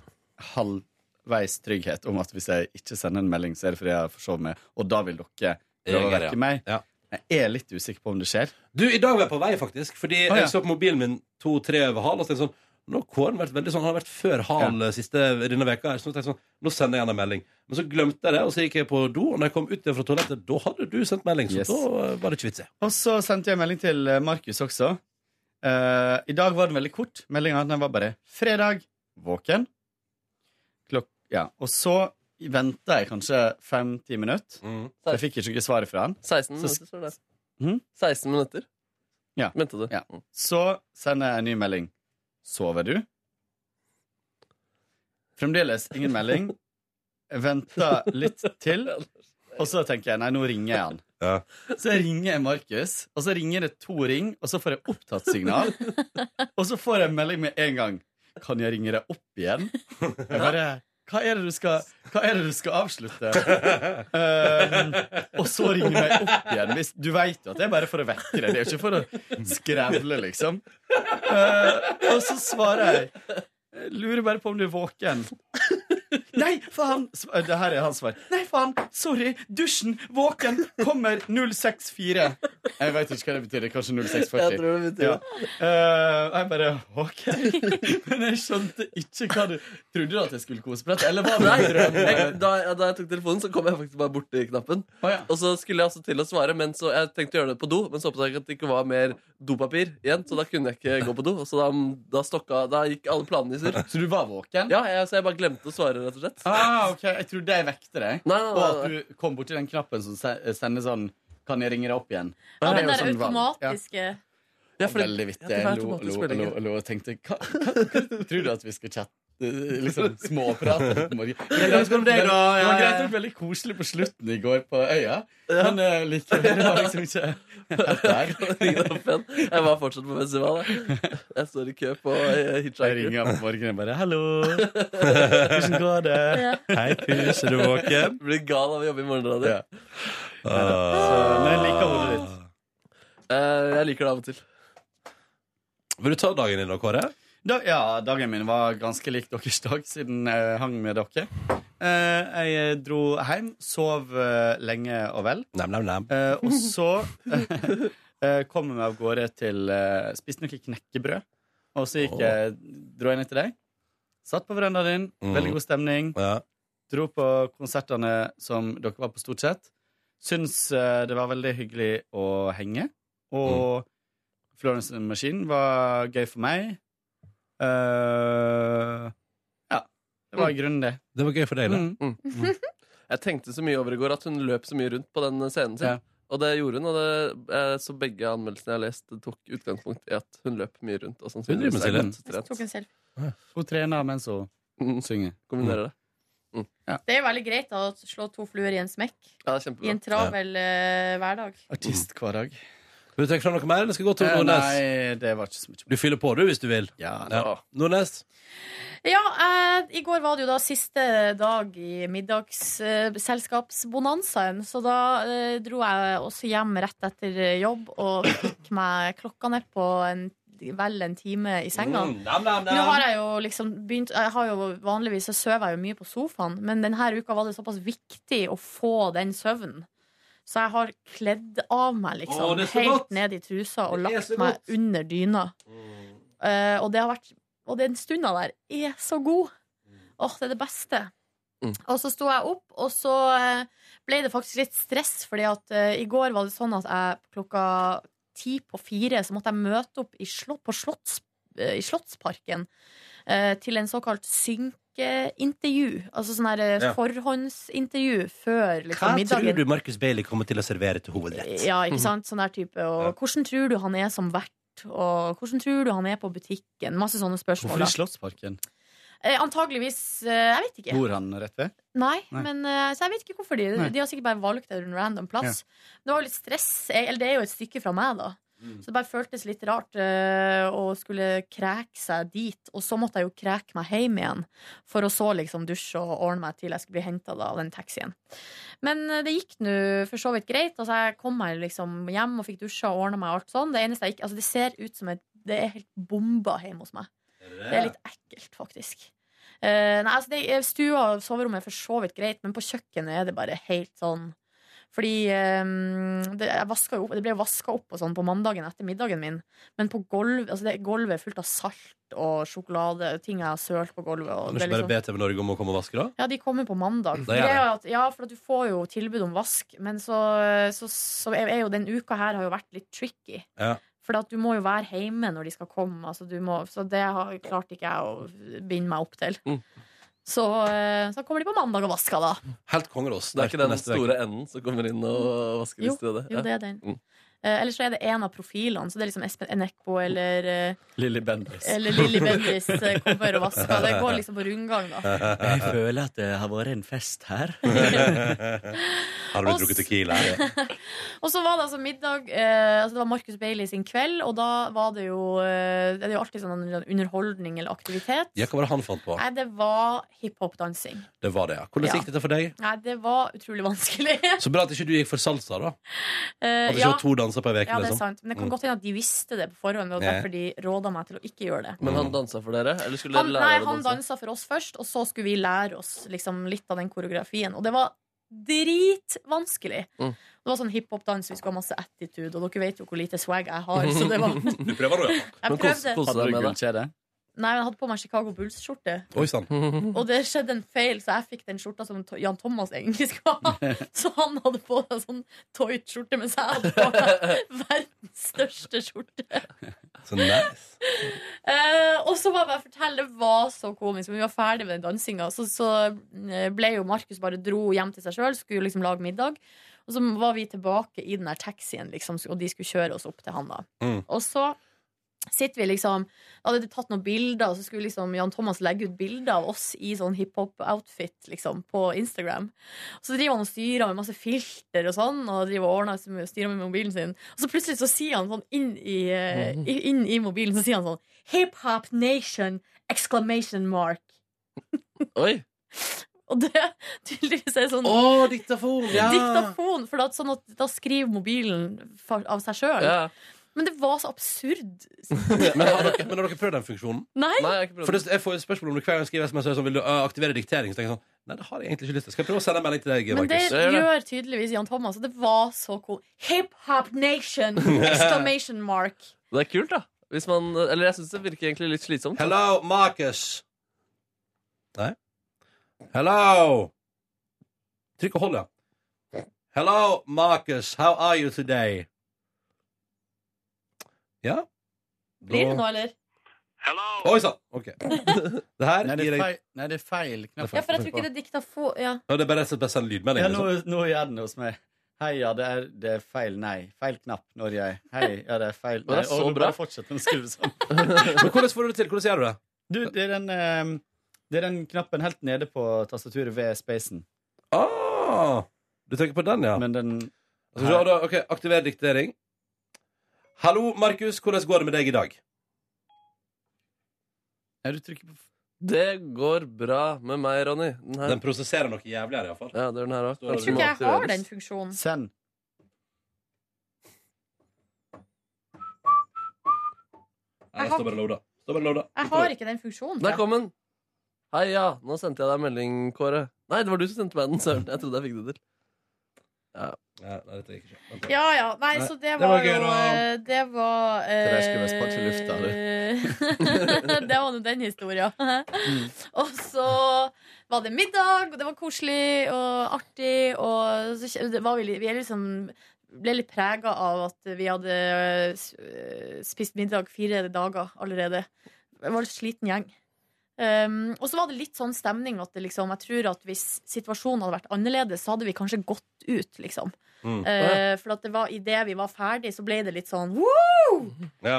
halvveis trygghet om at hvis jeg ikke sender en melding, så er det fordi jeg har forsovet meg, og da vil dere prøve å
Reagere, ja.
vekke meg. Jeg er litt usikker på om det skjer.
Du, i dag var jeg på vei, faktisk. Fordi
Å, ja.
jeg så på mobilen min to-tre over halv, og så tenkte jeg sånn nå har Kåren vært veldig sånn, han har vært før hal siste denne veka her, så nå tenkte jeg sånn, nå sender jeg han en melding. Men så glemte jeg det, og så gikk jeg på do, og når jeg kom ut igjen fra toalettet, da hadde du sendt melding, så
Yes.
da eh, var det ikke vits i.
Og så sendte jeg melding til eh, Markus også. Eh, I dag var den veldig kort. Meldinga var bare 'fredag, våken'. Klok ja. Og så venta jeg kanskje fem-ti minutter.
Mm.
Så Jeg fikk ikke noe svar fra han.
16
Så s-
minutter står det.
Mhm.
16 minutter. Mm.
Ja. Ja. Så sender jeg en ny melding. Sover du? Fremdeles ingen melding. Jeg venter litt til, og så tenker jeg nei, nå ringer jeg han. Så jeg ringer jeg Markus, og så ringer det to ring, og så får jeg opptatt signal. Og så får jeg en melding med en gang. Kan jeg ringe deg opp igjen? Jeg bare Hva er det du skal, hva er det du skal avslutte? Eh, og så ringer jeg opp igjen. Hvis, du veit jo at det er bare for å vekke deg. Det er jo ikke for å skrevle, liksom. Eh, og så svarer jeg jeg Lurer bare på om du er våken. Nei, faen! Sv- Det her er hans svar. Nei, faen! Sorry! Dusjen! Våken! Kommer 064. Jeg veit ikke hva det betyr. Det er kanskje 0640.
Jeg tror det betyr
Ja.
det.
Eh, og jeg bare OK. Men jeg skjønte ikke hva du Trodde du at jeg skulle koseprate? Eller var det
Nei,
en drøm?
jeg, da, ja, da jeg tok telefonen, så kom jeg faktisk bare borti knappen. Og så skulle jeg altså til å svare, men så, jeg tenkte å gjøre det på do, men så oppdaget jeg at det ikke var mer dopapir igjen, så da kunne jeg ikke gå på do. Så da, da, stokka, da gikk alle planene i surr.
Så du var våken?
Ja, jeg, så jeg bare glemte å svare, rett og slett.
Ah, ok, Jeg trodde jeg vekte deg.
Nei, nei, nei,
Og at du kom borti den knappen som se- sender sånn Kan jeg ringe deg opp igjen?
Ja,
Det er
den
jo
der
sånn vanlig. Ja.
automatiske
Ja, for det- Veldig vittig.
Ja, det er
Jeg lo,
automatisk
lo, lo,
melding.
lo og tenkte hva, hva, hva Tror du at vi skal chatte? eh, Liksom småprate på morgenen. Men Det
om deg,
men
da.
det
Ja,
var
ja,
greit nok veldig koselig på slutten i går på øya, men eh, likevel det var liksom ikke
Jeg var fortsatt på festival. Jeg, jeg står i kø på eh, hitchhiker.
Jeg ringer på morgenen bare 'hallo, hvordan går det?'
Ja.
Hei, pus, er du våken?
Blir gal av å jobbe i morgenradio.
Ja. Men jeg liker hodet ditt.
Eh, jeg liker det av og til.
Vil du ta dagen din da, Kåre?
Da, ja, dagen min var ganske lik deres dag, siden jeg hang med dere. Eh, jeg dro hjem, sov eh, lenge og vel. Eh, og så eh, kom jeg meg av gårde til eh, Spiste noe knekkebrød. Og så gikk jeg, dro jeg ned til deg. Satt på verandaen din.
Mm.
Veldig god stemning.
Ja.
Dro på konsertene som dere var på, stort sett. Syns eh, det var veldig hyggelig å henge. Og Florence and the Machine var gøy for meg. Eh, ja. Det var i grunnen det.
Det var gøy for deg, det.
Mm.
Jeg tenkte så mye over i går at hun løp så mye rundt på den scenen sin.
Ja.
Og det gjorde hun, og det, eh, så begge anmeldelsene jeg har lest, tok utgangspunkt i at hun løp mye rundt. Og
Hun driver
sannsynligvis
med
er
selvhjelp.
godt trent.
Tok en selfie.
Hun trener mens hun synger.
Kombinerer det.
Det er jo veldig greit da, å slå to fluer i en smekk
Ja, det er kjempebra.
i en travel eh, hverdag.
Artist hver dag.
Vil du tenke fram noe mer, eller skal vi gå til
Eh,
Nordnes?
Nei, det var ikke så mye.
Du fyller på, du, hvis du vil. Ja. Nordnes?
Ja, eh, I går var det jo da siste dag i middagsselskapsbonanzaen. så da eh, dro jeg også hjem rett etter eh, jobb og fikk meg klokka ned på en, vel en time i senga.
Mm, nam, nam, nam.
Nå har jeg jo liksom begynt jeg har jo Vanligvis så sover jeg jo mye på sofaen, men denne uka var det såpass viktig å få den søvnen. Så jeg har kledd av meg liksom
Å, det er så
helt
godt.
ned i trusa og
Det er
lagt
så
meg
godt.
under dyna.
Mm.
Eh, og det har vært Og den stunda der er så god. Åh, det er det beste.
Mm.
Og så sto jeg opp, og så eh, ble det faktisk litt stress, fordi at eh, i går var det sånn at jeg klokka ti på fire så måtte jeg møte opp i slott, på slotts, eh, i Slottsparken eh, til en såkalt synkeintervju. Altså sånn her eh,
Ja.
forhåndsintervju før
Hva
liksom, middagen.
tror du Marcus Bailey kommer til å servere til hovedrett?
Ja, ikke sant? Sånn der type. Og hvordan tror du han er som vert? Og hvordan tror du han er på butikken? Masse sånne spørsmål.
Hvorfor i
da.
Slottsparken?
Eh, antageligvis eh, Jeg vet ikke.
Bor han rett ved?
Nei,
Nei.
men eh, så jeg vet ikke hvorfor de
Nei.
De har sikkert bare valgt en random plass. Det var jo litt stress. Jeg, eller det er jo et stykke fra meg, da.
Mm.
Så det bare føltes litt rart eh, å skulle kreke seg dit. Og så måtte jeg jo kreke meg hjem igjen, for å så liksom dusje og ordne meg til jeg skulle bli henta av den taxien. Men eh, det gikk nå for så vidt greit. Altså, jeg kom meg liksom hjem og fikk dusja og ordna meg og alt sånn. Det eneste jeg ikke Altså, det ser ut som et Det er helt bomba hjemme hos meg. Det er litt ekkelt, faktisk. Eh, nei, altså det, Stua og soverommet er for så vidt greit, men på kjøkkenet er det bare helt sånn fordi eh, det, jeg vasket jo opp, det ble vaska opp og sånn på mandagen etter middagen min. Men på gulv, altså det, gulvet er fullt av salt og sjokolade. Ting jeg har sølt på gulvet. Og
Kan du
det er
ikke bare
liksom,
be TV Norge om å komme og vaske, da?
ja, De kommer på mandag.
Det
For det
gjør
er jo at, ja, for at du får jo tilbud om vask, men så, så, så er er jo den uka her har jo vært litt tricky.
Ja.
For at du må jo være hjemme når de skal komme. Altså du må, så det har klart ikke jeg å binde meg opp til. Så, eh, så kommer de på mandag og vasker, da.
Helt kongerås.
Det er ikke den
Neste veke.
store enden som kommer inn og vasker i
Jo,
stedet?
jo, det er den.
Mm.
Eh, Eller så er det en av profilene. Så det er liksom Espen Enekbo eller, eh,
Lilly Bendriss.
eller Lilly Bendriss eh, kommer og vasker. Det går liksom på rundgang, da.
Jeg føler at det har vært en fest her.
Har
du Og drukket s- tequila? Og så var det altså middag eh, altså Det var Marcus Bailey sin kveld, og da var det jo eh, Det er jo alltid sånn en underholdning eller aktivitet.
Ja, hva var det han fant på?
Nei, det var hiphop-dansing.
Det var det, ja. Hvordan
Ja.
gikk dette for deg?
Nei, det var utrolig vanskelig.
Så bra at ikke du gikk for salsa, da.
Eh,
At ikke var to danser på en veke,
Ja, det er
liksom.
sant. Men det kan
Mm.
godt hende at de visste det på forhånd, og
Ja.
derfor de råda meg til å ikke gjøre det.
Men han dansa for dere? Eller skulle
Han,
dere
nei,
lære dere å
han
danse?
dansa for oss først, og så skulle vi lære oss liksom, litt av den koreografien. Og det var dritvanskelig.
Mm.
Det var sånn hiphop-dans, vi skulle ha masse attitude, og dere vet jo hvor lite swag jeg har. Så det var
Du prøver nå, ja.
Jeg Men kos- prøvde. kose deg
Hadde du
med det.
gullkjede?
Nei, jeg hadde på meg Chicago Bulls-skjorte.
Oi sann.
Mm.
Og det skjedde en feil, så jeg fikk den skjorta som To- Jan Thomas egentlig skulle ha. Så han hadde på seg sånn Toyt-skjorte, mens jeg hadde på meg verdens største skjorte.
Så nice.
Eh, og så må jeg bare fortelle, det var så komisk. Men vi var ferdig med den dansinga. Så, så eh, ble jo Markus bare dro hjem til seg sjøl, skulle liksom lage middag. Og så var vi tilbake i den der taxien, liksom, og de skulle kjøre oss opp til han. da Og så sitter vi liksom Da hadde de tatt noen bilder, og så skulle liksom Jan Thomas legge ut bilder av oss i sånn hiphop-outfit liksom på Instagram. Og så driver han og styrer med masse filter og sånn, og driver og ordner seg med- styrer med mobilen sin. Og så plutselig så sier han sånn inn i, eh, i- inn i mobilen så sier han sånn Hiphop nation! Exclamation mark.
Oi!
Og det tydeligvis er sånn
Å, diktafon! ja.
Diktafon, for da, sånn at, da skriver mobilen for, av seg sjøl.
Ja.
Men det var så absurd.
men, har dere, men har dere prøvd den funksjonen?
Nei. Nei, jeg har ikke prøvd
For det, jeg får jo spørsmål om det hver gang jeg skriver SMS så vil du ø, aktivere diktering. Så tenker jeg sånn Nei, det har jeg egentlig ikke lyst til. Skal jeg prøve å sende en melding til deg,
Men det
Markus?
gjør tydeligvis Jan Thomas, og det var så cool. Hiphop nation! Exclamation mark.
Det er kult, da. Hvis man, eller jeg syns det virker egentlig litt slitsomt.
Hello, Marcus. Nei? Hello! Trykk og hold, ja. Hello, Marcus. How are you today? Ja? Da-
Blir det noe, eller?
Oi sann! OK. Det her
Nei, det
gir
er
jeg
feil. Nei, det er feil knapp.
Ja, for jeg tror ikke det er dikta få ja.
Ja, Det er bare rett og slett bare send lydmelding.
Ja,
liksom.
nå, nå gjør den det hos meg. Hei, ja, det er, det er feil nei. Feil knapp når jeg Hei, ja, det er feil
Å, det er
nei.
så
Og du
bra.
bare fortsetter å skrive sånn.
Men hvordan får du det til? Hvordan gjør du det?
Du, det er den, eh, det er den knappen helt nede på tastaturet ved spacen.
Ah, du tenker på den, ja.
Men den
Altså, så har du- ok, Aktiver diktering. Hallo, Markus. Hvordan går det med deg i dag?
Er du trykker på
Det går bra med meg, Ronny. Den, her.
Den prosesserer noe jævlig her, iallfall.
Ja, det er den her også.
Jeg tror ikke jeg har den funksjonen.
Send.
Nei, den står bare loada. Står bare loada.
Jeg har ikke den funksjonen.
Der kom den! Hei, ja. Nå sendte jeg deg en melding, Kåre. Nei, det var du som sendte meg den. Søren. Jeg trodde jeg fikk det til. Ja.
nei, dette gikk ikke.
Ja, ja. Nei, så
det
det var,
var gøy,
jo
da.
eh, Det var
Det der
eh,
skulle vi spart til lufta,
det var nå den historien.
Mm.
og så var det middag, og det var koselig og artig, og så kje- det var vi, litt- vi er liksom ble litt prega av at vi hadde eh, s- eh, spist middag fire dager allerede. Det var en sliten gjeng. Um, og så var det litt sånn stemning at det liksom, jeg tror at hvis situasjonen hadde vært annerledes, så hadde vi kanskje gått ut, liksom.
Mm.
Eh, for at det var idet vi var ferdig, så ble det litt sånn Woo!
Ja.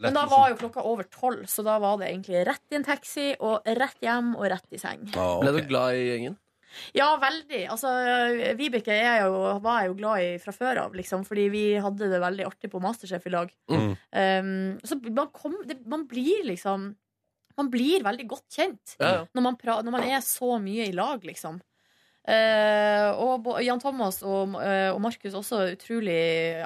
Men da var jo klokka over tolv, så da var det egentlig rett i en taxi og rett hjem og rett i seng.
Ble du glad i gjengen?
Ja, veldig. Altså, Vibeke er jeg jo, var jeg jo glad i fra før av, liksom, fordi vi hadde det veldig artig på Masterchef i lag.
Mm.
Um, så man, kom, det, man blir liksom Man blir veldig godt kjent
Ja, ja.
Når, man pra, når man er så mye i lag, liksom. Eh, og bo- Jan Thomas og, eh, og Markus også utrolig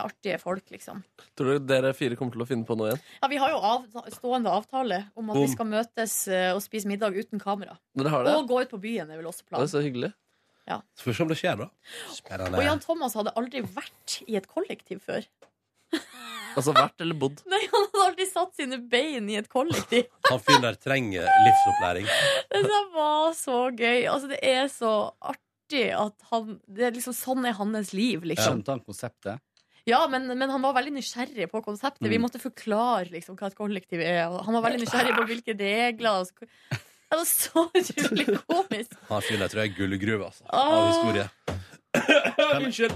artige folk, liksom.
Tror du dere fire kommer til å finne på noe igjen?
Ja, vi har jo av, stående avtale om at
Om.
vi skal møtes eh, og spise middag uten kamera.
Dere har det?
Og gå ut på byen er vel også
Det er
planen.
så hyggelig.
Ja.
Så får vi se om det skjer, da.
Og Jan Thomas hadde aldri vært i et kollektiv før.
Altså vært eller bodd?
Nei, Han hadde aldri satt sine bein i et kollektiv.
Han fyren der trenger livsopplæring.
Det der var så gøy. Altså, det er så artig at han det er liksom, Sånn er hans liv, liksom.
Skjønte han konseptet?
Ja, men, men han var veldig nysgjerrig på konseptet. Vi
Mm.
måtte forklare liksom, hva et kollektiv er. og Han var veldig nysgjerrig på hvilke regler. og så- Det var så utrolig komisk.
Han fyren der tror jeg er gullgruve, altså. Av
Åh.
historie. Unnskyld.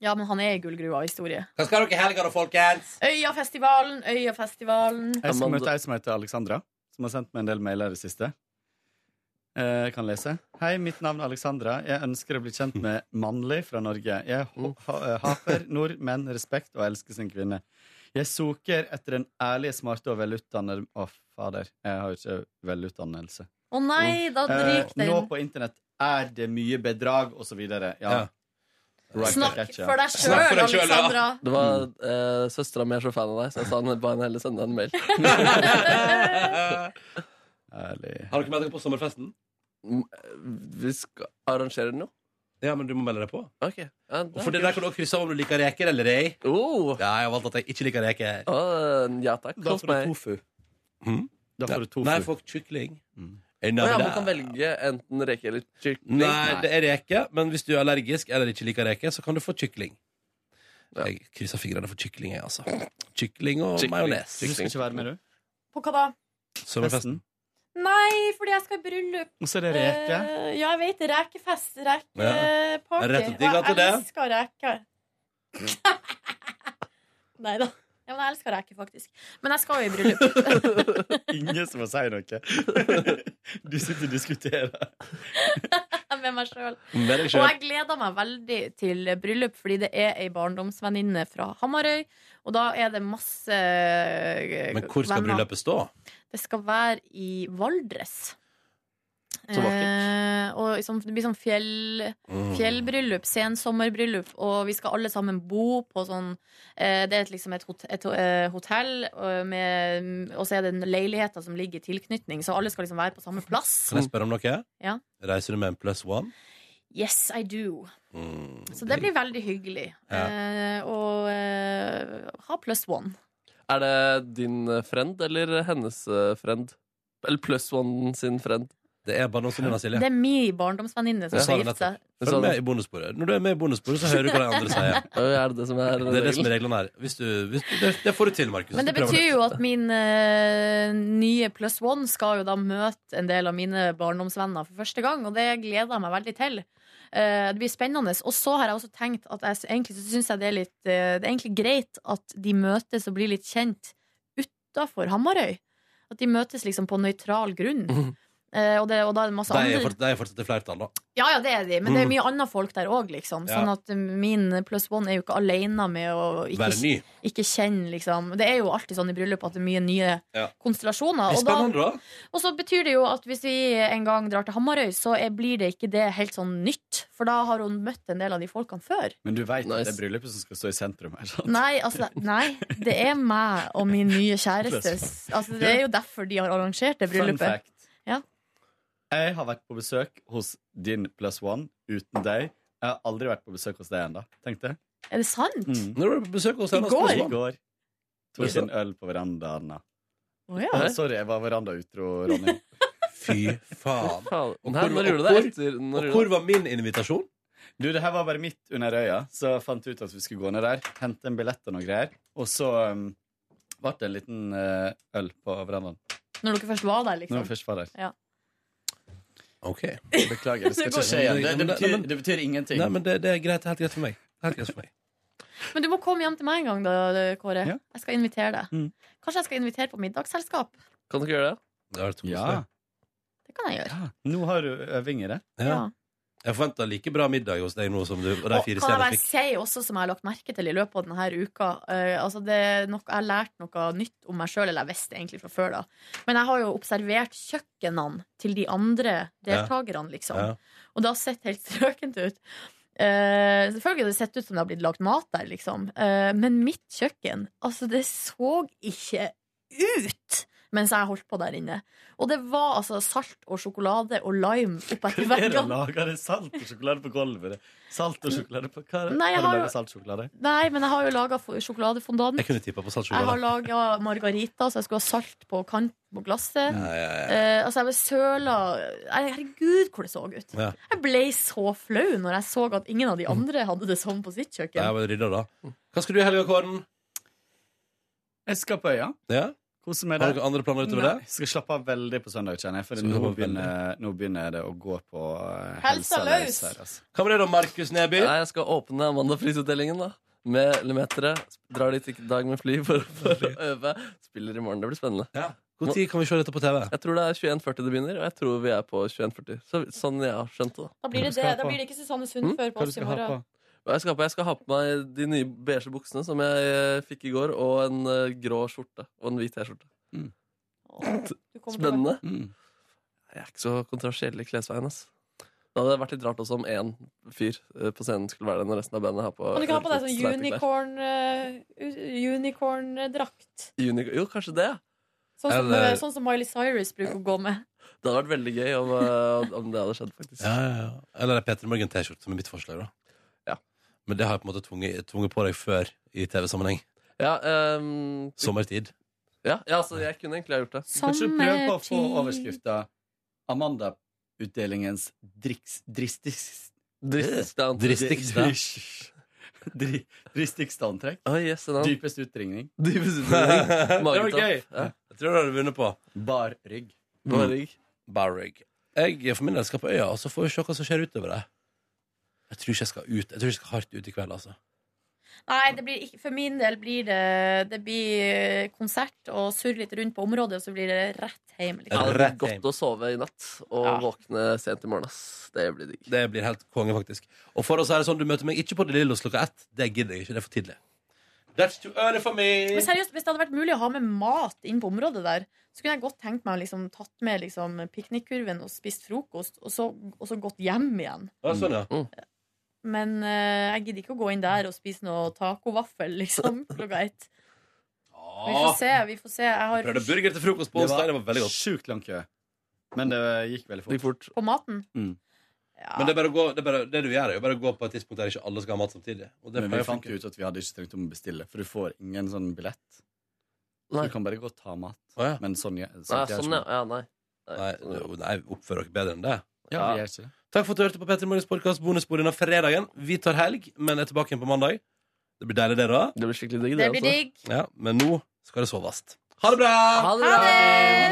Ja, men han er i gullgruva historie.
Hva skal dere i helga, da, folkens?
Øyafestivalen, Øyafestivalen.
Jeg skal møte ei som heter Alexandra, som har sendt meg en del mailer i det siste. Eh, Jeg kan lese. Hei, mitt navn er Alexandra. Jeg ønsker å bli kjent med mannlig fra Norge. Jeg ho- ha- eh, hater nordmenn, respekt og elsker sin kvinne. Jeg soker etter en ærlig, smarte og velutdannet Å, fader. Jeg har jo ikke velutdannelse.
Å nei, da
Eh,
ryker den.
Nå på internett er det mye bedrag, og så videre. Ja. Right
Snakk
back at ya.
for deg selv, Snakk for deg selv, ja. Alexandra.
Det var
Mm.
eh, Søstera mi er så fan av deg, så jeg sa han ba henne heller sende deg en mail.
Har dere meldt dere på sommerfesten?
Vi skal arrangere den jo.
Ja, men du må melde deg på.
Ok. Ja,
Og for det der kan du også krysse av om du liker reker eller ei. Ja, jeg har valgt at jeg ikke liker reker.
ja takk.
Da
Hos
får du
meg.
tofu. Hm?
Da
får du tofu. Mm. Nei, folk kykling.
Å
Enough
ja,
of
man
that.
kan velge enten reke eller kylling.
Nei, det er reke, men hvis du er allergisk eller ikke liker reke, så kan du få kykling. Jeg krysser fingrene for kykling, jeg, altså. Kykling og
Kykling.
majones.
Du skal ikke være med, du?
På hva da?
Sommerfesten.
Nei, fordi jeg skal i bryllup.
Og så er det reke.
Eh, ja, jeg vet det. Rekefest. Rekeparty.
Ja. Rett og digg at
jeg
det er.
elsker reker. Nei da. Ja, men jeg elsker reker, faktisk. Men jeg skal jo i bryllup.
Ingen som må si noe. Du sitter og diskuterer.
med meg sjøl. Og
Med deg selv.
jeg gleder meg veldig til bryllup, fordi det er ei barndomsvenninne fra Hamarøy. Og da er det masse eh,
Men hvor skal
venner.
bryllupet stå?
Det skal være i Valdres.
Så vakkert.
Eh, og liksom, det blir sånn fjell,
Mm.
fjellbryllup, sensommerbryllup, og vi skal alle sammen bo på sånn eh, Det er et, liksom et, hot, et eh, hotell, og med- og så er det leiligheter som ligger i tilknytning, så alle skal liksom være på samme plass.
Kan jeg spørre om noe?
Ja.
Reiser du med en plus one?
Yes, I do.
Mm.
Så det blir veldig hyggelig.
Ja.
Eh, og eh, ha pluss one.
Er det din eh, friend eller hennes eh, friend? Eller plus one sin friend?
Det er bare noen som er
Det er min barndomsvenninne som
Ja.
skal gifte seg.
Følg med i bonussporet. Når du er med i bonussporet, så hører du hva de andre sier.
er det det som er
det er det som er reglene her. Hvis du, hvis du, det, det får du til, Markus.
Men det
Du prøver
betyr jo at min eh, nye pluss one skal jo da møte en del av mine barndomsvenner for første gang, og det gleder jeg meg veldig til. Eh, det blir spennende. Og så har jeg også tenkt at jeg, egentlig så syns jeg det er litt eh, Det er egentlig greit at de møtes og blir litt kjent utafor Hamarøy. At de møtes liksom på nøytral grunn. Eh, og, det, og da er det masse
De Mhm. er,
andre
fort, de er fortsatt i flertall, da.
Ja, ja, det er de, men det er
Mm.
mye annet folk der òg, liksom.
Ja.
Sånn at min pluss one er jo ikke alene med å ikke,
Være ny.
ikke kjenne, liksom. Det er jo alltid sånn i bryllup at det er mye nye
Ja.
konstellasjoner.
Det er
og da-
spennende, da.
og så betyr det jo at hvis vi en gang drar til Hamarøy, så er, blir det ikke det helt sånn nytt. For da har hun møtt en del av de folkene før.
Men du veit at det er bryllupet som skal stå i sentrum her, sant?
Nei, altså, nei, det er meg og min nye kjæreste. Altså, det er jo derfor de har arrangert det
Fun
bryllupet.
fact.
Ja.
Jeg har vært på besøk hos din plus one uten deg. Jeg har aldri vært på besøk hos deg ennå. Tenk det.
Er det sant?
Mm.
Når var du på besøk hos
I hennes går? plus one?
I går. Tok en øl på verandaen. da.
Å ja.
Å, Sorry, jeg var veranda-utro, Ronny.
Fy faen.
Og
Nei,
hvor-
når
og
gjorde du det?
hvor-
Etter, når
og
gjorde
hvor
du det?
var min invitasjon?
Du, det her var bare midt under øya, så jeg fant ut at vi skulle gå ned der, hente en billett og noe greier, og så um, ble det en liten eh, øl på verandaen.
Når dere først var der, liksom.
Når vi først var der.
Ja.
OK.
Beklager, det skal ikke skje igjen. Det, det, betyr, det betyr ingenting.
Nei, men det, det er greit, helt greit for meg. Helt greit for meg.
Men du må komme hjem til meg en gang, da, Kåre.
Ja.
Jeg skal invitere deg. Kanskje jeg skal invitere på middagsselskap?
Kan dere gjøre det?
ja.
Det kan jeg gjøre.
Nå har du øving i det.
Ja.
Jeg forventa like bra middag hos deg nå som du og de
Og
fire
kan jeg
stjernene
bare
fikk.
si også, som jeg har lagt merke til i løpet av denne uka eh, altså det er noe, Jeg har lært noe nytt om meg sjøl, eller jeg visste det egentlig fra før, da. Men jeg har jo observert kjøkkenene til de andre deltakerne, liksom.
Ja.
Og det har sett helt strøkent ut. Eh, selvfølgelig har det sett ut som det har blitt lagd mat der, liksom. Eh, men mitt kjøkken, altså, det så ikke ut! Mens jeg holdt på der inne. Og det var altså salt og sjokolade og lime oppetter
Hva er det å
veggene.
lage det salt og sjokolade på gulvet? Salt og sjokolade på hva? er det?
Nei, jeg
Har
har
du
jo-
laget salt og sjokolade?
Nei, men jeg har jo laga sjokoladefondant.
Jeg kunne tippa på salt
Jeg har
sjokolade.
laga margarita, så jeg skulle ha salt på kanten på glasset.
Ja, ja, ja.
Eh, altså, jeg var søla Nei, Herregud, hvor det så ut.
Ja.
Jeg ble så flau når jeg så at ingen av de andre hadde det sånn på sitt
Nei, Jeg
kjøkken.
var rydda, da. Hva skal du i helga, Kåren?
Jeg skal på øya.
Ja?
Kose meg
Har
der.
du noen andre planer utover det?
Nei, Skal slappe av veldig på søndag, kjenner jeg. For
Skal slappe
nå
av
begynner, nå begynner det å gå på eh,
Helsa løs.
her, altså.
Hva var det da, Markus Neby?
Nei, jeg skal åpne mandagprisutdelingen, da. Med Lemetere. Drar dit i dag med fly for, for å øve. Spiller i morgen. Det blir spennende.
Hvor tid kan vi se dette på TV?
Jeg tror det er 21.40 det begynner, og jeg tror vi er på 21.40. Så, sånn jeg har skjønt det.
Da blir det,
Hva du skal
det,
ha
da
på?
blir det ikke Susanne Sund før på oss i morgen.
Hva Jeg skal, ha på? jeg skal ha på meg de nye beige buksene som jeg eh, fikk i går, og en eh, grå skjorte. Og en hvit T-skjorte.
Mm.
kommer til å
Spennende.
være-
Jeg er ikke så kontroversiell i klesveien, ass. Det hadde vært litt rart også om én fyr eh, på scenen skulle være der når resten av bandet har på
Kan du ikke ha på deg
litt
sånn
sleite klær.
unicorn, eh, u- unicorn-drakt?
Unicorn- Jo, kanskje det.
Sånn, som-
Eller-
sånn som Miley Cyrus bruker å gå med.
Det hadde vært veldig gøy om, eh, om det hadde skjedd, faktisk.
Ja, ja, ja. Eller ei Peter Morgan-T-skjorte, som er mitt forslag, da. Men det har jeg på en måte tvunget, tvunget på deg før i TV-sammenheng.
Ja, ehm,
Sommertid.
ja, ja, altså, jeg kunne egentlig ha gjort det.
Sånn
Kanskje du prøver på å få overskrifta Amanda-utdelingens driks... Dristis...
Dristigste antrekk.
Dristigste. Dri- Dristigste antrekk. Dypest utringning.
Dypest
det var
Magetopp.
gøy!
Ja.
Jeg tror du hadde vunnet på.
Bar rygg.
Bar rygg.
Bar rygg. Jeg for min del skal på øya, og så får vi se hva som skjer utover det. Jeg tror ikke jeg skal ut Jeg tror ikke jeg skal hardt ut i kveld, altså.
Nei, det blir ikke, for min del blir det Det blir eh, konsert og surre litt rundt på området, og så blir det rett hjem. Liksom.
Ja, det blir godt å sove i natt og våkne sent i morgen. Ass. Det blir digg.
Det blir helt konge, faktisk. Og for oss er det sånn, du møter meg ikke på De Lillos klokka ett. Det gidder jeg ikke. Det er for tidlig. That's too early for me.
Men seriøst, hvis det hadde vært mulig å ha med mat inn på området der, så kunne jeg godt tenkt meg å liksom, tatt med liksom, piknikkurven og spist frokost, og så, og så gått hjem igjen.
Ja, sånn, ja.
Men eh, jeg gidder ikke å gå inn der og spise noe tacovaffel, liksom, klokka ett. Vi får se, vi får se. Jeg har
Ah, Prøvde burger til frokost på onsdag. Det var veldig godt.
Sjukt lang kø. Men det gikk veldig fort.
på maten.
Mm. Men det, er bare å gå, det, er bare, det du gjør, er jo bare å gå på et tidspunkt der ikke alle skal ha mat samtidig. Og det
Men
pleier
vi
å
fant
funke.
ut at vi hadde ikke trengt å bestille, for du får ingen sånn billett. Så
Nei.
du kan bare gå og ta mat. Men sånn, ja,
Nei,
gjør
sånn,
ikke
ja. ja nei.
Nei, jo, nei, oppfør dere bedre enn det.
Ja, vi gjør ikke det.
Takk for at du hørte på Petter Morgens podkast bonusbord denne fredagen. Vi tar helg, men er tilbake igjen på mandag. Det blir deilig, det, da.
Det blir skikkelig digg,
det, Det blir altså. digg.
Ja, men nå skal det soves. Ha det bra!
Ha
det bra!
Ha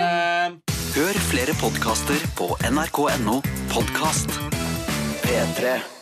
det!
Hør flere podkaster på nrk.no podkast. P3.